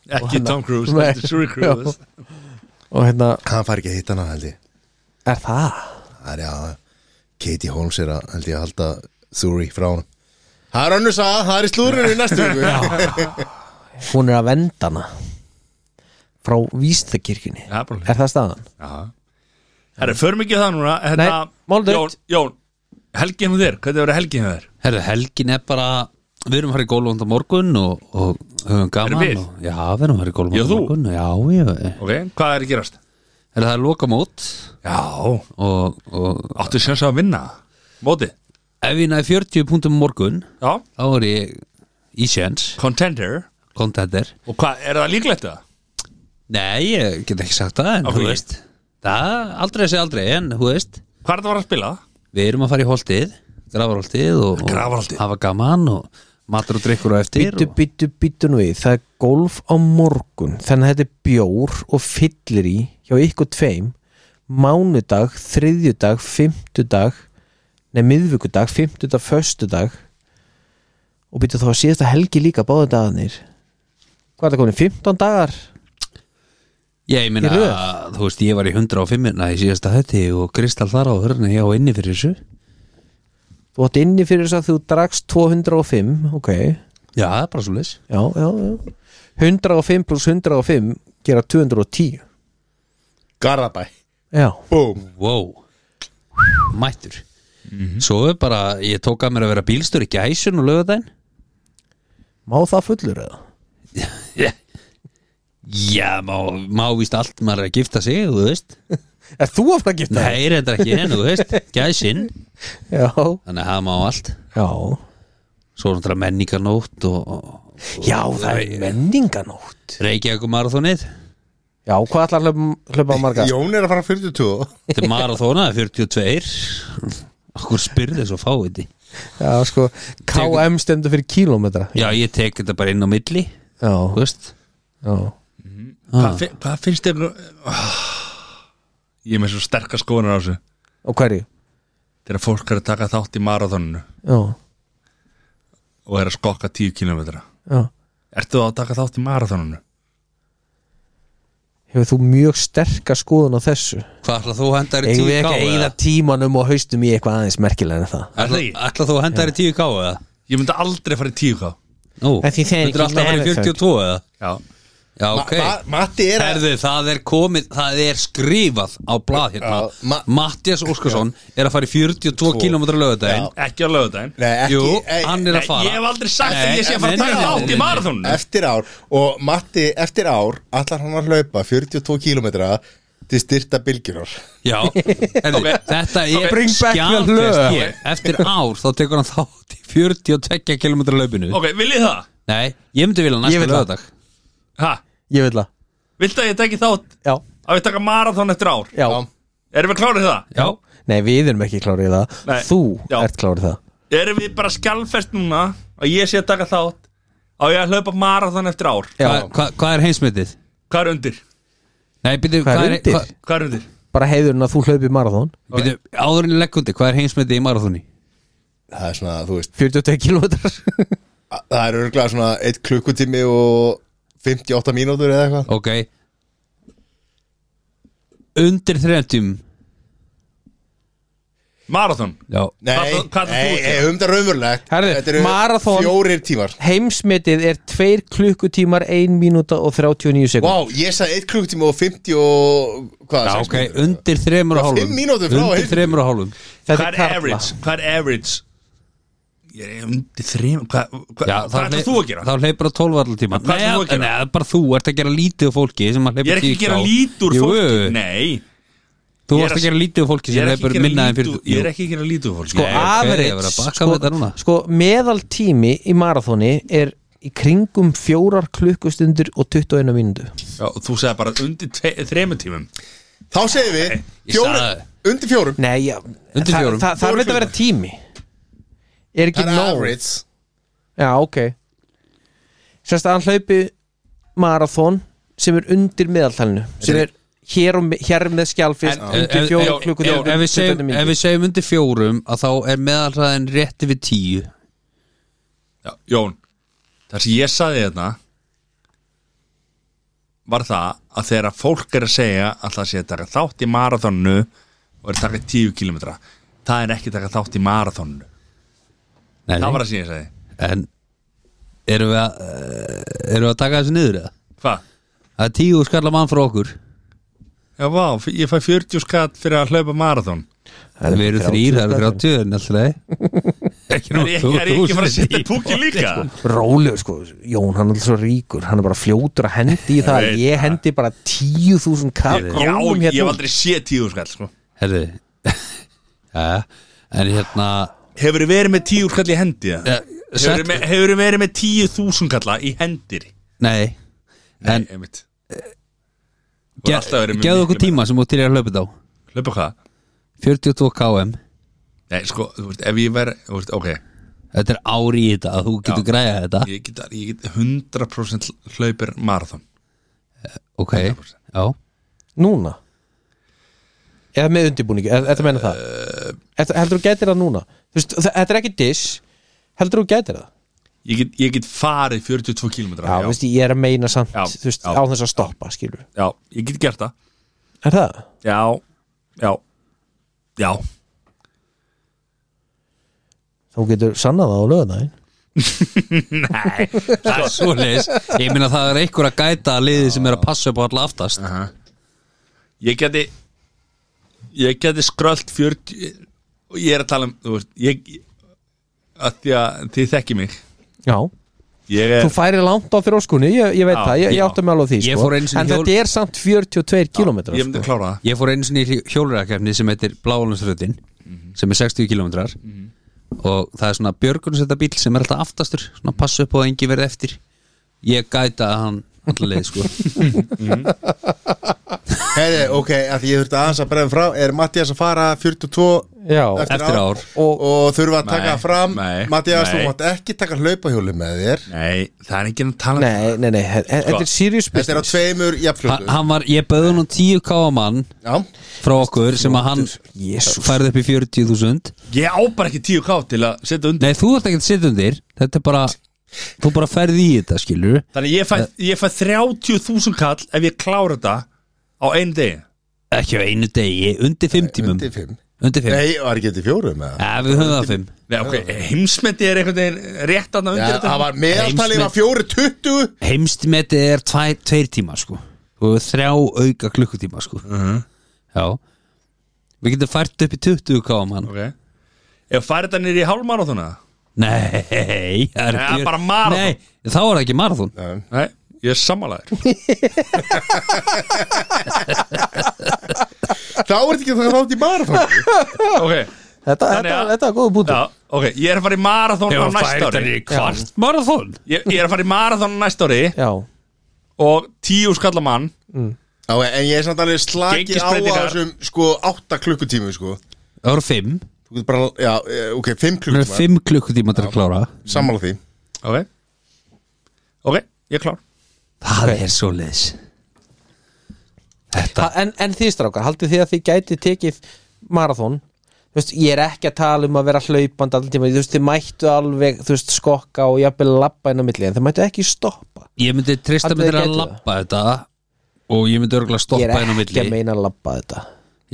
S4: Ekki
S1: hann-
S4: Tom Cruise,
S1: Nei.
S4: þetta er Suri Cruise
S1: og hérna,
S2: hann fari ekki að hitta hana held ég
S1: er það?
S2: Það er já, Katie Holmes er að held ég að halda Þúri frá hann Það er önnur saga, það er í slúrinu í næstu viku
S1: Hún er að venda hana frá vístakirkjunni
S4: Já, bara-
S1: er það staðan?
S4: Herra, förum ekki á það núna hérna,
S1: Nei, mál dautt.
S4: Jón, Jón, helgin hún þér, hvernig verður helgin hún þér?
S3: Herðu, helgin er bara Við erum að fara í gólfand á morgun og, og höfum gaman
S4: Erum við?
S3: og, Já, við erum að fara í
S4: Já,
S3: gólfand á
S4: þú?
S3: morgun Já, já
S4: Ok, hvað er að gerast?
S3: Er það er lokamót
S4: Já,
S3: og, og
S4: áttu sjöns að vinna Móti,
S3: ef ég næði 40 punktum á morgun
S4: já,
S3: þá er ég í sjens
S4: contender
S3: contender
S4: Og hvað, er það líklegt það?
S3: Nei, ég get ekki sagt það en
S4: Af
S3: þú
S4: hverju?
S3: veist Það, aldrei að segja aldrei en þú veist
S4: Hvað er það að fara að spila?
S3: Við erum að fara í holtið, grafarholtið og,
S4: Grafarholtið.
S3: og hafa gaman og matur og drikkur á eftir
S1: Býttu,
S3: og,
S1: býttu, býttu nú við Það er golf á morgun Þannig að þetta er bjór og fyllir í hjá ykkur tveim mánudag, þriðjudag, fimmtudag nei, miðvikudag, fimmtudag, föstudag og býttu þá að síðasta helgi líka báðu dagarnir Hvað er það komin? 15 dagar?
S3: Ég meina,
S1: Í röð?
S3: þú veist, ég var í 105 í síðasta hætti og Kristall þar á hörni hjá inni fyrir þessu
S1: Þú átt inni fyrir þess að þú dragst 205 Ok, já,
S3: Já, það er bara svo leys
S1: já, já 105 pluss 105 gera 210
S2: Garðabæ
S1: Já,
S2: Búm
S3: Wow, mættur
S4: Mhm.
S3: Svo er bara, ég tók að mér að vera bílstur í gæsun og lögðu þeim
S1: má það fullur eða?
S3: Já, má, má víst allt maður er að gifta sig, þú veist
S1: Er þú aftur að gifta?
S3: Nei, reyndar ekki, en þú veist, gæsin
S1: Já,
S3: Þannig að það má allt
S1: já
S3: Svo er náttúrulega menningarnótt og, og
S1: Já, það er menninganótt
S3: Reykjavík marathónið
S1: Já, hvað ætlar að hlaupa- hlaupa á marga?
S2: Jón er að fara 42
S3: Þetta er marathóna, 42 Okkur spyrði svo fáið
S1: Já, sko, KM stendur fyrir kílómetra
S3: Já, ég tek þetta bara inn á milli
S1: Já,
S3: Þú veist
S1: já
S4: Hvað, fi- hvað finnst þér? Oh, ég er með svo sterkar skoðunar á þessu
S1: Og hverju?
S4: Þegar fólk er að taka þátt í marathoninu
S1: Já,
S4: Og er að skokka 10 km
S1: já
S4: Ertu þá að taka þátt í marathoninu?
S1: Hefur þú mjög sterka skoðun á þessu?
S3: Hvað ætla þú að henda þér í
S1: Eigum við
S3: 10K
S1: ekki að
S3: eða?
S1: eyða tímanum og haustum í eitthvað aðeins merkilega en það?
S3: Ætla,
S4: Nei.
S3: ætla þú að henda þér í 10K eða?
S4: Ég myndi aldrei fara í 10 ká
S3: Nú,
S1: En því það er
S3: myndur
S1: ekki
S3: alltaf að fara í
S1: marathon.
S3: 42 eða?
S4: Já
S3: Já, ok
S2: Matti er að
S3: Herðu, það er komið, það er skrifað á blað hérna
S2: Já, ma-
S3: Mattias Óskarsson er að fara í 42 km lögadaginn
S4: Ekki á lögudaginn
S2: Nei, ekki
S3: Jú,
S2: ei,
S3: hann er að fara
S4: Ég hef aldrei sagt að
S3: Nei,
S4: ég sé að fara
S3: nei,
S4: að taka
S3: nei,
S4: þátt
S3: nei,
S4: í
S3: nei.
S4: marathoninu
S2: Eftir ár Og Matti eftir ár Allar hann að hlaupa 42 kilometra Til styrta bylgjunar
S3: Já, herðu, þetta er
S1: Bring back the
S3: skjalfest
S1: lög.
S3: hér. Eftir ár þá tekur hann þátt í 42 km löpinu
S4: Ok, viljið það?
S3: Nei, ég myndi vilja
S1: Ég
S3: næsta
S1: vil það.
S3: lögadag
S4: Ha?
S1: Ég vil það
S4: Viltu að ég taki þátt
S1: Já,
S4: að við taka marathon eftir ár?
S1: já,
S4: Erum við klárið það?
S3: Já,
S1: Nei, við erum ekki klárið í það
S4: Nei.
S1: Þú
S4: Já.
S1: ert klárið í það
S4: Erum við bara skjálfest núna að ég sé að taka þátt á ég að hlaupa marathon eftir ár?
S1: Já,
S3: hvað hva, hva er heimsmetið?
S4: Hvað er undir?
S3: Nei, byrju,
S1: hvað er undir?
S3: hva,
S4: Hvað er undir?
S1: Bara heiðurinn að þú hlaupir marathón
S3: byrju, áðurinn leggundi, hvað er heimsmetið í marathóni?
S2: Það er svona, þú veist
S1: 42 kilometrar
S2: a- Það er örgulega svona 1 klukkutími og 58 mínútur eða eitthvað
S3: Ok Undir 30
S4: Marathon?
S3: Já,
S2: Nei,
S4: Hvað- hvað ætlar þú
S2: nei,
S4: að gera?
S2: nei, um það raunverulegt
S1: Herðu,
S2: Þetta eru
S1: marathon-
S2: Fjórir tímar
S1: Heimsmetið er 2 klukkutímar 1 mínúta og 39 sekund
S2: Vá, ég sagði 1 klukkutími og 50 og Hvað,
S3: Já,
S2: sex
S3: ok,
S2: mínútur?
S3: undir 3 og
S2: Já,
S3: hálfum
S2: fimm mínútur frá
S3: Undir
S2: heimsmetið.
S3: 3 og hálfum
S1: Þetta
S4: Hvað er
S1: karla.
S4: average? Hvað er average? Ég er undir þrjum Hvað, hvað,
S3: Já,
S4: hvað ætlar þú að gera?
S3: Þá hleypur á 12 allar tíma
S4: Hvað ætlar þú að gera?
S3: Nei, það er bara þú ert að gera lítið úr fólki sem að
S4: Ég
S3: hleypur
S4: er ekki að
S3: 10K.
S4: gera lítur
S3: Jú,
S4: fólki Nei
S3: Þú
S4: Ég er
S3: ert
S4: að-
S3: að gera lítið úr fólki
S4: Ég er ekki
S3: sem
S4: að
S3: hleypur
S4: gera
S3: minna en
S4: lítið- ég er
S3: 40
S4: ekki að gera lítur fólki
S1: sko
S4: Nei, ok,
S1: average
S3: ég var að bakka með
S1: sko,
S3: þetta núna.
S1: sko meðaltími í marathóni er í kringum fjórar klukkustundir og 21 mínútu
S4: Já, og þú segði bara undir tve- þremur tímum
S2: Þá segir við
S3: Ég
S2: fjórum,
S3: sagði-
S2: Undir fjórum
S1: Nei, já,
S3: Undir
S1: þa- þa-
S3: fjórum.
S1: það
S2: Fjórar
S1: verður að vera tími er ekki
S2: Það er
S1: nóg
S2: average
S1: já, ok sérst að hann hlaupi marathón sem er undir meðaltalinu sem er hér, og, me- hér með skjálfist
S3: Ef-
S1: undir
S3: ef-
S1: fjórar
S3: ef-
S1: klukkustundir
S3: ef við segjum- Ef við
S1: mínútu
S3: segjum undir fjórum að þá er meðalræðin rétti við 10
S4: Já, Jón, það sem ég saði þetta var það að þegar fólk er að segja að það sé að taka þátt í marathonnu og er að taka 10 kilometra það er ekki að taka þátt í marathonnu
S3: Nei,
S4: það
S3: nei.
S4: var það sem ég sagði
S3: En erum við að eh, erum við að taka þessu niður eða?
S4: Hvað?
S3: Það er tíu skalla mann frá okkur
S4: Já, vá, f- ég fæ 40 skatt fyrir að hlaupa marathon
S3: Við erum þrýr, það eru 30 en alltaf leið Ekki
S4: Er ég, er ég ekki bara að setja púki líka?
S1: Rólegur sko, Jón hann er alltaf svo ríkur Hann er bara fljótur að hendi í það
S4: veit
S1: Ég hendi bara tíu þúsund krónum
S4: Já, ég hef
S1: hérna.
S4: aldrei séð tíu skall sko.
S3: Herðu ja, En hérna
S4: Hefur verið með tíu skall í hendi
S3: eh,
S4: Hefur
S3: sett,
S4: verið, verið með tíu þúsund kalla í hendir
S3: Nei, En-
S4: einmitt
S3: ge- gefðu okkur tíma sem þú til ég að hlaupa þá
S4: Hlaupa hvað?
S3: 42 km
S4: Nei, sko, þú veist, ef ég verð Þú veist, ok,
S3: Þetta er ári í þetta að þú getur
S4: Já.
S3: græða þetta
S4: ég get, ég get 100% hlaupir marathon
S3: Ok, já
S1: Núna Eða með undirbúningi, eða eða meina það Eða- Heldur þú gætir það núna Þú veist, þa- Þetta er ekki diss Heldur þú gætir það
S4: Ég get, ég get farið 42 km
S1: Já, já. Veist, ég er að meina samt
S4: Já,
S1: þú veist,
S4: já.
S1: á þess að stoppa skilur.
S4: já, ég get gert það
S1: Er það?
S4: Já, já, já
S1: Þú getur sannað það á lögðaðin
S3: Það er svoleiðis Ég meina það er einhver að gæta að liði sem er að passa upp á alla aftast
S4: Ég geti Ég geti skrölt 40 og Ég er að tala um þú veist, ég, að Því að þið þekki mig
S1: Já,
S4: Ég er
S1: þú færir langt á þróskunni Ég, ég veit
S4: Eh. Já,
S1: það, ég, ég
S4: já.
S1: átti með alveg á því
S3: Ég
S1: sko.
S3: fór einu sinni
S1: En
S3: hjól-
S1: þetta er samt 42 km
S4: Ég myndi
S1: sko.
S4: klára það
S3: Ég fór einu sinni í hjólurakefni sem heitir Bláalandsröðin
S4: Mhm.
S3: sem er 60 km og það er svona björgunsetta bíl sem er alltaf aftastur svona passa upp á að engi verði eftir Ég gæta að hann alltaf leið sko
S2: Heyri, ok, að því ég þurfti aðeins að bregðum frá Er Mattias að fara 42
S1: Já,
S3: Eftir ár.
S2: Og, og þurfa að taka
S4: Nei,
S2: fram
S4: nei,
S2: Mattias, þú
S4: nei.
S2: mátt ekki taka hlaupahjóli með þér
S4: Nei, það er ekki að tala um
S1: nei, nei, nei, he- he- þetta er serious
S2: Þetta er á
S1: business
S2: tveimur
S3: ha,
S2: jafnflötu
S3: Hann var, ég bauði hann 10 káamann
S2: Já,
S3: frá okkur sem að hann
S1: Jesús.
S3: færði upp í 40.000
S4: Ég á bara ekki 10k til að setja undir
S3: Nei, þú ert ekkert sitt undir Þetta er bara, þú bara færði í þetta skilur
S4: Þannig ég fæ, ég fæ 30.000 kall ef ég klára þetta á einu degi
S3: Ekki á einu degi, undir 50
S2: undir fimm.
S3: Undir 5
S2: Nei, var ekki undir fjórum með það
S3: Ja, við höfum það 5
S4: Nei, ok, heimsmyndi er einhvern veginn rétt aðna undir
S2: Já,
S4: þetta
S2: það var meðaltalið var fjóri tuttu
S3: heimstmetið er tvær, tveir tíma sko og þrjá auka klukkutíma sko
S2: Mhm.
S3: já við getum fært upp í 20 km hann
S4: Ok Ef farið þetta niður í hálfmarathona
S3: nei, það er
S4: Nei,
S3: björ-
S4: bara maraþon.
S3: nei, þá er það ekki marathon
S4: Nei, ég er sammálaður
S2: Þá er ekki það rátt í marathon
S4: Ok,
S1: Þetta,
S4: Þannig
S1: þetta,
S4: að-
S1: þetta er góða bútu
S4: Já, ok, ég er að fara í marathón á næsta ári
S3: í kvart marathon
S4: ég, ég er að fara í marathón á næsta ári
S1: Já,
S4: og tíu skallamann
S2: Já, en ég er samt alveg slakið á að
S4: Gengisbreytingar.
S2: þessum sko 8 klukkutími sko
S3: það voru 5,
S2: Þú getur bara, já, eh, ok, 5
S3: það eru
S2: klukkutíma
S3: 5 klukkutíma til að klára
S2: Sammála því
S4: Ok Ok, ég er klár
S3: það er svo leis þetta
S1: Ha, en, en þið strákar, haldið þið að þið gætið tekið marathon Þú veist, ég er ekki að tala um að vera hlaupandi allir tíma, þú veist, þið mættu alveg þú veist, skokka og jafnvel labba inn á milli en þið mættu ekki stoppa
S3: ég myndi trista
S1: Haldið
S3: mig til
S1: þið
S3: að
S1: gætu
S3: lappa þetta og ég myndi örgulega
S1: Ég
S3: stoppa
S1: er
S3: henn á
S1: ekki
S3: milli
S1: að meina að labba þetta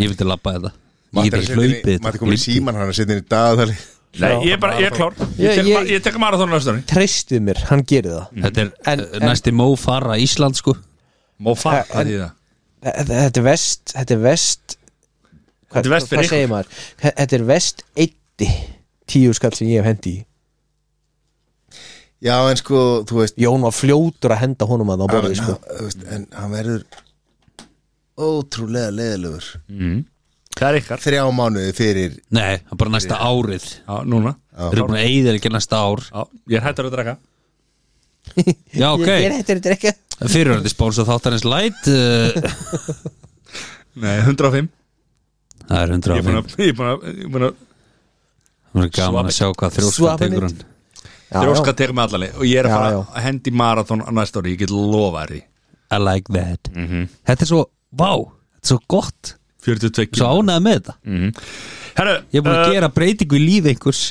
S3: ég myndi lappa þetta ég
S2: Matti er að
S3: myndi
S2: setja inn í-
S3: hlaupið þetta.
S2: Matti er komin í síman hann að setja inn í dagatali
S4: Nei, ég er bara, ég er klár
S1: Ég-
S4: Ég tek,
S1: ég-
S4: ég, ég tek marathón á næsta ári
S1: Treystið mér, hann gerir það
S3: Mm. þetta er
S1: En-
S3: en, næsti mó fara Ísland sko
S4: Má fara
S1: En-
S4: því það
S1: Þe- Þetta er vest Þetta er vest
S4: Þetta er vest fyrir
S1: Hvað segir maður? Þe- Þetta er vest eitti tíu skall sem ég hef hendi í
S2: Já, en sko, þú veist
S1: Jón var fljótur að henda honum að það á
S2: hann,
S1: borðið sko.
S2: þú veist, En hann verður ótrúlega leðilegur
S4: Það er ykkar
S2: Þrjá mánuði fyrir
S3: Nei, það er bara næsta árið
S4: Já, núna
S3: Þeir eru búin að eyða ekki næsta ár
S4: Já, ég er hættur að draka
S3: Já, ok,
S1: Ég er hættur þetta ekki
S3: fyrirhandi spóns og þáttarins light uh,
S4: Nei, 105
S3: Það er
S4: Ég
S3: hundra á
S4: er búin
S3: minn
S4: að, ég er búin að, ég er búin að
S3: Það er gaman að sjá hvað þrjóskan
S1: Swap it.
S3: tekur hann
S1: Já,
S4: Þrjóska tekur með allali Og ég er að
S1: Já,
S4: fara
S1: já.
S4: að hendi marathón á næsta ári Ég get lofa því
S3: I like that
S4: Mhm.
S3: Þetta er svo, vá, þetta er svo gott
S4: 42
S3: Svo ánægð með þetta
S4: Herru,
S3: Ég er búin
S4: eh,
S3: að gera breytingu í lífi einhvers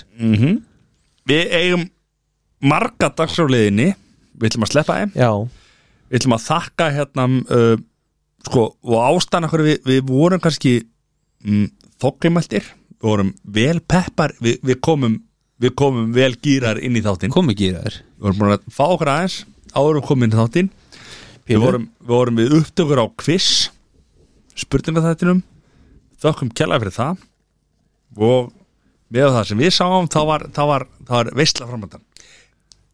S4: Við eigum marga dagsráliðinni Við ætlum að sleppa þeim
S1: já,
S4: við ætlum að þakka hérna uh, sko, og ástæðan okkur við, við vorum kannski mm, þokkimæltir, við vorum vel peppar, við, við komum við komum vel gýrar inn í þáttinn
S3: Kom ekki í þær
S4: við vorum búin að fá okkur aðeins áður árum komin í þáttinn við vorum, við vorum við upptökur á quiz spurningaþættinum þökkum kjalla fyrir það og með það sem við sáum þá var, þá var, þá var veistla framöndan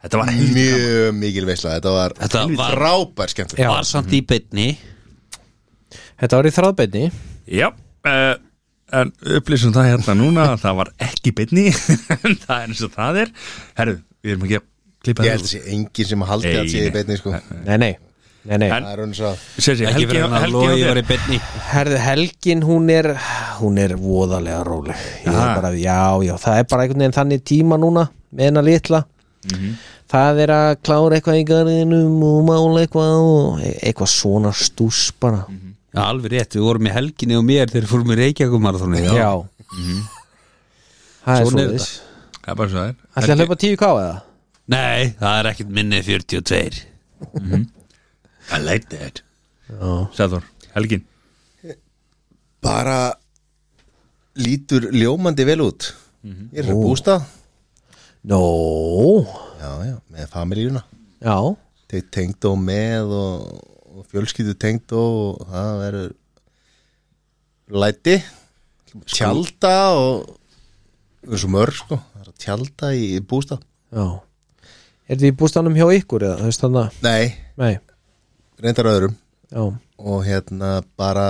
S4: þetta var helvítið
S2: Mjög mikil veisla, þetta var
S3: Þetta var-
S2: frábær skemmt
S1: Já.
S3: var samt í beinni
S1: Þetta var í þráðbeinni
S4: já, uh, en upplýsum það hérna núna að það var ekki í beinni en það er eins og það er herru, við erum ekki að klippa
S2: Ég
S4: það
S2: held að sé enginn sem haldi
S4: Nei,
S2: að sé í
S4: nei.
S2: beinni sko
S1: Nei, nei, nei, nei.
S4: En-
S2: Það er hún svo
S4: Sér,
S3: ekki
S4: helgi,
S3: fyrir hann að
S4: helgi,
S3: logi var
S4: helgi,
S3: í beinni
S1: Herðu helgin, hún er hún er voðalega róleg Ég er
S4: Aha.
S1: bara, Já, já, það er bara einhvern veginn þannig tíma núna með hennar litla
S4: Mhm.
S1: Það er að klára eitthvað í garðinum og mála eitthvað og e- eitthvað svona stús bara
S3: Já, alveg rétt, við vorum í helginni og mér þegar fórum í um Reykjavíkumarathónu
S1: Já, Mhm. Það er
S3: Svona
S1: svona
S3: er
S1: þess
S4: það er bara svo það er.
S1: Ætli að hlaupa 10k eða?
S3: Nei, það er ekkert minni 42
S4: I like that Sæður, helgin
S2: Bara lítur ljómandi vel út Ég er að bústa
S1: Nó,
S2: Já, já, með familíuna
S1: já
S2: Þeir tengd og með og, og fjölskyldu tengd og það verður læti Sko- Tjálta og við erum svo mörg sko Það er að tjálta í bústa
S1: Já Er þið í bústanum hjá ykkur eða? Þú veist þannig að,
S2: Nei,
S1: nei,
S2: reyndar öðrum
S1: já
S2: og hérna bara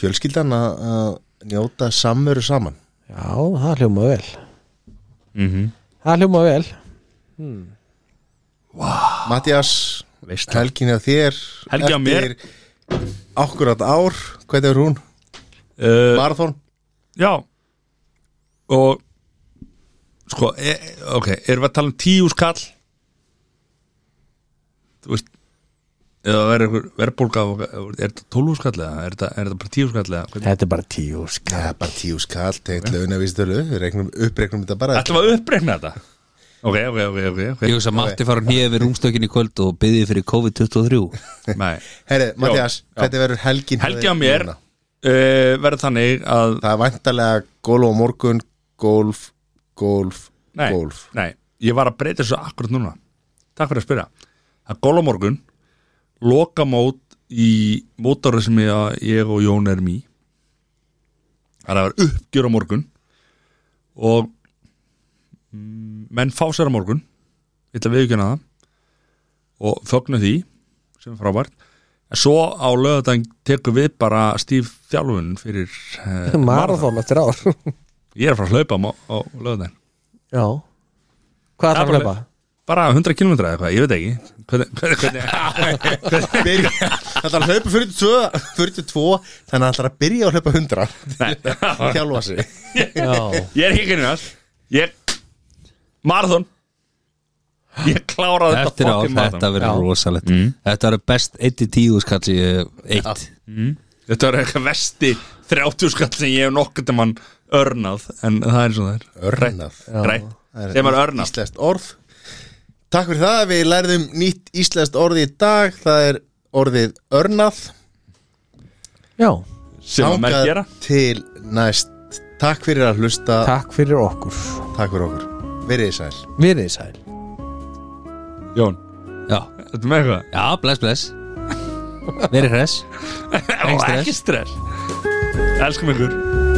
S2: fjölskyldan að að njóta samveru saman
S1: Já, það hljóma vel
S4: mm
S1: Það hljóma vel
S2: Mattias,
S4: Veist það.
S2: helgin að þér
S4: Helgi á mér.
S2: Akkurat ár, hvernig er hún?
S4: uh,
S2: Marathon?
S4: Já Og Sko, e, ok, erum við að tala um tíu skall Þú veist Eða verður einhver verðbólga og- Er þetta tólfu skall eða? Er þetta, er þetta bara tíu skall eða? Hvernig-
S1: Þetta er bara tíu skall
S2: Það er bara tíu skall, tegnt launavísitölu við regnum, uppregnum þetta bara
S4: Ætlum við að uppreikna þetta? Ok, ok, ok, ok,
S3: Ég
S4: okay.
S3: hugsa að Matti fara nýja við rúmstökin í kvöld og byggði fyrir COVID-23
S4: Nei.
S2: Herri, Mattias,
S4: Já.
S2: hvernig verður helgin? hjá
S4: Helgi
S2: þér
S4: á mér
S2: núna?
S4: uh, Verður þannig að
S2: Það er væntalega golf á morgun golf, golf,
S4: nei,
S2: golf
S4: Nei, ég var að breyta þessu akkurat núna Takk fyrir að spyrja Það er golf á morgun Lokamót í mótorið sem ég, ég og Jón erum í Það er að vera uppgjör á morgun Og mm, Menn fá sér á morgun Ég ætla viðkjöna það Og fögnu því Sem er frábært En svo á lögðan tekum við bara stíf þjálfun fyrir eh,
S1: Marathon eftir ár
S4: Ég er að fara að hlaupa á, á lögðan
S1: Já Hvað ætlar að
S4: bara-
S1: hlaupa?
S4: bara 100 km eða eitthvað, ég veit ekki hvernig, hvernig, hvernig,
S2: Byrja- Það ætlar að hlaupa 42, 42 þannig að það ætlar að byrja að hlaupa 100
S4: Nei.
S2: þjálfa sig
S1: Já,
S4: ég er ekki grínast ég, marathon ég kláraði
S3: Eftir
S4: þetta
S3: á
S4: fucking marathon.
S3: þetta verður rosalegt Þetta verður best 1-10 skalli 1
S4: þetta var eitthvað vesti 30 skall sem ég hef nokkert um hann örnað en það er svona þær
S2: Örnað
S4: rætt,
S2: Það er
S4: sem er örnað
S2: Íslenskt orð Takk fyrir það, við lærðum nýtt íslenskt orð í dag Það er orðið örnað
S1: já,
S4: sem að menn
S2: Þangað
S4: gera
S2: Til næst Takk fyrir að hlusta,
S1: takk fyrir okkur
S2: takk fyrir okkur Verið þið sæl
S1: Verið sæl
S4: Jón,
S3: Já,
S4: þetta með eitthvað
S3: já, bless, bless Verið hress
S4: Ó, ekki stress elskum ykkur